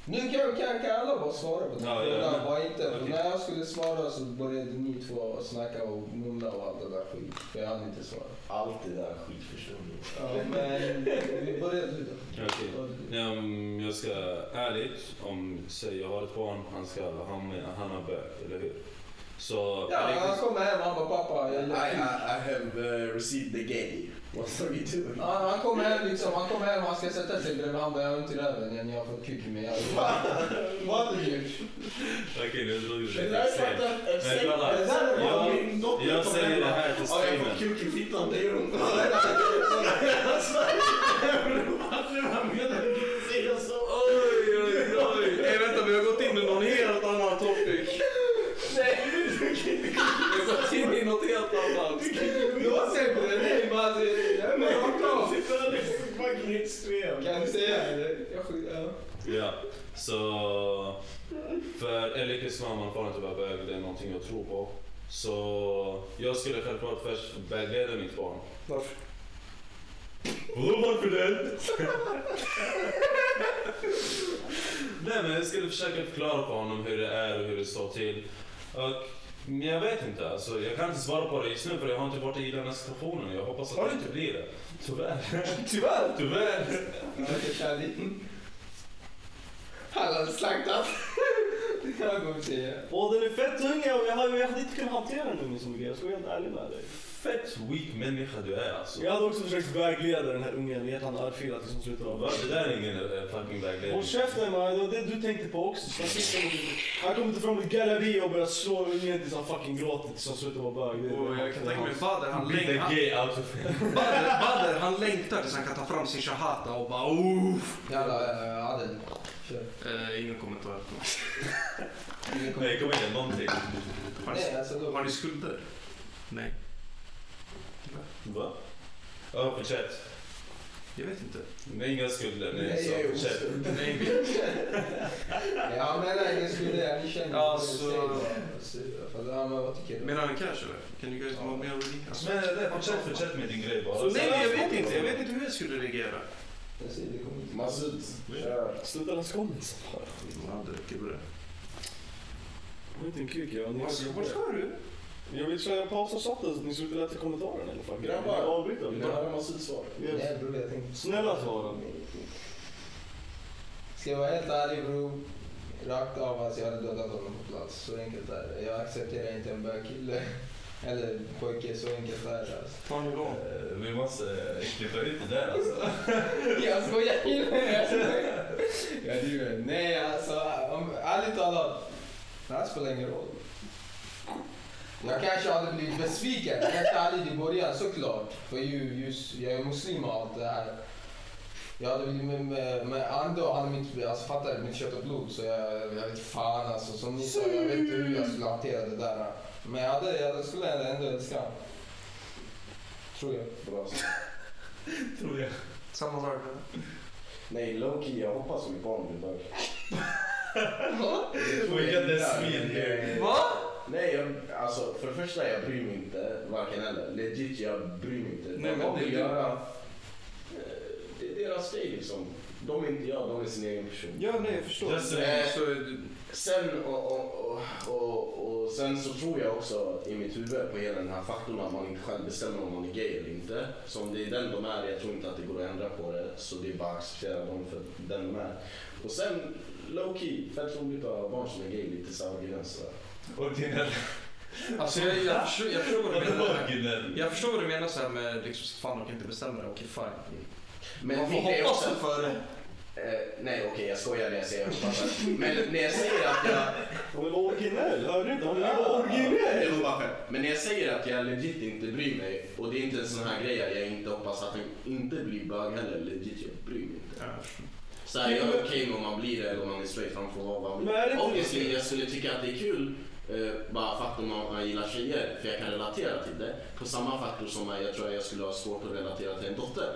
Speaker 5: Nu kan, kan, kan alla bara svara på den
Speaker 10: Ja, ja,
Speaker 5: frågan.
Speaker 10: men-
Speaker 5: Bara inte, för
Speaker 10: okej.
Speaker 5: när jag skulle svara så började ni två snacka och mumla och allt det där skit. För jag hade inte svarat.
Speaker 11: Allt det där skit förstår ni.
Speaker 5: Ja, men vi började du då.
Speaker 10: Okej. Ja, om jag ska ärligt, om säg jag har ett barn, han ska, han, han har bög, eller hur? Så...
Speaker 5: Ja, han
Speaker 10: riktigt-
Speaker 5: kommer hem och han bara pappa.
Speaker 11: I,
Speaker 5: Jag
Speaker 11: I,
Speaker 5: är
Speaker 11: I have uh, received the gay. What are you doing?
Speaker 5: han, han kommer hem liksom, han kommer hem och han ska sätta sig bredvid. Han bara jag har ont i röven, jag- jag har fått kuk i mig. Jag bara, Vad hade du gjort?
Speaker 10: Okej, nu drog du
Speaker 11: Det
Speaker 10: det
Speaker 11: där
Speaker 10: till extremt.
Speaker 11: fattar jag.
Speaker 10: Men kolla,
Speaker 11: Det där är bara
Speaker 10: jag-
Speaker 11: min dotter
Speaker 10: Jag
Speaker 11: som
Speaker 10: säger det
Speaker 11: hemma.
Speaker 10: här till
Speaker 11: Ja, jag får
Speaker 10: streamen.
Speaker 11: kuk i fittan, det gör ont. Alltså, Varför han menar du inte säga så?
Speaker 3: Oj, oj, oj. Nej, vänta, vi har gått in i någon helt annan topic. Vi har gått in i något helt annat.
Speaker 5: Jag säger det, nej bara det- jag är bara rakt av.
Speaker 11: Sitter och fucking extrem.
Speaker 5: Kan du säga det? Jag skit- ja.
Speaker 10: Ja, så... För Elikas mamma och far inte var bög, det är någonting jag tror på. Så jag skulle självklart först vägleda mitt barn.
Speaker 1: Varför?
Speaker 10: Vadå varför det? Nej men jag skulle försöka förklara för honom hur det är och hur det står till. Och, men jag vet inte, alltså, jag kan inte svara på det just nu för jag har inte varit i den här situationen. Jag hoppas att det inte blir det. Tyvärr.
Speaker 1: Tyvärr.
Speaker 10: Tyvärr.
Speaker 5: Okej, kör din. Han har slaktat. Det kan jag gå och säga.
Speaker 1: Åh, den är fett tung. Jag, jag, hade- jag hade inte kunnat hantera den ungen som grej. Jag ska vara helt ärlig med dig.
Speaker 10: fett weak människa du är alltså.
Speaker 1: Jag hade också försökt vägleda den här ungen, gett han örfila tills hon slutade.
Speaker 10: Va, Det där är ingen eh, fucking vägledning.
Speaker 1: Håll käften man, det var det du tänkte på också. Så han sitter och- Han kommer inte fram till galleri och börjar slå ungen tills han fucking gråter tills han slutar vara bög. Det är-
Speaker 3: Och jag kan tänka mig Bader, han,
Speaker 10: Bli the
Speaker 3: läng- han,
Speaker 10: gay out of
Speaker 3: Bader, Bader, han längtar tills han kan ta fram sin shahata och bara oof.
Speaker 5: Jalla, eh, Adel. Kör.
Speaker 3: Eh, ingen kommentar.
Speaker 5: Ingen kom-
Speaker 10: Nej, kom igen, någonting.
Speaker 3: Har
Speaker 5: Nej,
Speaker 3: ni,
Speaker 5: alltså då.
Speaker 3: har ni skulder? Nej.
Speaker 10: Va? Ja, fortsätt.
Speaker 3: Jag vet inte.
Speaker 10: Nej, inga skulder. Nej,
Speaker 5: Nej, jag är
Speaker 10: så fortsätt.
Speaker 3: Nej, vi-
Speaker 5: Ja, men nej, ingen skulle det. Ni känner
Speaker 3: Alltså-
Speaker 5: Fast, ja, men vad tycker du?
Speaker 3: Menar han cash eller? Can you guys mob me already? Alltså,
Speaker 10: Men nej, fortsätt, fortsätt med din grej bara.
Speaker 3: så, nej, nej, jag vet inte. Jag vet inte hur jag skulle reagera.
Speaker 5: Jag säger, det kommer inte.
Speaker 4: Masud, kör.
Speaker 1: Sluta hans kompis.
Speaker 3: Wow, det räcker bra.
Speaker 1: Jag vet inte kuk jag
Speaker 3: Vart ska du?
Speaker 1: Jag vill köra paus och chatta så att ni slutar läsa kommentarerna eller fucking.
Speaker 4: Grabbar.
Speaker 1: Jag avbryter.
Speaker 4: Vill du höra Masuds svar?
Speaker 1: Yes.
Speaker 5: Nej, bror, jag tänkte...
Speaker 1: Snälla svara.
Speaker 5: Ska jag vara helt ärlig bror, rakt av alltså jag hade dödat honom på plats. Så enkelt är det. Jag accepterar inte en bögkille. Eller pojke, så enkelt är det alltså.
Speaker 3: Fan, hur långt?
Speaker 10: Eh, Vi måste eh, klippa ut det där alltså.
Speaker 5: Jag skojar ju! Jag skojar. Jag driver. Nej alltså, om, ärligt talat. Det här spelar ingen roll. Jag kanske hade blivit besviken, helt ärligt i början såklart. För ju, just, jag är muslim och allt det här. Jag hade blivit med, med, med ändå hade mitt, alltså fattar du, mitt kött och blod så jag, jag vet fan alltså. Som ni sa, jag vet inte hur jag skulle hantera det där. Men jag, hade, jag skulle ändå älska honom. Tror jag.
Speaker 4: Bra.
Speaker 10: Tror jag.
Speaker 3: Samma sak. eller?
Speaker 4: Nej, Loki, jag hoppas mitt barn blir bög.
Speaker 10: We got the smil here.
Speaker 3: Va?
Speaker 4: Nej, jag, alltså för det första jag bryr mig inte, varken eller. Legit, jag bryr mig inte.
Speaker 3: Nej,
Speaker 4: Nej,
Speaker 3: men
Speaker 4: de vill
Speaker 3: det-
Speaker 4: göra... eh, Det är deras grej liksom. De är inte jag, de är sin egen person.
Speaker 3: Ja, nej, jag förstår.
Speaker 10: Just saying.
Speaker 3: Eh, så, du-
Speaker 4: Sen, och, och, och, och, och sen så tror jag också i mitt huvud på hela den här faktorn att man inte själv bestämmer om man är gay eller inte. Så om det är den de är, jag tror inte att det går att ändra på det. Så det är bara att acceptera dem för den de är. Och sen, low key, fett roligt att ha barn som är gay, lite så här originellt sådär.
Speaker 10: Originell.
Speaker 3: alltså, jag, jag, förstår, jag förstår vad du menar.
Speaker 10: Originell.
Speaker 3: Jag förstår vad du menar så här med liksom, så fan de kan inte bestämma det, okej fine.
Speaker 4: Men
Speaker 3: Man får
Speaker 4: det är
Speaker 3: hoppas
Speaker 4: också-
Speaker 3: för det.
Speaker 4: Eh, nej okej, jag skojar när jag säger hoppas. Men när jag säger att jag...
Speaker 1: Hon är originell, hör du inte? Hon är originell!
Speaker 4: Det var bara skämt. Men när jag säger att jag legit inte bryr mig och det är inte en sån här grej att jag inte hoppas att den inte blir bög heller. Legit, jag bryr mig inte.
Speaker 3: Ja.
Speaker 4: Så här, jag är okej med om man blir det eller om man är straight, man får vara vad man
Speaker 1: Men är det
Speaker 4: vill.
Speaker 1: inte-
Speaker 4: Obviously, jag skulle tycka att det är kul eh, bara för att man, man gillar tjejer, för jag kan relatera till det. På samma faktor som jag, jag tror jag skulle ha svårt att relatera till en dotter.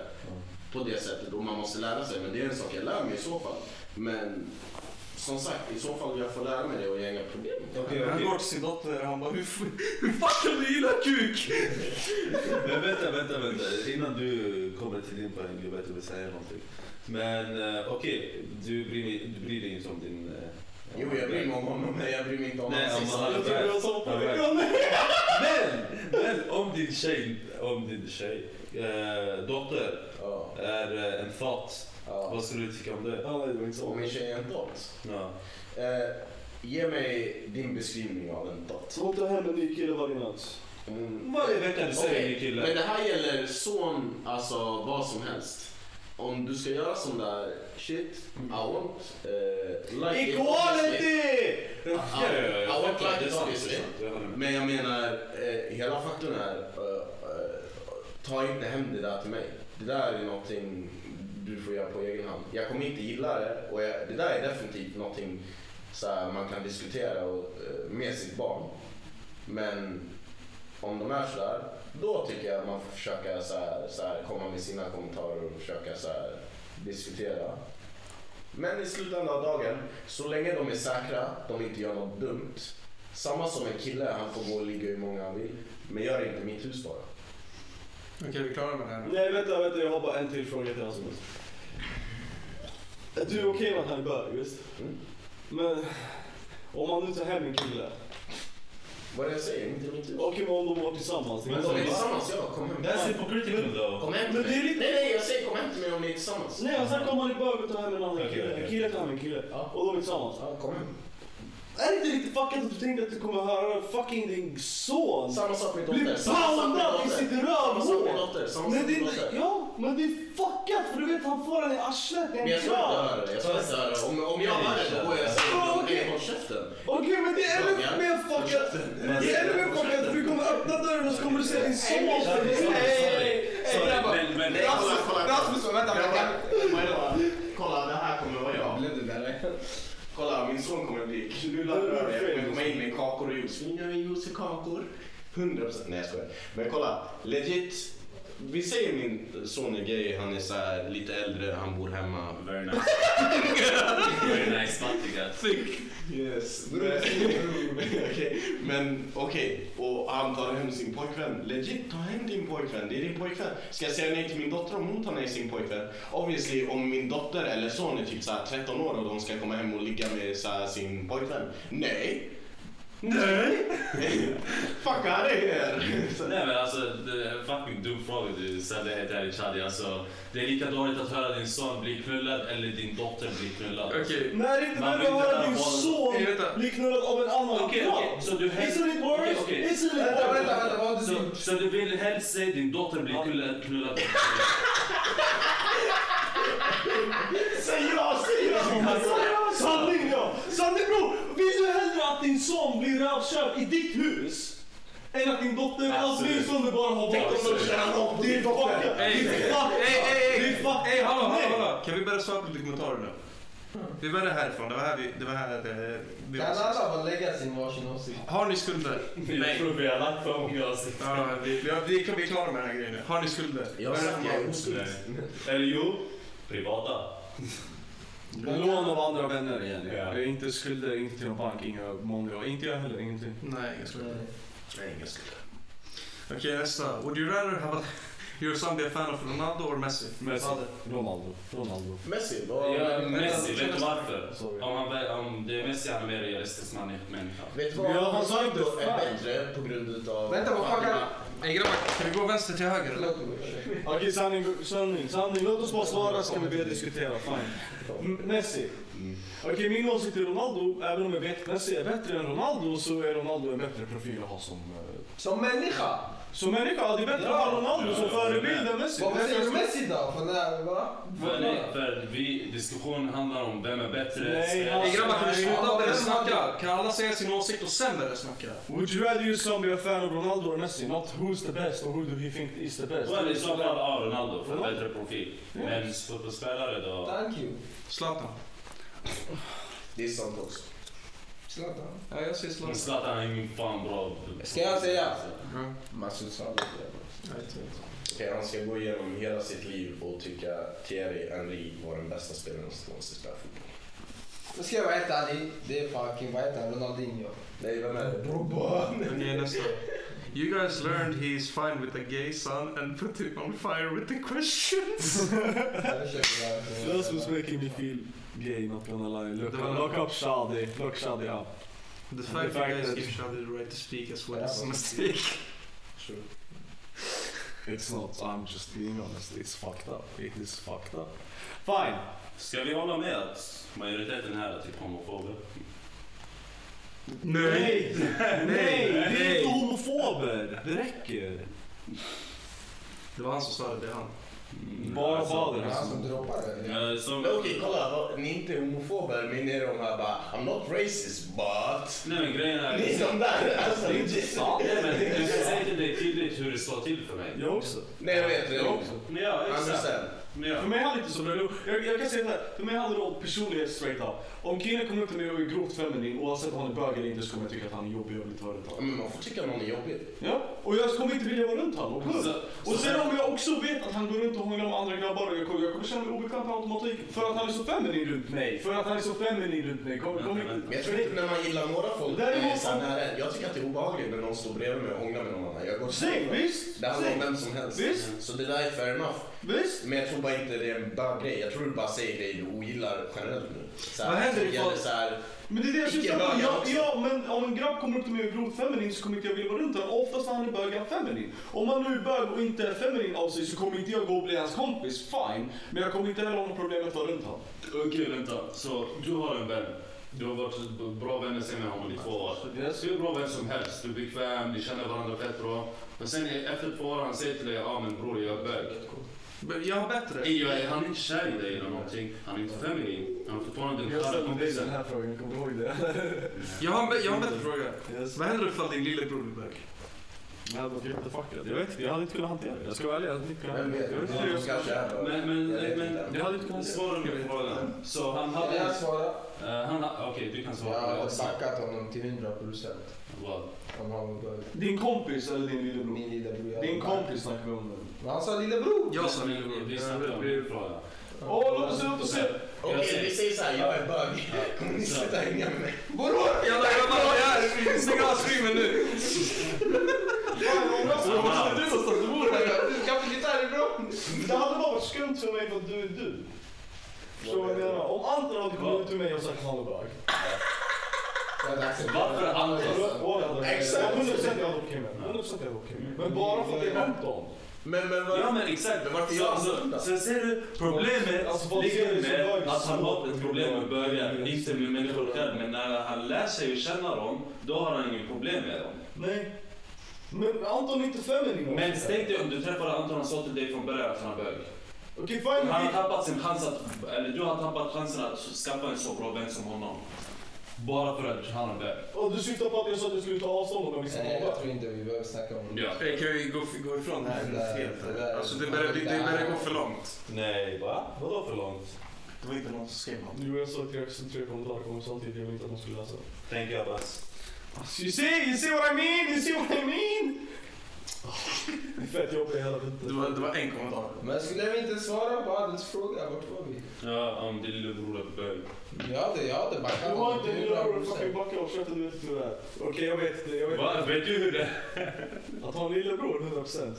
Speaker 4: På det sättet, och man måste lära sig. Men det är en sak jag lär mig i så fall. Men som sagt, i så fall jag får lära mig det och jag har inga problem med det.
Speaker 10: Okej,
Speaker 3: Han
Speaker 10: okej.
Speaker 3: går till sin dotter och han bara hur, f- hur fan kan du gilla kuk?
Speaker 10: Men vänta, vänta, vänta. Innan du kommer till din poäng, jag vet att du vill säga någonting. Men eh, okej, du, bryr dig- du bryr dig inte om din... eh,
Speaker 4: Jo, jag bryr mig om honom, men jag bryr mig inte om
Speaker 10: Nej,
Speaker 4: hans
Speaker 10: om
Speaker 4: sista.
Speaker 10: han-
Speaker 1: Jag tror jag sa på
Speaker 10: Ja,
Speaker 1: det.
Speaker 10: Men, men om din tjej, om din tjej, eh, dotter
Speaker 4: Ja,
Speaker 10: är eh, en thought,
Speaker 4: ja.
Speaker 10: vad skulle du tycka om det?
Speaker 1: Ja, nej, det var inte så.
Speaker 4: Om min tjej är en dot.
Speaker 10: Ja.
Speaker 4: Eh, ge mig din beskrivning av en dot.
Speaker 1: Så hon tar hem en ny kille varje natt.
Speaker 4: Mm.
Speaker 10: Varje vecka du säger
Speaker 4: Okej,
Speaker 10: ny kille.
Speaker 4: Men det här gäller son, alltså vad som helst. Om du ska göra sån där shit, I want... Eh, like it, obviously.
Speaker 10: Ja, ja, ja,
Speaker 4: I
Speaker 10: jag
Speaker 4: want like
Speaker 10: fattar. Det är
Speaker 4: it
Speaker 10: sant,
Speaker 4: obviously.
Speaker 10: det är sant. Jag håller med.
Speaker 4: Men jag menar, eh, hela faktorn är, eh, eh, ta inte hem det där till mig. Det där är någonting du får göra på egen hand. Jag kommer inte gilla det och jag, det där är definitivt någonting så här, man kan diskutera och, eh, med sitt barn. Men om de är sådär, då tycker jag man får försöka så här, så här, komma med sina kommentarer och försöka så här, diskutera. Men i slutändan av dagen, så länge de är säkra, de inte gör något dumt, samma som en kille, han får gå och ligga hur många han vill. Men gör det inte i mitt hus bara.
Speaker 3: Okej, vi klarar med det här.
Speaker 1: Nej, vänta, vänta. Jag har bara en till fråga till Rasmus. Du är okej med att han är bög, visst?
Speaker 4: Mm.
Speaker 1: Men om man nu tar hem en kille.
Speaker 4: Vad är det jag säger? Inte i mitt hus.
Speaker 1: Okej, men om de var tillsammans.
Speaker 10: Men
Speaker 4: Om ni är tillsammans, ja. Kom hem.
Speaker 10: Det här är på critical då.
Speaker 4: Kom hem till
Speaker 1: Men det är
Speaker 4: mig.
Speaker 1: lite-
Speaker 4: Nej, nej, jag säger kom hem till mig om ni är tillsammans.
Speaker 1: Nej, och sen kommer han i bög och tar hem en annan
Speaker 10: Okej,
Speaker 1: kille.
Speaker 10: okej.
Speaker 1: En kille tar hem en kille.
Speaker 4: Ja.
Speaker 1: Och de är tillsammans.
Speaker 4: Ja, kom hem.
Speaker 1: Är det inte riktigt fuckat att du tänkte att du kommer höra fucking din son
Speaker 4: Samma sak med
Speaker 1: bli
Speaker 4: dotter. Samma sak med
Speaker 1: poundad i
Speaker 4: dotter.
Speaker 1: sitt
Speaker 4: Samma
Speaker 1: Men
Speaker 4: sak
Speaker 1: det
Speaker 4: som
Speaker 1: är
Speaker 4: låter.
Speaker 1: inte, ja, men det är fuckat för du vet han får den i arslet.
Speaker 4: Men jag ska inte höra det. Jag ska inte höra det. Om, om jag hade det, då går jag och säger
Speaker 1: Ja,
Speaker 4: till
Speaker 1: okej.
Speaker 4: dig, håll käften.
Speaker 1: Okej men det är ännu mer fuckat. Det är ännu mer fuckat för du kommer öppna dörren och så kommer du se din son.
Speaker 10: Men, men,
Speaker 4: Nej, kolla, kolla.
Speaker 5: Rasmus, vänta, vänta.
Speaker 4: Maja, Kolla, det här kommer vara jag.
Speaker 5: Blev du där?
Speaker 4: Kolla, min son kommer bli knullad röd. Jag kommer komma in med kakor och juice. Vill ni ha juice och kakor? 100 procent. Nej, jag skojar. Men kolla, legit. Vi säger min son är gay, han är så här lite äldre, han bor hemma.
Speaker 10: Very nice. Very nice, Matti. guys.
Speaker 4: Yes. Men okej, men okej. Och han tar hem sin pojkvän. Legit, ta hem din pojkvän. Det är din pojkvän. Ska jag säga nej till min dotter om hon tar nej till sin pojkvän? Obviously, om min dotter eller son är typ så här 13 år och de ska komma hem och ligga med så här sin pojkvän. Nej. Nej! Fucka dig er!
Speaker 10: Nej men alltså, det är en fucking dum fråga du ställde helt ärligt Shadi. Alltså, det är lika dåligt att höra din son bli knullad eller din dotter bli knullad.
Speaker 3: Okej,
Speaker 1: Nej det är inte
Speaker 10: Man
Speaker 1: värre
Speaker 10: vill
Speaker 1: att höra
Speaker 10: inte
Speaker 1: din
Speaker 10: ha barn.
Speaker 1: son
Speaker 3: Nej, vänta.
Speaker 1: bli knullad av en annan
Speaker 10: Okej,
Speaker 1: man.
Speaker 10: okej, så du helst...
Speaker 1: Isn't it
Speaker 10: Okej,
Speaker 1: worse?
Speaker 10: okej.
Speaker 1: Isn't it
Speaker 5: Vänta,
Speaker 1: worse?
Speaker 5: vänta, vänta. Vad har du
Speaker 10: Så,
Speaker 5: gjort?
Speaker 10: så du vill helst se din dotter bli knullad? knullad.
Speaker 1: Säg ja, säg ja! Sanning ja! Sanning bror! Vill du hellre att din son blir rövkörd i ditt hus? Än att din dotter, alltså din son du bara har varit och tjänat din dotter. Det är
Speaker 3: Ey,
Speaker 1: fuck!
Speaker 3: ey, ey, ey.
Speaker 1: Det är fuck!
Speaker 3: Ey, hallå, hallå,
Speaker 1: Nej.
Speaker 3: hallå! Kan vi börja svara på lite kommentarer nu? Vi börjar härifrån, det var här vi... Det var här, eh, vi
Speaker 5: Kan alla bara lägga sin varsin åsikt?
Speaker 3: har ni skulder?
Speaker 10: Jag tror vi har lagt för många avsnitt.
Speaker 3: Ja, vi, vi, har- vi, är- vi är klara med den här grejen nu. Har ni skulder?
Speaker 4: Jag har
Speaker 3: Vad är det
Speaker 4: sagt
Speaker 3: för
Speaker 4: jag
Speaker 3: mat?
Speaker 4: är oskuld.
Speaker 10: Eller jo, privata.
Speaker 1: Lån av andra vänner igen.
Speaker 10: Ja.
Speaker 1: Eh, Inte skulder, inte till någon bank, inga många. Inte jag heller, ingenting.
Speaker 3: Nej, inga skulder.
Speaker 4: Nej, ingen skuld.
Speaker 3: Okej, nästa. Would you rather have a, your son be a fan of Ronaldo or Messi?
Speaker 1: Messi. Ronaldo. Ronaldo.
Speaker 4: Messi, vad...
Speaker 10: Ja, Messi, vet du varför?
Speaker 1: Sorry.
Speaker 10: Om, han, väl- om det är Messi han är mer realistisk man- människa.
Speaker 4: Vet du vad?
Speaker 1: Ja, han sa inte
Speaker 4: Ronaldo är
Speaker 1: fan.
Speaker 4: bättre på grund utav...
Speaker 5: Vänta, vad fan kan...
Speaker 3: Ey grabbar, kan vi gå vänster till höger eller?
Speaker 5: Förlåt, bror.
Speaker 1: Okej, sanning, sanning, sanning. Låt oss bara svara så kan vi börja diskutera. Fine. M- Messi.
Speaker 5: Mm.
Speaker 1: Okej, min åsikt är Ronaldo. Även om jag vet att Messi är bättre än Ronaldo så är Ronaldo en bättre profil att ha som... eh,
Speaker 5: Som människa?
Speaker 1: Som människa. Det är bättre att ha Ronaldo som förebild än Messi.
Speaker 5: Vad säger du Messi då? För när, va?
Speaker 10: För, nej, för vi, diskussionen handlar om vem är bättre.
Speaker 1: Nej, alltså-
Speaker 10: spelare.
Speaker 3: Ey grabbar, kan vi sluta
Speaker 5: Ja,
Speaker 3: börja
Speaker 5: men-
Speaker 3: snacka? Kan alla säga sin åsikt och sen börja snacka?
Speaker 1: Would you rather your son be a fan of Ronaldo or Messi? Not who's the best or who do he think is the best. Eh,
Speaker 10: Då är det i så fall av Ronaldo för
Speaker 1: Ronaldo?
Speaker 10: bättre profil. Men fotbollsspelare då?
Speaker 5: Thank you.
Speaker 3: Zlatan.
Speaker 4: Det är sant också.
Speaker 5: Zlatan.
Speaker 3: Ja, jag säger Zlatan.
Speaker 10: Men Zlatan är ingen fan bra.
Speaker 5: Ska jag säga?
Speaker 3: Ja.
Speaker 5: Masud Salah.
Speaker 4: Okej, han ska gå igenom hela sitt liv och tycka Thierry Henry var den bästa spelaren som någonsin spelat fotboll.
Speaker 5: Nu ska jag vara helt ärlig. Det är fucking, vad heter han? Ronaldinho.
Speaker 4: Nej, vem är det? Robban!
Speaker 3: Okej, nästa. You guys learned he is fine with a gay son and put him on fire with the questions.
Speaker 5: Jag köper det här.
Speaker 1: That's what's making me feel gay, not gonna lie. Look,
Speaker 3: Det var-
Speaker 1: look up Shadi. Look Shadi up.
Speaker 3: The fact you guys give Shadi the right to speak as well is a mistake.
Speaker 1: It's not, I'm just being honest. It's fucked up. It is fucked up. Fine.
Speaker 10: Ska vi hålla med att majoriteten här är typ homofober?
Speaker 1: Nej! Nej! Vi är
Speaker 3: Nej.
Speaker 1: inte homofober! Det räcker.
Speaker 3: Det var han som sa det, det är han.
Speaker 1: Bara
Speaker 10: alltså,
Speaker 1: bader.
Speaker 5: Det är han som droppar det.
Speaker 10: eh, som-
Speaker 4: Okej, kolla. vad- Ni är inte homofober, men ni är de här bara I'm not racist, but...
Speaker 10: Nej men grejen är...
Speaker 4: Ni är som där! Alltså,
Speaker 1: Det är inte sant.
Speaker 10: Nej men jag kan säga till dig tydligt hur det står till för mig.
Speaker 1: Jag också.
Speaker 4: Nej, jag vet. Jag också. Alltså,
Speaker 10: Men ja, exakt.
Speaker 4: 100%.
Speaker 10: Men ja.
Speaker 1: För mig handlar det inte så bra. Jag, jag kan säga det här. För mig handlar det om personlighet straight up. Om killen kommer upp till mig och är grovt feminin, oavsett om han är bög eller inte, så kommer jag tycka att han är jobbig och vill inte vara runt
Speaker 4: Ja,
Speaker 1: honom.
Speaker 4: Men man får tycka någon är jobbig.
Speaker 1: Ja, och jag kommer inte vilja vara runt honom. punkt.
Speaker 10: Så-
Speaker 1: Och
Speaker 10: så-
Speaker 1: sen om jag också vet att han går runt och hånglar med andra grabbar och jag kommer, jag kommer känna mig obekväm per automatik. För att han är så feminin runt mig. För att han är så feminin runt mig. Kommer, kommer inte...
Speaker 4: Men jag tror inte när man gillar några folk
Speaker 1: Det är
Speaker 4: är
Speaker 1: någon
Speaker 4: så här
Speaker 1: som-
Speaker 4: nära en. Jag tycker att det är obehagligt när någon står bredvid mig och hånglar med någon annan. Jag går
Speaker 1: Säg, visst!
Speaker 4: Det handlar om
Speaker 1: Säg,
Speaker 4: vem som helst.
Speaker 1: visst!
Speaker 4: Så det där är fair enough.
Speaker 1: Visst!
Speaker 4: Men jag tror bara inte det är en bög grej. Jag tror du bara säger grejer du ogillar generellt nu. Så här,
Speaker 3: Vad händer
Speaker 4: det
Speaker 3: ifall-
Speaker 4: gäller så här,
Speaker 1: Men det är det jag
Speaker 4: Icke
Speaker 1: syftar på.
Speaker 4: bögar
Speaker 1: Ja,
Speaker 4: också.
Speaker 1: ja, men om en grabb kommer upp till mig och är grovt feminin så kommer inte jag vilja vara runt honom. Oftast när han är bög är han feminin. Om han nu är bög och inte är feminin av sig så kommer inte jag gå och bli hans kompis, fine. Men jag kommer inte heller ha något problem med att vara runt honom.
Speaker 10: Okej, vänta. Så du har en vän. Du har varit bra vänner sen med honom i två år. Hur bra vän som helst. Du är bekväm, ni känner varandra fett bra. Men sen i- efter två år han säger till dig, ja men bror jag är bög.
Speaker 3: Men Jag har bättre.
Speaker 10: Ey, jag är- Han är inte kär i dig eller någonting. Han är inte feminin. Han är fortfarande den sköna kompisen.
Speaker 6: här frågan, kommer du ihåg det?
Speaker 3: Jag har en, bä- jag har en bättre fråga. Vad händer ifall din lillebror blir bög?
Speaker 1: Jag vet inte, jag hade inte kunnat hantera det. Jag ska vara ärlig, jag hade inte kunnat
Speaker 4: Vem vet?
Speaker 1: hantera det.
Speaker 4: De kanske är bra.
Speaker 10: Men, men,
Speaker 4: Jag vet
Speaker 10: men,
Speaker 4: inte.
Speaker 10: jag hade inte kunnat svara på frågan. Så han hade...
Speaker 5: Hade jag svarat?
Speaker 10: eh, han ha- Okej, du kan svara
Speaker 5: Jag
Speaker 10: på det.
Speaker 5: hade
Speaker 10: också.
Speaker 5: backat honom till 100 procent.
Speaker 10: Vad?
Speaker 5: Om han var bög.
Speaker 1: Din kompis eller din lillebror?
Speaker 5: Min lillebror. jag
Speaker 1: Din
Speaker 5: hade backat.
Speaker 1: kompis snackar vi om nu.
Speaker 5: Men han sa lillebror.
Speaker 3: Jag sa
Speaker 10: Men
Speaker 3: lillebror.
Speaker 10: Vi snackar om din fråga.
Speaker 1: Åh, låt oss se, låt oss se!
Speaker 4: Okej, vi säger såhär, jag är bög. Kommer ni sluta hänga med mig?
Speaker 5: Bror!
Speaker 3: Jalla grabbar, vad gör ni? Stäng av streamen nu!
Speaker 1: Var är du någonstans? Du bor här.
Speaker 5: Du kan få gitarr ifrån.
Speaker 1: Det hade bara varit skumt för mig för att du är du. Förstår du vad jag menar? Om Anton hade kommit ut till mig och sagt han är bög.
Speaker 10: Varför han...
Speaker 1: Exakt! 100% jag hade åkt hem med det. 100% jag hade åkt hem med det. Men bara för att det är Anton.
Speaker 4: Men, men vad...
Speaker 10: Ja men exakt.
Speaker 4: Men varför
Speaker 10: Så-
Speaker 3: Alltså,
Speaker 4: gör han
Speaker 10: så-
Speaker 4: sådär?
Speaker 10: Sen ser du, problemet
Speaker 1: Alltså, vad ser
Speaker 10: ligger
Speaker 1: du som
Speaker 10: med
Speaker 1: bög?
Speaker 10: att han har ett problem med bögar. Inte med människor själv, men när han lär sig att känna dem, då har han inget problem med dem.
Speaker 1: Nej. Men Anton är inte feminin.
Speaker 10: Men tänk dig om du träffade Anton och sa till dig från början att han är bög.
Speaker 1: Okej, fine.
Speaker 10: Han har
Speaker 1: vi-
Speaker 10: tappat sin chans att, eller du har tappat chansen att skaffa en så bra vän som honom. Bara för att han är bög.
Speaker 1: Och du syftar på att jag sa att du skulle ta avstånd om jag visste
Speaker 5: Nej,
Speaker 1: vad
Speaker 5: jag
Speaker 1: det
Speaker 5: tror inte vi behöver snacka om det.
Speaker 10: Ja.
Speaker 3: Hey, kan vi gå, gå ifrån det här?
Speaker 5: Det där-
Speaker 3: Helt.
Speaker 5: det där-
Speaker 3: Alltså det börjar, bli- det börjar gå för långt.
Speaker 10: Nej, va? Vadå för långt?
Speaker 3: Det var inte någon som skrev om
Speaker 1: Jo, jag sa att jag skulle tre kommentarer om samtidigt. Jag ville inte att man skulle läsa.
Speaker 10: Tänk jag bäst.
Speaker 1: You see, you see what I mean, you see what I mean! Det är fett jobbigt hela
Speaker 3: det.
Speaker 1: tiden.
Speaker 3: Var, det var en kommentar.
Speaker 5: Men skulle vi inte svara på Adels fråga? Vart var vi?
Speaker 10: Ja, om din lillebror är bög.
Speaker 5: Jag hade, jag hade backat
Speaker 1: Du har
Speaker 5: honom
Speaker 1: inte
Speaker 5: till
Speaker 1: en lillebror
Speaker 5: 100
Speaker 1: fucking
Speaker 5: procent.
Speaker 1: backa och köpte du vet hur det är. Okej, jag vet det. Jag vet
Speaker 10: Va? Vet du hur det
Speaker 1: Att ha en lillebror, 100%.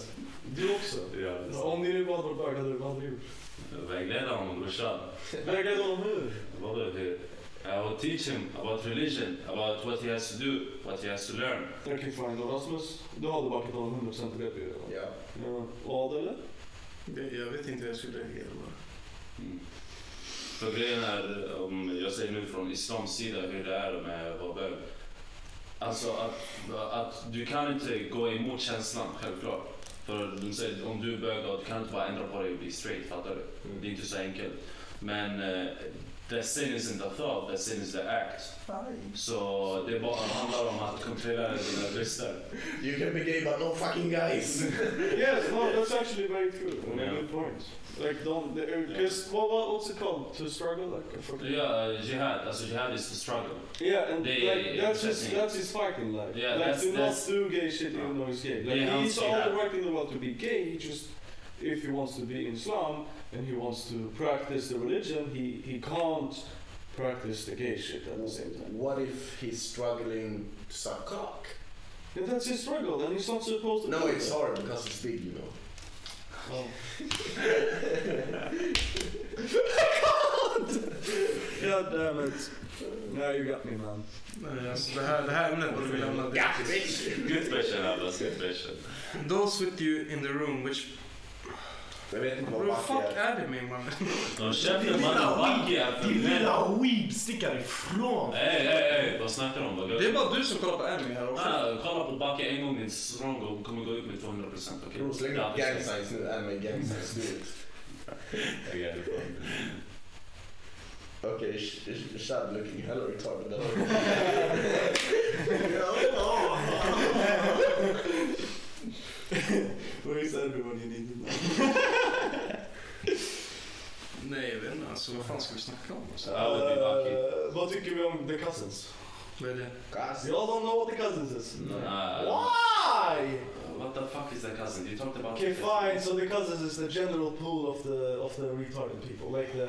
Speaker 1: Du också. Alltså,
Speaker 10: är?
Speaker 1: Om ni nu bara hade varit bög hade du vad hade du gjort?
Speaker 10: Vägleda honom brorsan.
Speaker 1: Vägled honom hur?
Speaker 10: Vadå hur? I will teach him about religion, about what he has to do, what he has to learn.
Speaker 1: Okej, fine. Då Rasmus, du hade backat honom 100% i det blir det.
Speaker 4: Ja.
Speaker 1: Ja. Och Adele?
Speaker 3: Det- Jag vet inte hur jag skulle reagera. bara.
Speaker 10: Mm. För grejen är, om jag säger nu från islams sida hur det är med att vara bög. Alltså att, att du kan inte gå emot känslan, självklart. För de säger, om du är bög, då, du kan inte bara ändra på dig och bli straight, fattar du? Mm, Det är inte så enkelt. Men uh, the sin is in the thought, the sin is the act. Så det bara handlar om att kontrollera dina brister.
Speaker 4: You can be gay but no fucking guys.
Speaker 1: Yes, no, that's actually very true. And
Speaker 10: Yeah.
Speaker 1: a good point. Like, don't, because what, what, what's it called? To struggle, like, a fucking.
Speaker 10: Ja, jihad, alltså jihad is the struggle.
Speaker 1: Yeah, and
Speaker 10: Det är-
Speaker 1: like, that's his,
Speaker 10: precis.
Speaker 1: that's his fighting life.
Speaker 10: Yeah,
Speaker 1: like,
Speaker 10: that's-
Speaker 1: do
Speaker 10: that's-
Speaker 1: not do gay shit even though he's gay.
Speaker 10: Det är
Speaker 1: Like, he's
Speaker 10: hans
Speaker 1: all
Speaker 10: grej.
Speaker 1: the right in the world to be gay. He just, if he wants to be in Islam and he wants to practice the religion, he he can't practice the gay shit at the same time.
Speaker 4: What if he's struggling to suck cock?
Speaker 1: And that's his struggle, and he's not supposed to.
Speaker 4: No,
Speaker 1: do
Speaker 4: it's
Speaker 1: that.
Speaker 4: hard because it's big, you know.
Speaker 1: Oh.
Speaker 10: Oh.
Speaker 1: God damn it. Now you got me, man.
Speaker 3: Nej, alltså det här, det här ämnet borde vi lämna direkt.
Speaker 10: Guttbäschen alla, guttbäschen.
Speaker 3: Those with you in the room which...
Speaker 4: Jag vet inte vad
Speaker 3: Bro,
Speaker 4: back
Speaker 3: fuck
Speaker 4: är.
Speaker 3: är det med mannen?
Speaker 10: De köpte mannen Bagge för män.
Speaker 12: weeb, stickar ifrån!
Speaker 10: Ey, ey, ey, vad snackar du om? Vad
Speaker 3: Det är bara du som kollar på Amy här också.
Speaker 10: Ah, kolla på Bagge en gång, din strong kommer gå upp med 200 procent. Okej?
Speaker 4: Bror, släng
Speaker 10: Ja,
Speaker 4: upp gang signs nu. Nej, men gang signs. do it.
Speaker 10: det är det.
Speaker 4: Okej, sh- sh- Shad looking hella retarded.
Speaker 12: Where is everyone you need?
Speaker 3: Nej, jag vet inte. Alltså vad fan ska vi snacka om? Alltså?
Speaker 10: I would be Bagge.
Speaker 1: Eh, vad tycker vi om The Cousins?
Speaker 3: Vad är det?
Speaker 4: Kass.
Speaker 1: Y'all don't know what The Cousins is.
Speaker 10: Ah,
Speaker 1: Why?
Speaker 10: What the fuck is that cousin? You talked about
Speaker 1: Okay, fine. So the cousins is the general pool of the of the retarded people, like the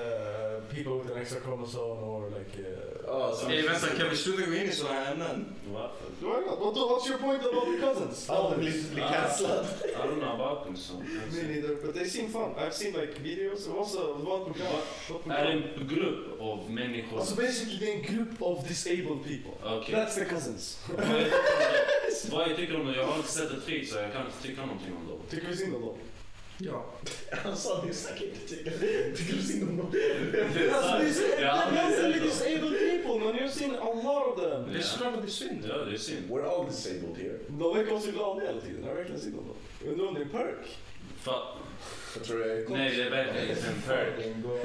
Speaker 1: uh, people with an extra chromosome or like. Uh,
Speaker 4: Ja, så-
Speaker 3: Ey, vänta, kan vi sluta gå in i sådana här ämnen?
Speaker 10: Varför?
Speaker 1: Why not? What, what's your point about the cousins? Ah.
Speaker 4: Han blir blir cancellad.
Speaker 10: I don't know about them so.
Speaker 1: Me neither, but they seem fun. I've seen like videos. It was a what program? What
Speaker 10: Är
Speaker 1: program?
Speaker 10: en grupp av människor.
Speaker 1: Also basically they're a group of disabled people.
Speaker 10: Okej.
Speaker 1: That's the cousins.
Speaker 10: Vad jag tycker om det? Jag har inte sett ett trick så jag kan inte tycka någonting om dem.
Speaker 1: Tycker vi synd om dem?
Speaker 3: Ja.
Speaker 4: Han sa det säkert till Tycker du synd om dem?
Speaker 10: Ja, men det är
Speaker 1: Mentally
Speaker 10: så.
Speaker 1: disabled people man, you've seen a lot of them.
Speaker 3: Det är så klart att det är synd.
Speaker 10: Ja, det är synd.
Speaker 4: We're all disabled here.
Speaker 1: De verkar vara så glada hela tiden, jag har verkligen sett dem. Undrar om det är perk?
Speaker 10: Fa-
Speaker 4: Jag tror jag är
Speaker 10: Nej, det är verkligen inte en perk.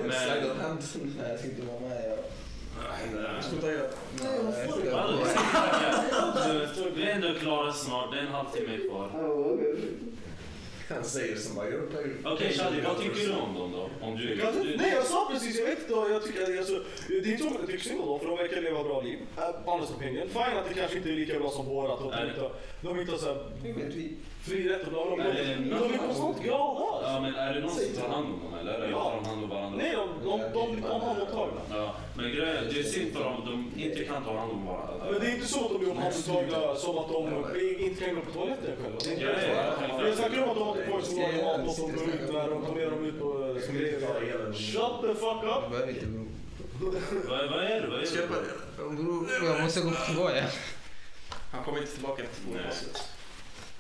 Speaker 10: Men-
Speaker 5: Slide of hand. Nej, jag ska inte vara med. Jag...
Speaker 10: Nej.
Speaker 5: Sluta göra... Nej, jag ska
Speaker 10: Ja,
Speaker 5: göra
Speaker 10: det är
Speaker 5: det.
Speaker 10: synd. Du, Vi är ändå klara snart, det är en halvtimme kvar.
Speaker 4: Han säger det som bara gör
Speaker 10: Okej Shadi, vad tycker du om dem då? Om du,
Speaker 1: Kanske-
Speaker 10: du,
Speaker 1: Nej, jag sa precis, jag vet inte. vad Jag tycker, alltså, det är inte som att jag tycker synd om dem, för de verkar leva bra liv. Äh, honest opinion. Fine att det kanske inte är lika bra som vårat och att de
Speaker 10: Nej.
Speaker 1: inte har- de inte har så här
Speaker 5: Hur vet vi?
Speaker 1: fri rätt och bla bla bla.
Speaker 10: Nej,
Speaker 1: Men
Speaker 10: men-
Speaker 1: De är konstant glada.
Speaker 10: Ja
Speaker 1: alltså.
Speaker 10: men är det någon som tar hand om dem eller? Eller tar de hand om varandra?
Speaker 1: Nej, de, de, de, de, de har mottagna.
Speaker 10: Ja, men grejen är, det är synd för dem, de inte kan ta hand om varandra.
Speaker 1: Men det är inte så att de blir omhändertagna som att de inte kan gå på toaletten själva. Det är
Speaker 10: Ja,
Speaker 1: inte
Speaker 10: ja, ja.
Speaker 1: jag snackar om att de inte får så många mat och de går ut när de tar med dem ut på eh, som grejer. Shut the fuck up!
Speaker 5: Jag behöver inte bro.
Speaker 10: Vad, vad är det? Vad är
Speaker 3: Ska jag
Speaker 10: det?
Speaker 3: börja?
Speaker 5: Bro, jag måste gå på toa. ja.
Speaker 3: Han kommer inte tillbaka till
Speaker 10: Nej.
Speaker 3: gymnasiet.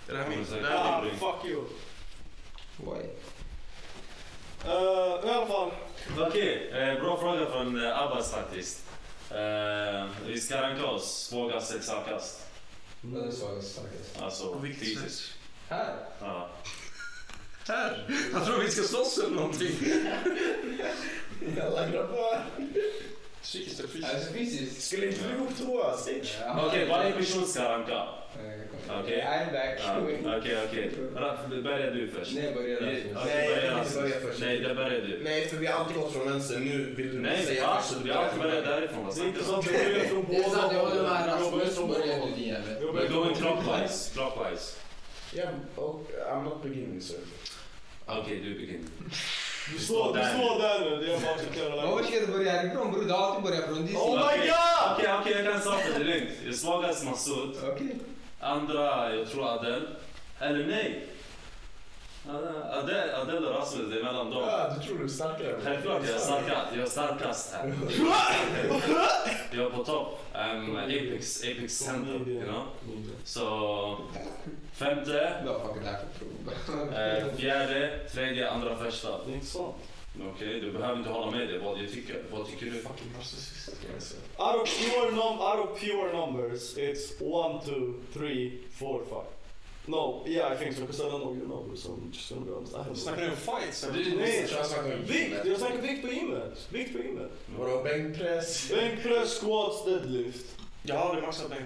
Speaker 3: Är det här
Speaker 10: Ja,
Speaker 3: min?
Speaker 10: men säkert.
Speaker 3: Det här är
Speaker 1: Ah,
Speaker 3: min.
Speaker 1: fuck you!
Speaker 5: Why?
Speaker 1: Uh, I alla fall.
Speaker 10: Okej, eh, bra fråga från eh, Abbas faktiskt. Eh, vi ska ranka oss svagast till starkast.
Speaker 5: Det är svagast starkast.
Speaker 10: Alltså
Speaker 3: På vilket
Speaker 10: fysiskt.
Speaker 3: sätt?
Speaker 5: Här?
Speaker 10: Ja.
Speaker 3: Här! Han tror vi ska slåss eller någonting.
Speaker 4: Alla grabbar!
Speaker 3: Psykiskt eller
Speaker 5: Är
Speaker 3: fysiskt?
Speaker 5: det fysiskt?
Speaker 4: Skulle inte du gå på toa? Säg
Speaker 5: Ja.
Speaker 10: Okej, varje person ska ranka. Okej.
Speaker 5: I'm back.
Speaker 10: Ja, Okej, okej. Ra- Börja du först.
Speaker 5: Nej, börja
Speaker 10: Okej,
Speaker 5: där.
Speaker 4: Nej, jag
Speaker 10: börja
Speaker 4: kan inte
Speaker 10: Rasmus.
Speaker 4: börja först.
Speaker 10: Nej, där börjar du.
Speaker 4: Nej, för vi har alltid gått från vänster. Nu vill du
Speaker 10: Nej,
Speaker 4: säga
Speaker 10: va?
Speaker 4: först.
Speaker 10: Vi har alltid börjat därifrån. vad
Speaker 1: Det är
Speaker 10: snackar
Speaker 1: inte
Speaker 10: du om?
Speaker 1: sant, jag börjar från
Speaker 5: Det är
Speaker 1: båda
Speaker 5: sant, jag håller
Speaker 1: hållen.
Speaker 5: med
Speaker 1: Jag börjar
Speaker 5: Rasmus.
Speaker 1: från
Speaker 5: Börja
Speaker 1: båda
Speaker 5: du din jävel.
Speaker 1: Jag börjar
Speaker 10: We're
Speaker 1: från
Speaker 10: going
Speaker 1: båda
Speaker 10: clockwise. Clockwise.
Speaker 4: Yeah, och I'm not beginning sir.
Speaker 10: Okej, du begin.
Speaker 1: Du står du står där nu, det är bara att acceptera
Speaker 5: Man
Speaker 1: det.
Speaker 5: orkar inte börja härifrån bror. Du har alltid börjat från din
Speaker 1: Oh
Speaker 5: sida.
Speaker 1: my
Speaker 10: Okej.
Speaker 1: god!
Speaker 10: Okej, okej, jag kan starta. Det är lugnt. Det är Svagast Masud.
Speaker 5: Okej.
Speaker 10: Andra, jag tror Adel. Eller nej. Adel, Adel och Rasmus, det är mellan dem.
Speaker 4: Ja, du tror du är starkare.
Speaker 10: Självklart, jag är starkast. Jag är starkast här. jag är på topp. Um, Apex, Apex Center, you know. Så femte,
Speaker 5: Du har fucking det här för prov.
Speaker 10: eh, fjärde, tredje, andra, första.
Speaker 1: Det är inte sant.
Speaker 10: Okej, du behöver inte hålla med dig vad jag tycker. Vad tycker du?
Speaker 3: Fucking narcissist.
Speaker 1: Out of pure num out of pure numbers, it's one, two, three, four, five. No, yeah, I think so. Because I don't know your numbers, so I'm just gonna be honest. I have
Speaker 3: Snackar du om fights eller?
Speaker 10: Du-
Speaker 1: Nej,
Speaker 4: Jag snackar om
Speaker 1: vikt!
Speaker 4: gymmet.
Speaker 1: Jag snackar vikt och gymmet. Vikt och gymmet.
Speaker 4: Vadå, bänkpress?
Speaker 1: Bänkpress, squats, deadlift.
Speaker 3: Jag har aldrig maxat bänk.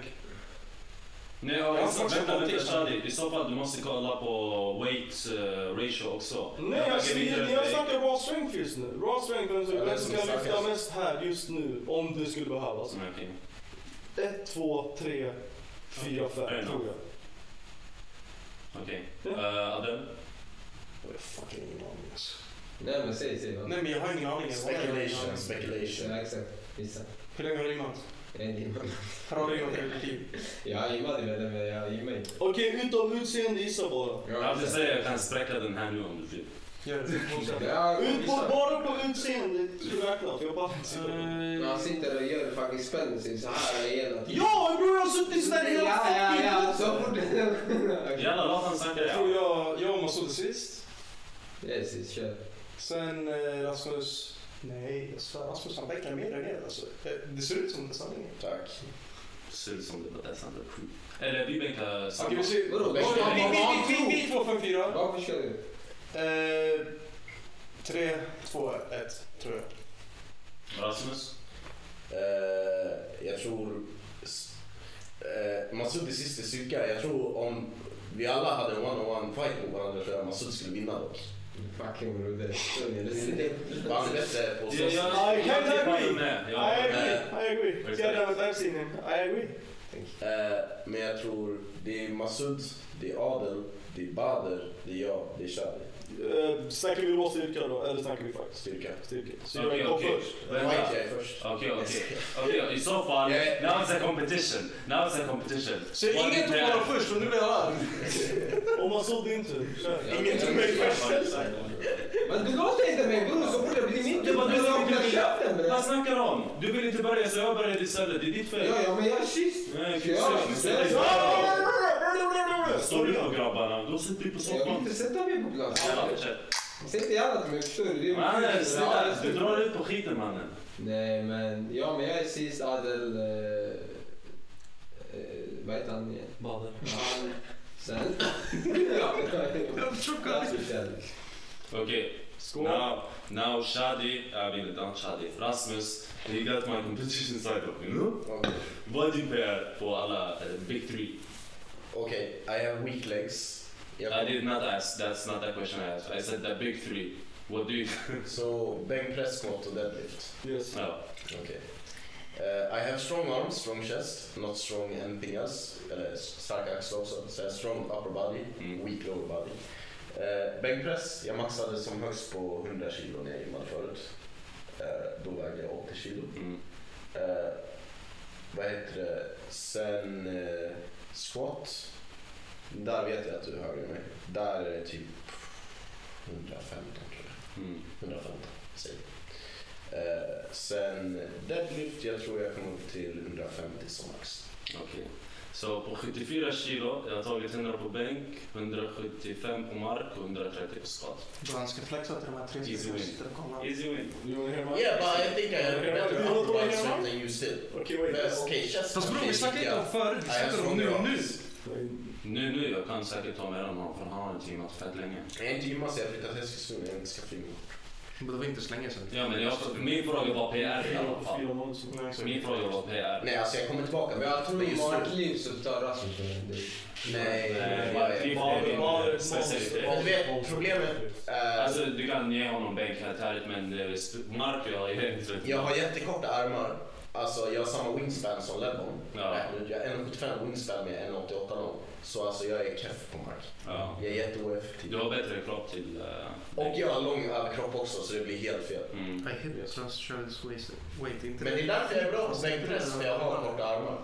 Speaker 10: Nej, jag liksom har
Speaker 3: Jag
Speaker 10: också,
Speaker 3: har
Speaker 10: vänta,
Speaker 3: också-
Speaker 10: vänta, Shadi. I så fall du måste kolla på weight eh, ratio också.
Speaker 1: Nej, jag,
Speaker 10: väger mindre
Speaker 1: jag,
Speaker 10: än
Speaker 1: jag
Speaker 10: dig.
Speaker 1: snackar raw strength just nu. Raw strength, vem som-
Speaker 4: Ja, det är
Speaker 1: vem
Speaker 4: som
Speaker 1: som kan
Speaker 4: är
Speaker 1: lyfta
Speaker 4: starkast.
Speaker 1: mest här just nu, om det skulle behövas.
Speaker 10: Mm, okej.
Speaker 1: Ett, två, tre, fyra, fem,
Speaker 10: Fair
Speaker 1: tror jag.
Speaker 10: Okej.
Speaker 1: Ja.
Speaker 10: Eh, Adel?
Speaker 4: Jag har fucking ingen aning. alltså.
Speaker 5: Nej men säg, säg.
Speaker 3: Nej men jag har ingen aning. Jag har ingen aning.
Speaker 4: Speculation, speculation.
Speaker 5: Nej exakt. Gissa.
Speaker 3: Hur länge har du rimmat?
Speaker 5: Jag är inte
Speaker 3: Här har du rimmat hela ditt liv.
Speaker 5: Jag gymmade med den men jag gymmar inte.
Speaker 1: Okej, utom utseende, gissa bara.
Speaker 10: Jag vill säga jag kan spräcka den här nu om du vill.
Speaker 3: Gör
Speaker 5: Eh,
Speaker 3: det.
Speaker 5: Ja,
Speaker 1: Ut på,
Speaker 5: gissa.
Speaker 1: bara på utseendet så räknas för jag bara...
Speaker 10: Eh,
Speaker 5: När han sitter och gör fucking spänn så här hela tiden.
Speaker 1: Ja, bror jag har suttit sådär
Speaker 5: Ja,
Speaker 1: hela
Speaker 5: ja, ja. Så
Speaker 1: fucking
Speaker 5: fort. Okej.
Speaker 10: Jalla, låt han snacka.
Speaker 3: Jag
Speaker 10: ja.
Speaker 3: tror jag, jag och Masoud sist.
Speaker 5: Yes, yes, kör.
Speaker 3: Sen eh, Rasmus. Nej, jag svär, Rasmus han bänkar mer än er alltså. Eh, Det ser ut som det är sanningen.
Speaker 4: Tack.
Speaker 10: Ser ut som det var dessa andra sju. Eller vi bänkar
Speaker 3: Okej,
Speaker 10: samma.
Speaker 3: vi ser.
Speaker 5: Vadå?
Speaker 3: Oj,
Speaker 5: Vad
Speaker 3: oj, vi-
Speaker 5: han
Speaker 3: vi- vi-
Speaker 5: tror?
Speaker 3: vi- vi- två, fem, fyra.
Speaker 5: Varför kör du?
Speaker 3: Eh, Tre, två, ett, tror jag.
Speaker 10: Rasmus?
Speaker 4: Eh, jag tror... s- Eh, Masud är sist i styrka. Jag tror om vi alla hade en one-on-one fight mot varandra tror jag Masud skulle vinna dock.
Speaker 5: Fucking broder.
Speaker 4: För Han är bättre på
Speaker 10: Jag- jag-
Speaker 4: slåss.
Speaker 1: I
Speaker 10: jag
Speaker 1: can't
Speaker 10: tippar
Speaker 1: agree.
Speaker 10: med.
Speaker 1: I
Speaker 10: Ja,
Speaker 1: agree,
Speaker 10: nej.
Speaker 1: I agree.
Speaker 10: Vad är det?
Speaker 1: Yeah, damn it, I've seen him. I agree.
Speaker 4: Eh, men jag tror det är Masud, det är Adel, det är Bader, det är jag, det är Shadi.
Speaker 1: Uh, snackar vi råstyrka då, eller snackar vi faktiskt?
Speaker 4: Styrka.
Speaker 1: Styrka. Så
Speaker 10: Okej,
Speaker 1: jag går
Speaker 10: okej.
Speaker 1: först.
Speaker 4: Fight
Speaker 10: Vänta.
Speaker 4: jag är först.
Speaker 10: Okej, okej. Okej, i så fall.
Speaker 4: Jag vet.
Speaker 10: Now it's a competition. Now it's a competition.
Speaker 3: Så
Speaker 10: One
Speaker 3: ingen tog
Speaker 10: man.
Speaker 3: vara först och nu blir alla arg.
Speaker 1: Om man såg din tur, kör.
Speaker 5: Ingen tror mig Men du låter inte mig bror. Så fort jag blir min tur.
Speaker 10: Det var du som
Speaker 5: öppnar
Speaker 10: gjorde det.
Speaker 5: käften bre.
Speaker 10: Vad snackar du om? Du vill inte börja så jag började istället. Det är ditt fel.
Speaker 5: Ja, ja men jag är kyss.
Speaker 10: Nej,
Speaker 5: Ja,
Speaker 10: kyss- kyss-
Speaker 5: det är
Speaker 10: kyss-
Speaker 5: så.
Speaker 10: Står du upp grabbarna? Då sitter vi på
Speaker 5: Jag vill
Speaker 10: soffan.
Speaker 5: inte sätta mig på plats.
Speaker 10: Jävla kött.
Speaker 5: Säg inte gärna att de är större.
Speaker 10: Mannen, snälla. Du drar ut på skiten mannen.
Speaker 5: Nej men, ja men jag är sist Adel... Eh, eh, vad heter han igen?
Speaker 1: Bader.
Speaker 5: Han- Sen... ja,
Speaker 10: Okay. Now, now Shadi, I mean not Shadi, Rasmus, he got my competition side up, you know?
Speaker 4: Okej.
Speaker 10: Vad du bär på alla eh, big three.
Speaker 4: Okej, I have weak legs.
Speaker 10: I
Speaker 4: Jag
Speaker 10: did not ask, that's not the question I asked. I said the big three. What do you...
Speaker 4: Så bänkpress, squat och deadlift.
Speaker 1: Yes.
Speaker 10: No.
Speaker 4: Okej. Eh, I have strong arms, strong chest, not strong anything else. Uh, Eller starka axlar också. Så jag har strong upper body,
Speaker 10: Mm.
Speaker 4: weak lower body. Uh, bänkpress, jag maxade som högst på 100 kilo när jag gymmade förut. Eh, då vägde jag 80 kilo.
Speaker 10: Mm.
Speaker 4: Eh, vad heter det? Sen eh, squat. Där vet jag att du är högre än mig. Där är det typ 115 tror jag.
Speaker 10: Mm.
Speaker 4: 115 säger vi. Eh, sen deadlift, jag tror jag kom upp till 150 som max.
Speaker 10: Okej. Så på 74 kilo, jag har tagit 100 på bänk, 175 på mark och 130 på squat.
Speaker 3: Då han ska flexa till de här tre
Speaker 10: Easy
Speaker 3: stycken
Speaker 10: win.
Speaker 3: som sitter och kollar.
Speaker 10: Easy win.
Speaker 4: Yeah, but I think I have better upper body strength than you still.
Speaker 1: Okej,
Speaker 4: Men
Speaker 1: wait.
Speaker 4: Okej, chest.
Speaker 3: Fast bror, vi snackar inte om förut, vi snackar om nu. Nu!
Speaker 10: Nu, nu, jag kan säkert ta mer än honom för han har inte gymmat fett länge.
Speaker 4: Jag har inte gymmat så jag flyttat till Eskilstuna, jag inte ska flyga.
Speaker 3: Men det var inte så länge sedan.
Speaker 10: Ja, men jag, min fråga var PR i alla fall.
Speaker 1: Fyra månader sedan.
Speaker 10: Min fråga var PR.
Speaker 4: Nej, alltså jag kommer tillbaka.
Speaker 5: Men jag tror
Speaker 4: Men
Speaker 5: i
Speaker 4: just nu-
Speaker 5: Markliv så tar Rasmus det.
Speaker 4: Nej,
Speaker 10: Nej,
Speaker 4: jag vet.
Speaker 1: Bader, Bader,
Speaker 10: specialitet.
Speaker 4: Men du vet, problemet är...
Speaker 10: Alltså, du kan ge honom bänkhälet men eh, sp- Marco har ju inte...
Speaker 4: Jag har jättekorta armar. Alltså jag har samma wingspan som Lebron.
Speaker 10: Ja.
Speaker 4: Jag har 1,75 wingspan med 1,88 lång. Så alltså jag är keff på mark.
Speaker 10: Ja.
Speaker 4: Jag är jätteoeffektiv.
Speaker 10: Du har bättre kropp till... eh,
Speaker 4: Och jag har lång överkropp också så det blir helt fel.
Speaker 10: Mm.
Speaker 3: I hate trans shoulders waist. Wait, inte
Speaker 4: Men det är därför jag är bra på bänkpress för jag har korta armar.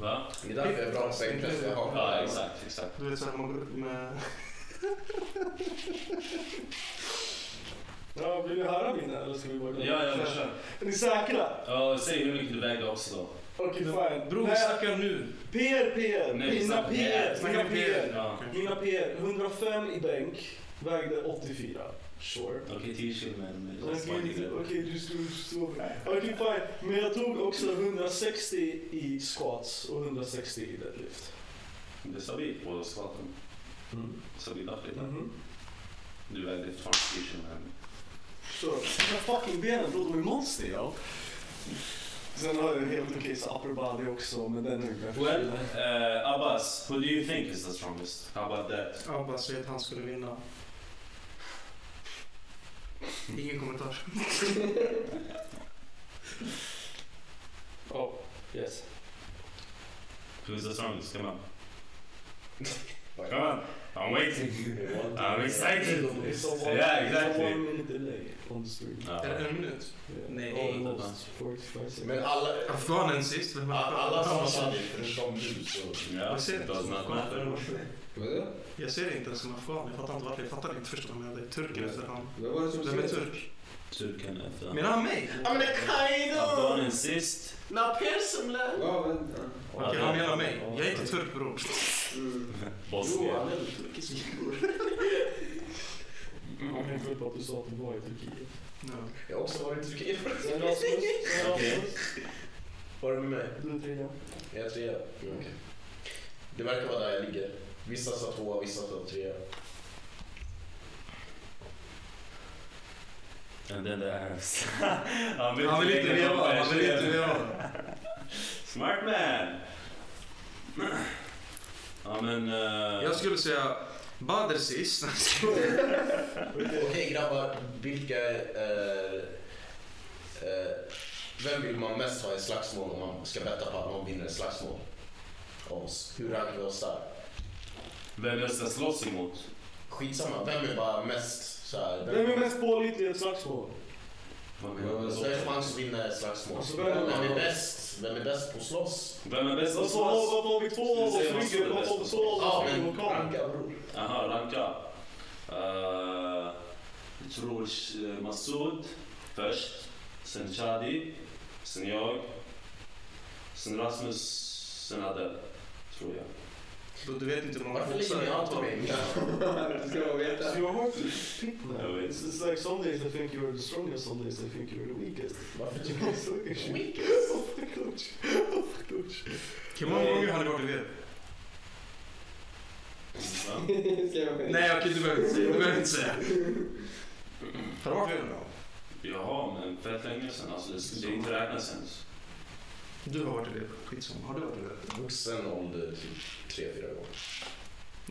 Speaker 10: Va?
Speaker 4: Det är därför jag är bra på bänkpress för jag har korta
Speaker 10: Ja,
Speaker 4: armar.
Speaker 10: exakt, exakt.
Speaker 3: Du vet såhär, man går upp med...
Speaker 1: Ja, vill vi höra min eller ska vi bara gå?
Speaker 10: Ja, ja, men kör.
Speaker 1: Är ni säkra?
Speaker 10: Ja, säg hur mycket du vägde också då.
Speaker 1: Okej, fine.
Speaker 3: Bror, vi
Speaker 1: Nej,
Speaker 3: snackar nu.
Speaker 1: PR, PR.
Speaker 10: Nej, vi
Speaker 1: Mina
Speaker 10: snackar-
Speaker 1: PR.
Speaker 10: Nej,
Speaker 1: Mina PR.
Speaker 10: Ja.
Speaker 1: Mina PR. 105 i bänk. Vägde 84. Sure.
Speaker 10: Okej, 10 kilo men...
Speaker 1: Okej, du- Okej, du skulle stå Okej, fine. Men jag tog också 160 i squats och 160 i deadlift.
Speaker 10: Det är stabilt på squatten.
Speaker 1: Mm.
Speaker 10: Stabila flyttar.
Speaker 1: Mhm.
Speaker 10: Du vägde fortfarande 10 kilo men...
Speaker 1: Så, mina fucking benen bror, de är monster ja. Sen har jag en helt okej så upper body också, men den är ju
Speaker 10: Well, uh, Abbas, who do you think is the strongest? How about that?
Speaker 3: Ja, bara säg att han skulle vinna. Ingen kommentar.
Speaker 1: Oh, Yes.
Speaker 10: Who's the strongest? Come on. Come on. I'm waiting. I'm excited. Yeah, exactly.
Speaker 1: One minute delay on the stream. Oh,
Speaker 3: Är det
Speaker 10: Ja.
Speaker 3: en minut?
Speaker 1: Yeah.
Speaker 3: Nej.
Speaker 1: Almost 45
Speaker 4: Men
Speaker 1: seconds.
Speaker 4: alla,
Speaker 3: Afghanen sist. Vem är
Speaker 4: alla som har
Speaker 3: afghan?
Speaker 4: sanning förutom du så...
Speaker 10: Ja,
Speaker 3: Jag ser
Speaker 10: it
Speaker 3: inte
Speaker 10: does
Speaker 3: som
Speaker 10: not matter.
Speaker 3: afghan.
Speaker 5: Vadå?
Speaker 3: Jag ser det inte ens som afghan. Jag fattar inte varför. Jag fattade inte först om jag är turk eller han.
Speaker 5: Vad var det som
Speaker 3: Vem är
Speaker 5: skrek?
Speaker 3: turk?
Speaker 10: Turken efter.
Speaker 3: Menar han mig?
Speaker 1: Ah,
Speaker 4: I'm the kind
Speaker 10: Afghanen sist.
Speaker 4: Now Pearson left!
Speaker 5: Ja, vänta.
Speaker 3: Okej, han menar mig. Jag är inte turk bror.
Speaker 10: Bosnien.
Speaker 1: Jag kan inte på att du sa att du var i Turkiet.
Speaker 3: Ja.
Speaker 4: Jag har också varit i Turkiet.
Speaker 1: Sen Rasmus, sen
Speaker 10: Okej.
Speaker 1: Rasmus.
Speaker 4: Var du med mig?
Speaker 1: Du är trea.
Speaker 4: Jag är trea. Mm, okej. Det verkar vara där jag ligger. Vissa sa tvåa, vissa sa trea.
Speaker 10: And then the Arabs. han
Speaker 3: Han vill inte
Speaker 10: lägga
Speaker 3: leva.
Speaker 10: någon
Speaker 3: Han vill inte
Speaker 10: färs.
Speaker 3: leva.
Speaker 10: Smart man. Ja men... eh,
Speaker 3: Jag skulle säga Badr sist.
Speaker 4: Okej grabbar, vilka... Eh, eh, vem vill man mest ha i slagsmål om man ska betta på att någon vinner ett slagsmål? Av oss. Hur rankar vi oss där?
Speaker 10: Vem jag ska slåss emot?
Speaker 4: Skitsamma, vem är bara mest så här,
Speaker 1: Vem är mest pålitlig i ett slagsmål?
Speaker 10: Vad menar
Speaker 4: Så
Speaker 10: du?
Speaker 4: det är chans att vinna ett slagsmål.
Speaker 1: Alltså,
Speaker 4: vem,
Speaker 1: vem är-
Speaker 4: är bäst? Vem är bäst på att slåss?
Speaker 10: Vem är bäst att
Speaker 1: Varför
Speaker 10: slåss?
Speaker 1: har varför har vi två av oss ryggen? Varför har vi två av
Speaker 4: Ja,
Speaker 1: oss ryggen
Speaker 4: men
Speaker 1: och kom?
Speaker 4: ranka bror.
Speaker 10: Jaha, ranka. Eh, Jag tror eh, Massoud först, sen Shadi, sen jag, sen Rasmus, sen Adel, tror jag.
Speaker 3: Då du vet inte hur många
Speaker 4: Varför lägger
Speaker 3: boxar
Speaker 4: ni
Speaker 3: jag
Speaker 4: allt
Speaker 3: tar.
Speaker 4: på mig?
Speaker 5: Du ska bara veta.
Speaker 10: Jag vet inte.
Speaker 1: It's like some days I think you're the strongest, some days I think you're the weakest.
Speaker 4: Varför tycker
Speaker 1: You're so weakest.
Speaker 3: Hur många gånger har du varit elev? Nej, okej, du behöver inte Mm. säga. Du behöver inte säga. Har du varit elev?
Speaker 10: Jaha, men fett länge sedan. Alltså, det, det inte räknas ens.
Speaker 3: Du har varit elev. Skitsamma. Har du varit elev?
Speaker 4: Vuxen ålder typ tre, fyra gånger.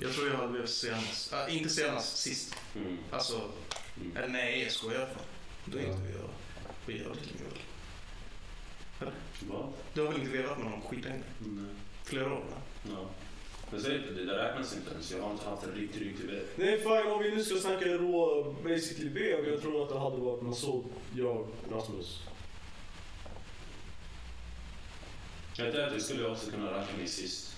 Speaker 3: Jag tror jag har levt senast. Ah, inte senast, sist.
Speaker 10: Mm.
Speaker 3: Alltså,
Speaker 10: Mm.
Speaker 3: eller nej, jag skojar fan. Du är inte vi jag. Vi har lika mycket.
Speaker 10: Va?
Speaker 3: Du har väl inte vevat med någon skitlänge?
Speaker 10: Nej.
Speaker 3: Flera år? va?
Speaker 10: Ja. Men säg inte, det där räknas inte ens. Jag har inte haft en riktig, riktig vän.
Speaker 1: Nej fine, om vi nu ska snacka rå basically B, jag tror att det hade varit Masoud, jag, Rasmus.
Speaker 10: Jag vet inte, det skulle jag också kunna räkna mig sist.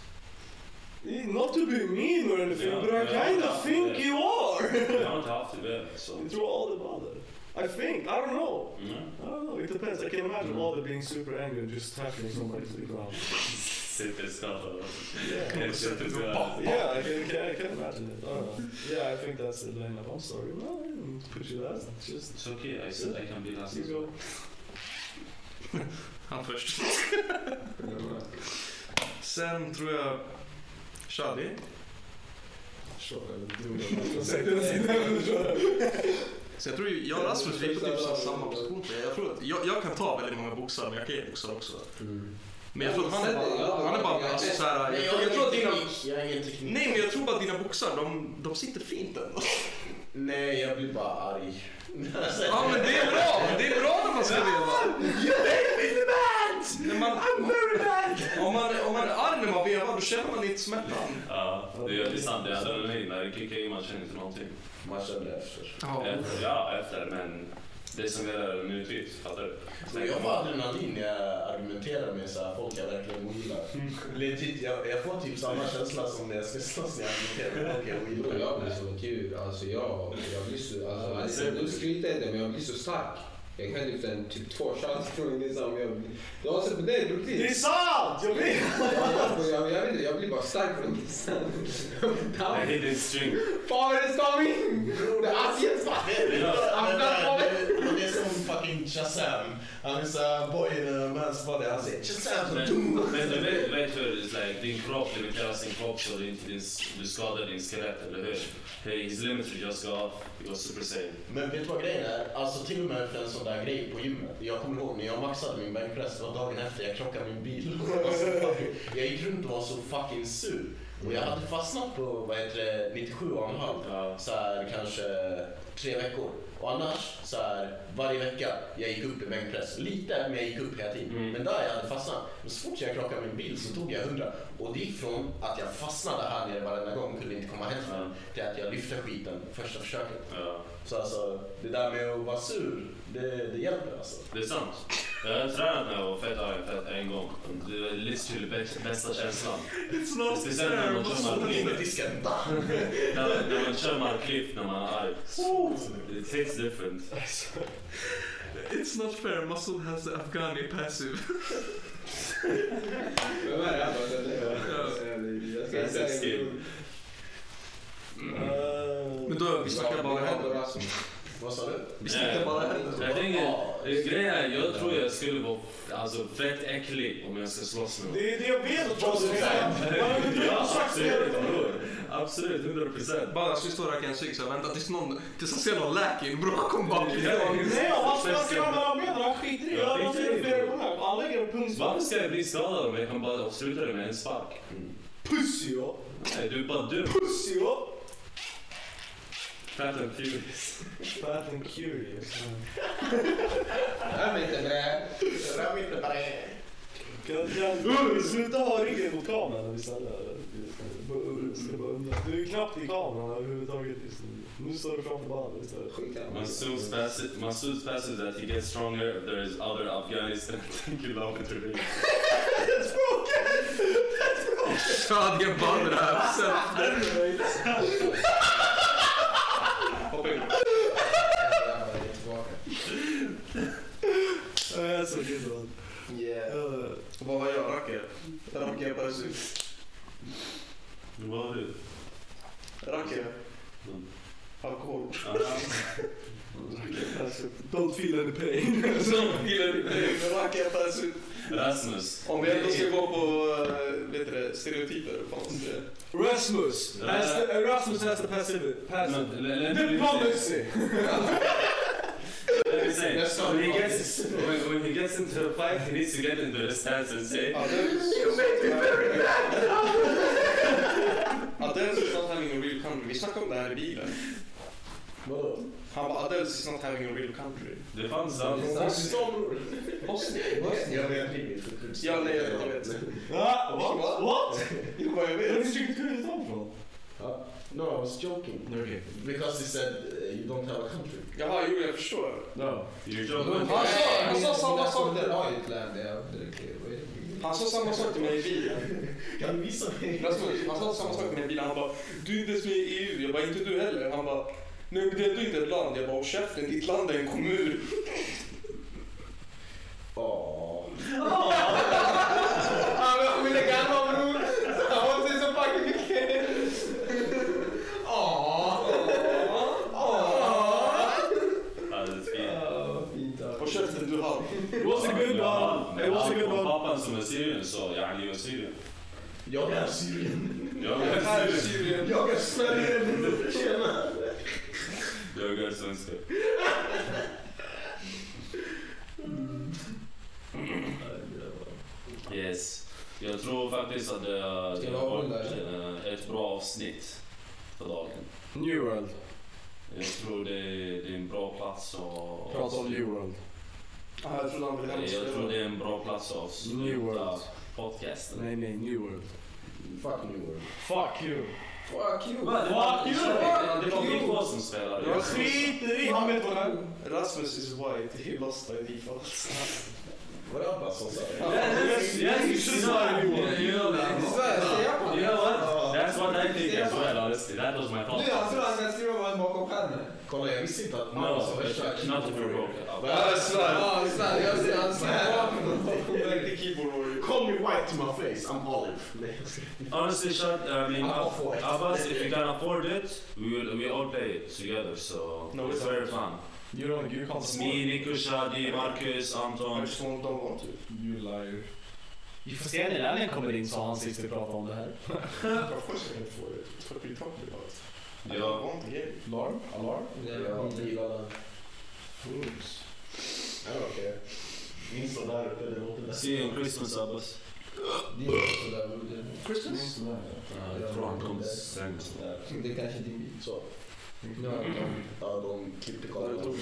Speaker 1: Not to be mean or anything,
Speaker 10: Ja,
Speaker 1: but I
Speaker 10: ja,
Speaker 1: kinda
Speaker 10: ja,
Speaker 1: think
Speaker 10: ja.
Speaker 1: you are!
Speaker 10: Jag har inte haft det väl, så...
Speaker 1: You throw all the bother. I think, I don't know.
Speaker 10: Mm.
Speaker 1: I don't know, it depends. I can imagine all the being super angry and just tackling somebody to the ground.
Speaker 10: Sitter skrattar.
Speaker 1: Yeah, yeah I, can, can, I can imagine it. I don't know. Yeah, I think that's the line up. I'm sorry, man. I didn't push you that. Just
Speaker 10: It's okay, I said I can be last.
Speaker 1: you go.
Speaker 3: Han först. Sen tror jag Shadi. Så jag tror ju, jag och Rasmus vi är på typ så- samma position. Jag, tror att, jag, jag kan ta väldigt många boxar, men jag kan ge boxar också. Men jag tror att han är bara, han är bara alltså, så här, jag, tror- jag tror att dina,
Speaker 4: Jag har ingen teknik.
Speaker 3: nej men jag tror bara att dina boxar, de, de sitter fint ändå.
Speaker 4: Nej, jag blir bara arg.
Speaker 3: Ja men det är bra, det är bra när man ska veva. You made me mad! I'm very mad! Om man, om man är arg när man vevar då känner man inte smärtan.
Speaker 10: Ja, det är det är sant. Det är adrenalin. När det kickar in man känner inte någonting.
Speaker 4: Man känner efter.
Speaker 10: Efter, ja, efter, men det som gäller nu typ, fattar du?
Speaker 4: Jag får adrenalin när jag argumenterar med så här folk jag verkligen ogillar. Legit, jag, jag får typ samma känsla som när jag ska slåss när jag argumenterar med
Speaker 5: Bro,
Speaker 4: folk jag ogillar.
Speaker 5: jag blir så kul. Alltså jag, jag blir så, alltså, alltså, nu skryter jag inte men jag blir så stark. Jag kan lyfta en typ två shots från liksom. Jag, blir- jag har sett på dig, du
Speaker 1: Det är
Speaker 5: blir...
Speaker 1: sant! Jag vet!
Speaker 5: Jag, jag, jag vet inte, jag blir bara stark från insidan.
Speaker 10: I hit in string.
Speaker 5: Fan vad det ska in! Det är Asiens fan!
Speaker 4: Det
Speaker 5: I'm not
Speaker 4: är- det är som fucking Shazam. Han är såhär boy in a man's body. Han säger Shazam.
Speaker 10: Men, men du vet, vet hur det är, like, din kropp limiterar sin kropp så det inte din, du skadar din skelett, eller hur? Hey, his limits are just go off, you're super sane.
Speaker 4: Men vet du vad grejen är? Alltså till och med för en sån där grej på gymmet. Jag kommer ihåg när jag maxade min bänkpress, det var dagen efter jag krockade min bil. Jag var så fucking- jag gick runt och var så fucking sur. Och jag hade fastnat på vad heter det, 97,5
Speaker 10: Ja.
Speaker 4: så här, kanske tre veckor. Och annars så här, varje vecka jag gick upp i bänkpress. Lite, men jag gick upp hela tiden.
Speaker 10: Mm.
Speaker 4: Men där jag hade fastnat. Men så fort jag krockade min bil så tog jag 100. Och det gick från att jag fastnade här nere varenda gång, kunde inte komma hem
Speaker 10: Ja.
Speaker 4: till att jag lyfte skiten första försöket.
Speaker 10: Ja.
Speaker 4: Så alltså, det där med att vara sur, det, det hjälper alltså.
Speaker 10: Det är sant. Jag har tränat när jag var fett arg fett en gång. Det var livsstilen bäst- bästa känslan.
Speaker 3: Snart
Speaker 10: Speciellt när man kör marklyft.
Speaker 4: disken.
Speaker 10: När, när man kör marklyft när man är arg. It tastes different.
Speaker 3: It's not fair, muscle has the Afghani passive.
Speaker 5: Vem är det här Jag ska inte säga en
Speaker 1: Um,
Speaker 3: Men då, vi snackar bara händer.
Speaker 5: händer.
Speaker 4: Vad sa du?
Speaker 3: Vi snackar bara händer.
Speaker 10: Jag tänker, grejen är, jag tror jag skulle vara alltså, fett äcklig om jag ska slåss med någon.
Speaker 1: Det är det jag vet att jag säger. Man har inte
Speaker 10: Ja,
Speaker 1: sagt
Speaker 10: absolut,
Speaker 1: det.
Speaker 10: bror. Absolut, 100 procent.
Speaker 3: Bara så vi står och röker en cigg såhär, vänta tills någon, tills han ser någon läkare in, bror han kommer bakifrån.
Speaker 1: Nej, om han snackar om mellan benen, han skiter i det. Jag har sagt det flera gånger. Han lägger en punkt.
Speaker 10: Varför ska jag bli skadad om jag kan bara avsluta det med en spark?
Speaker 1: Pussy, ja.
Speaker 10: Nej, du är bara dum.
Speaker 1: Pussy, ja.
Speaker 10: Fat and furious.
Speaker 1: Fat and curious.
Speaker 5: Jag vet inte det.
Speaker 4: Rör inte bara det.
Speaker 1: Kan jag- Sluta ha ryggen mot kameran istället. Jag ska bara undra. Du är knappt i kameran överhuvudtaget just nu. Nu står du framför bandet istället.
Speaker 5: Skit i honom.
Speaker 10: Massoud's passive, Massoud's passive that he gets stronger if there is other Afghanis that think you love it really.
Speaker 3: Shadiga Badra.
Speaker 5: Jag är tillbaka.
Speaker 1: Jag är så gud vad.
Speaker 12: eh,
Speaker 3: Vad har jag röker? Jag röker passive.
Speaker 10: Vad har du?
Speaker 3: Racker.
Speaker 10: Mm.
Speaker 3: Alkohol.
Speaker 12: Don't feel any pain.
Speaker 3: Som killar i play, racker färs ut.
Speaker 10: Rasmus.
Speaker 3: Om vi ändå ska gå på äh, vet du det, stereotyper. Fanns det.
Speaker 12: Rasmus!
Speaker 10: Has the-
Speaker 6: Eh,
Speaker 12: Rasmus has the passive.
Speaker 10: Men, let, let, me say- let me say, when he gets when, when he gets into the fight, he needs to get into the stance and say,
Speaker 3: Ja, det är- Adele is not having a real country. Vi snackade om det här i bilen.
Speaker 4: Vadå?
Speaker 3: Han bara Adele is not having a real country.
Speaker 10: det fanns dans.
Speaker 5: Bosnien?
Speaker 4: Jag vet inte.
Speaker 3: Ja, nej, jag vet.
Speaker 6: Ah, what? What?
Speaker 3: Jo, vad jag vet.
Speaker 4: Ja. No, I was joking. Because he said uh, you don't have a country.
Speaker 3: Jaha, jo, jag förstår.
Speaker 10: You're joking.
Speaker 3: Han sa- han sa samma sak
Speaker 5: där.
Speaker 3: där.
Speaker 5: Ja, ett land där jag dricker. Vad är det?
Speaker 3: Han sa samma sak till mig i bilen.
Speaker 4: Kan du visa mig?
Speaker 3: Rasmus, han sa samma sak till mig i bilen. Han bara, du är inte ens med i EU. Jag bara, inte du heller. Han bara, nej men det är ändå inte ett land. Jag bara, håll käften, ditt land är en kommun.
Speaker 4: Åh.
Speaker 5: Ja, men jag vill lägga an bror. Han har inte så fucking mycket. Åh. Åh.
Speaker 10: Ja, det är fint.
Speaker 5: Vad fint. ja.
Speaker 3: Håll käften, du har.
Speaker 6: It was a good one. It was a good
Speaker 10: Om
Speaker 6: one.
Speaker 10: Pappan som är syrien så, ja, han är ju syrien.
Speaker 4: Jag är Syrien.
Speaker 10: Jag
Speaker 3: Det här
Speaker 10: är
Speaker 3: är
Speaker 10: syrien.
Speaker 3: Syrien.
Speaker 4: Jag är Sverige. Tjena.
Speaker 10: Jag är svenska. Yes. Jag tror faktiskt att det har
Speaker 5: Ska vi
Speaker 10: det har
Speaker 5: avrunda,
Speaker 10: varit eh, ett bra avsnitt för dagen.
Speaker 6: New World.
Speaker 10: Jag tror det är, det är en bra plats att...
Speaker 6: Prata om New World.
Speaker 3: Ja, jag trodde han ville hem och
Speaker 10: Jag
Speaker 3: spela.
Speaker 10: tror det är en bra plats att
Speaker 6: New
Speaker 10: avsluta
Speaker 6: World.
Speaker 10: podcasten.
Speaker 6: Nej, nej, New World.
Speaker 4: Fuck New World.
Speaker 6: Fuck you.
Speaker 5: Fuck you.
Speaker 10: Va, det var-
Speaker 5: Fuck you. er
Speaker 10: Det var min kvar som
Speaker 3: Det var
Speaker 10: spelade.
Speaker 3: skit.
Speaker 6: Nej, han vet vad det är.
Speaker 3: Rasmus is white. He lost by default.
Speaker 4: Var det Abbas som sa det?
Speaker 10: er- Yes, yes, you know, you know that.
Speaker 5: Det är Sverige, säger jag på
Speaker 10: You
Speaker 5: det.
Speaker 10: know what? That's what I think as well, honestly. That was my
Speaker 5: Nu, han tror
Speaker 10: podcast.
Speaker 5: att Svenska Roma var bakom skärmen.
Speaker 4: Kolla, jag visste inte att man var så
Speaker 10: No,
Speaker 4: värsta
Speaker 10: it's not if we're broken.
Speaker 5: Ja, jag svär. Ja, jag svär. Jag ser han svär.
Speaker 3: Riktig keyboard warrior.
Speaker 4: Call me white to my face, I'm olive. Nej, jag skojar.
Speaker 10: Honestly, Shad, I mean,
Speaker 4: I'm
Speaker 10: of,
Speaker 4: off white.
Speaker 10: of us, if we can afford it, we will, we all play it together. So
Speaker 3: No,
Speaker 10: it's
Speaker 3: we don't.
Speaker 10: very fun.
Speaker 6: You don't, you can't
Speaker 10: It's
Speaker 6: support.
Speaker 10: me, Nico, Shadi, Marcus,
Speaker 3: I
Speaker 10: Anton.
Speaker 3: just want, don't want to.
Speaker 6: You liar. Vi får se när Lennon kommer in så han sist vi pratar om det här.
Speaker 3: Of course I can afford it. That's what we talked about. I don't
Speaker 10: Ja,
Speaker 3: want to get it.
Speaker 6: Larm? Alarm?
Speaker 5: er
Speaker 4: Jag gillar den. Ja, okej. Minns de där uppe, det låter bäst.
Speaker 10: see you in Christmas, Abbas.
Speaker 5: Det är sådär, bror.
Speaker 3: Christmas?
Speaker 10: Uh, jag tror han kommer sen.
Speaker 5: Det- er Det är kanske din bil.
Speaker 4: Så.
Speaker 5: Nu har jag tagit.
Speaker 4: Ja, de klippte kameran.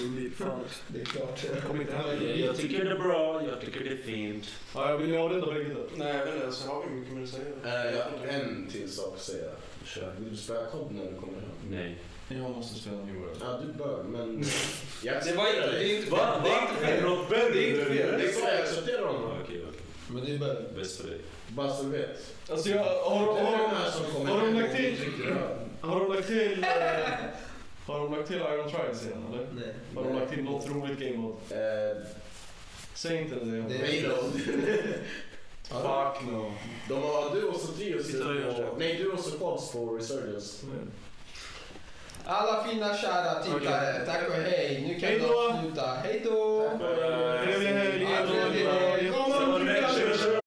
Speaker 5: Det är klart. er
Speaker 6: Kom inte hem.
Speaker 10: Jag, jag tycker det är bra, jag tycker det är fint.
Speaker 6: Ja, vill ni avrätta bägge två?
Speaker 3: Nej, jag vet inte. Så har vi mycket mer att säga.
Speaker 4: Eh, jag har en till sak att säga.
Speaker 10: Kör.
Speaker 4: Vill du spela kod när du kommer hem?
Speaker 10: Nej.
Speaker 6: Jag måste spela New World.
Speaker 4: Ja, du bör, men... Jag
Speaker 5: Det var inte... Det är inte...
Speaker 10: Va?
Speaker 5: Det är inte
Speaker 10: Det är
Speaker 5: fel.
Speaker 10: något bättre.
Speaker 5: Det är inte fel.
Speaker 4: Det sa jag accepterar honom.
Speaker 10: Okej, okej.
Speaker 5: Men det er är bara...
Speaker 10: Bäst för dig.
Speaker 4: Bara så du vet.
Speaker 6: Alltså jag, har,
Speaker 4: Det är
Speaker 6: har,
Speaker 4: den här som kommer
Speaker 6: har de
Speaker 4: hem
Speaker 6: lagt
Speaker 4: och
Speaker 6: till-
Speaker 4: dricker öl.
Speaker 6: har de lagt till... eh, Har de lagt till Iron Trials igen eller?
Speaker 5: Nej.
Speaker 6: Har de lagt till något roligt game mode?
Speaker 4: Eh,
Speaker 6: Säg inte det.
Speaker 5: Det-
Speaker 4: Railroad.
Speaker 6: Fuck no.
Speaker 4: De har du och så Trios
Speaker 10: Sitter och gör så.
Speaker 4: Nej, du och så Quads på Resurgence.
Speaker 5: Alla fina kära tittare, tack och hej. Nu kan
Speaker 6: Hej
Speaker 5: du
Speaker 6: då.
Speaker 5: avsluta. Hej då!
Speaker 4: Tack för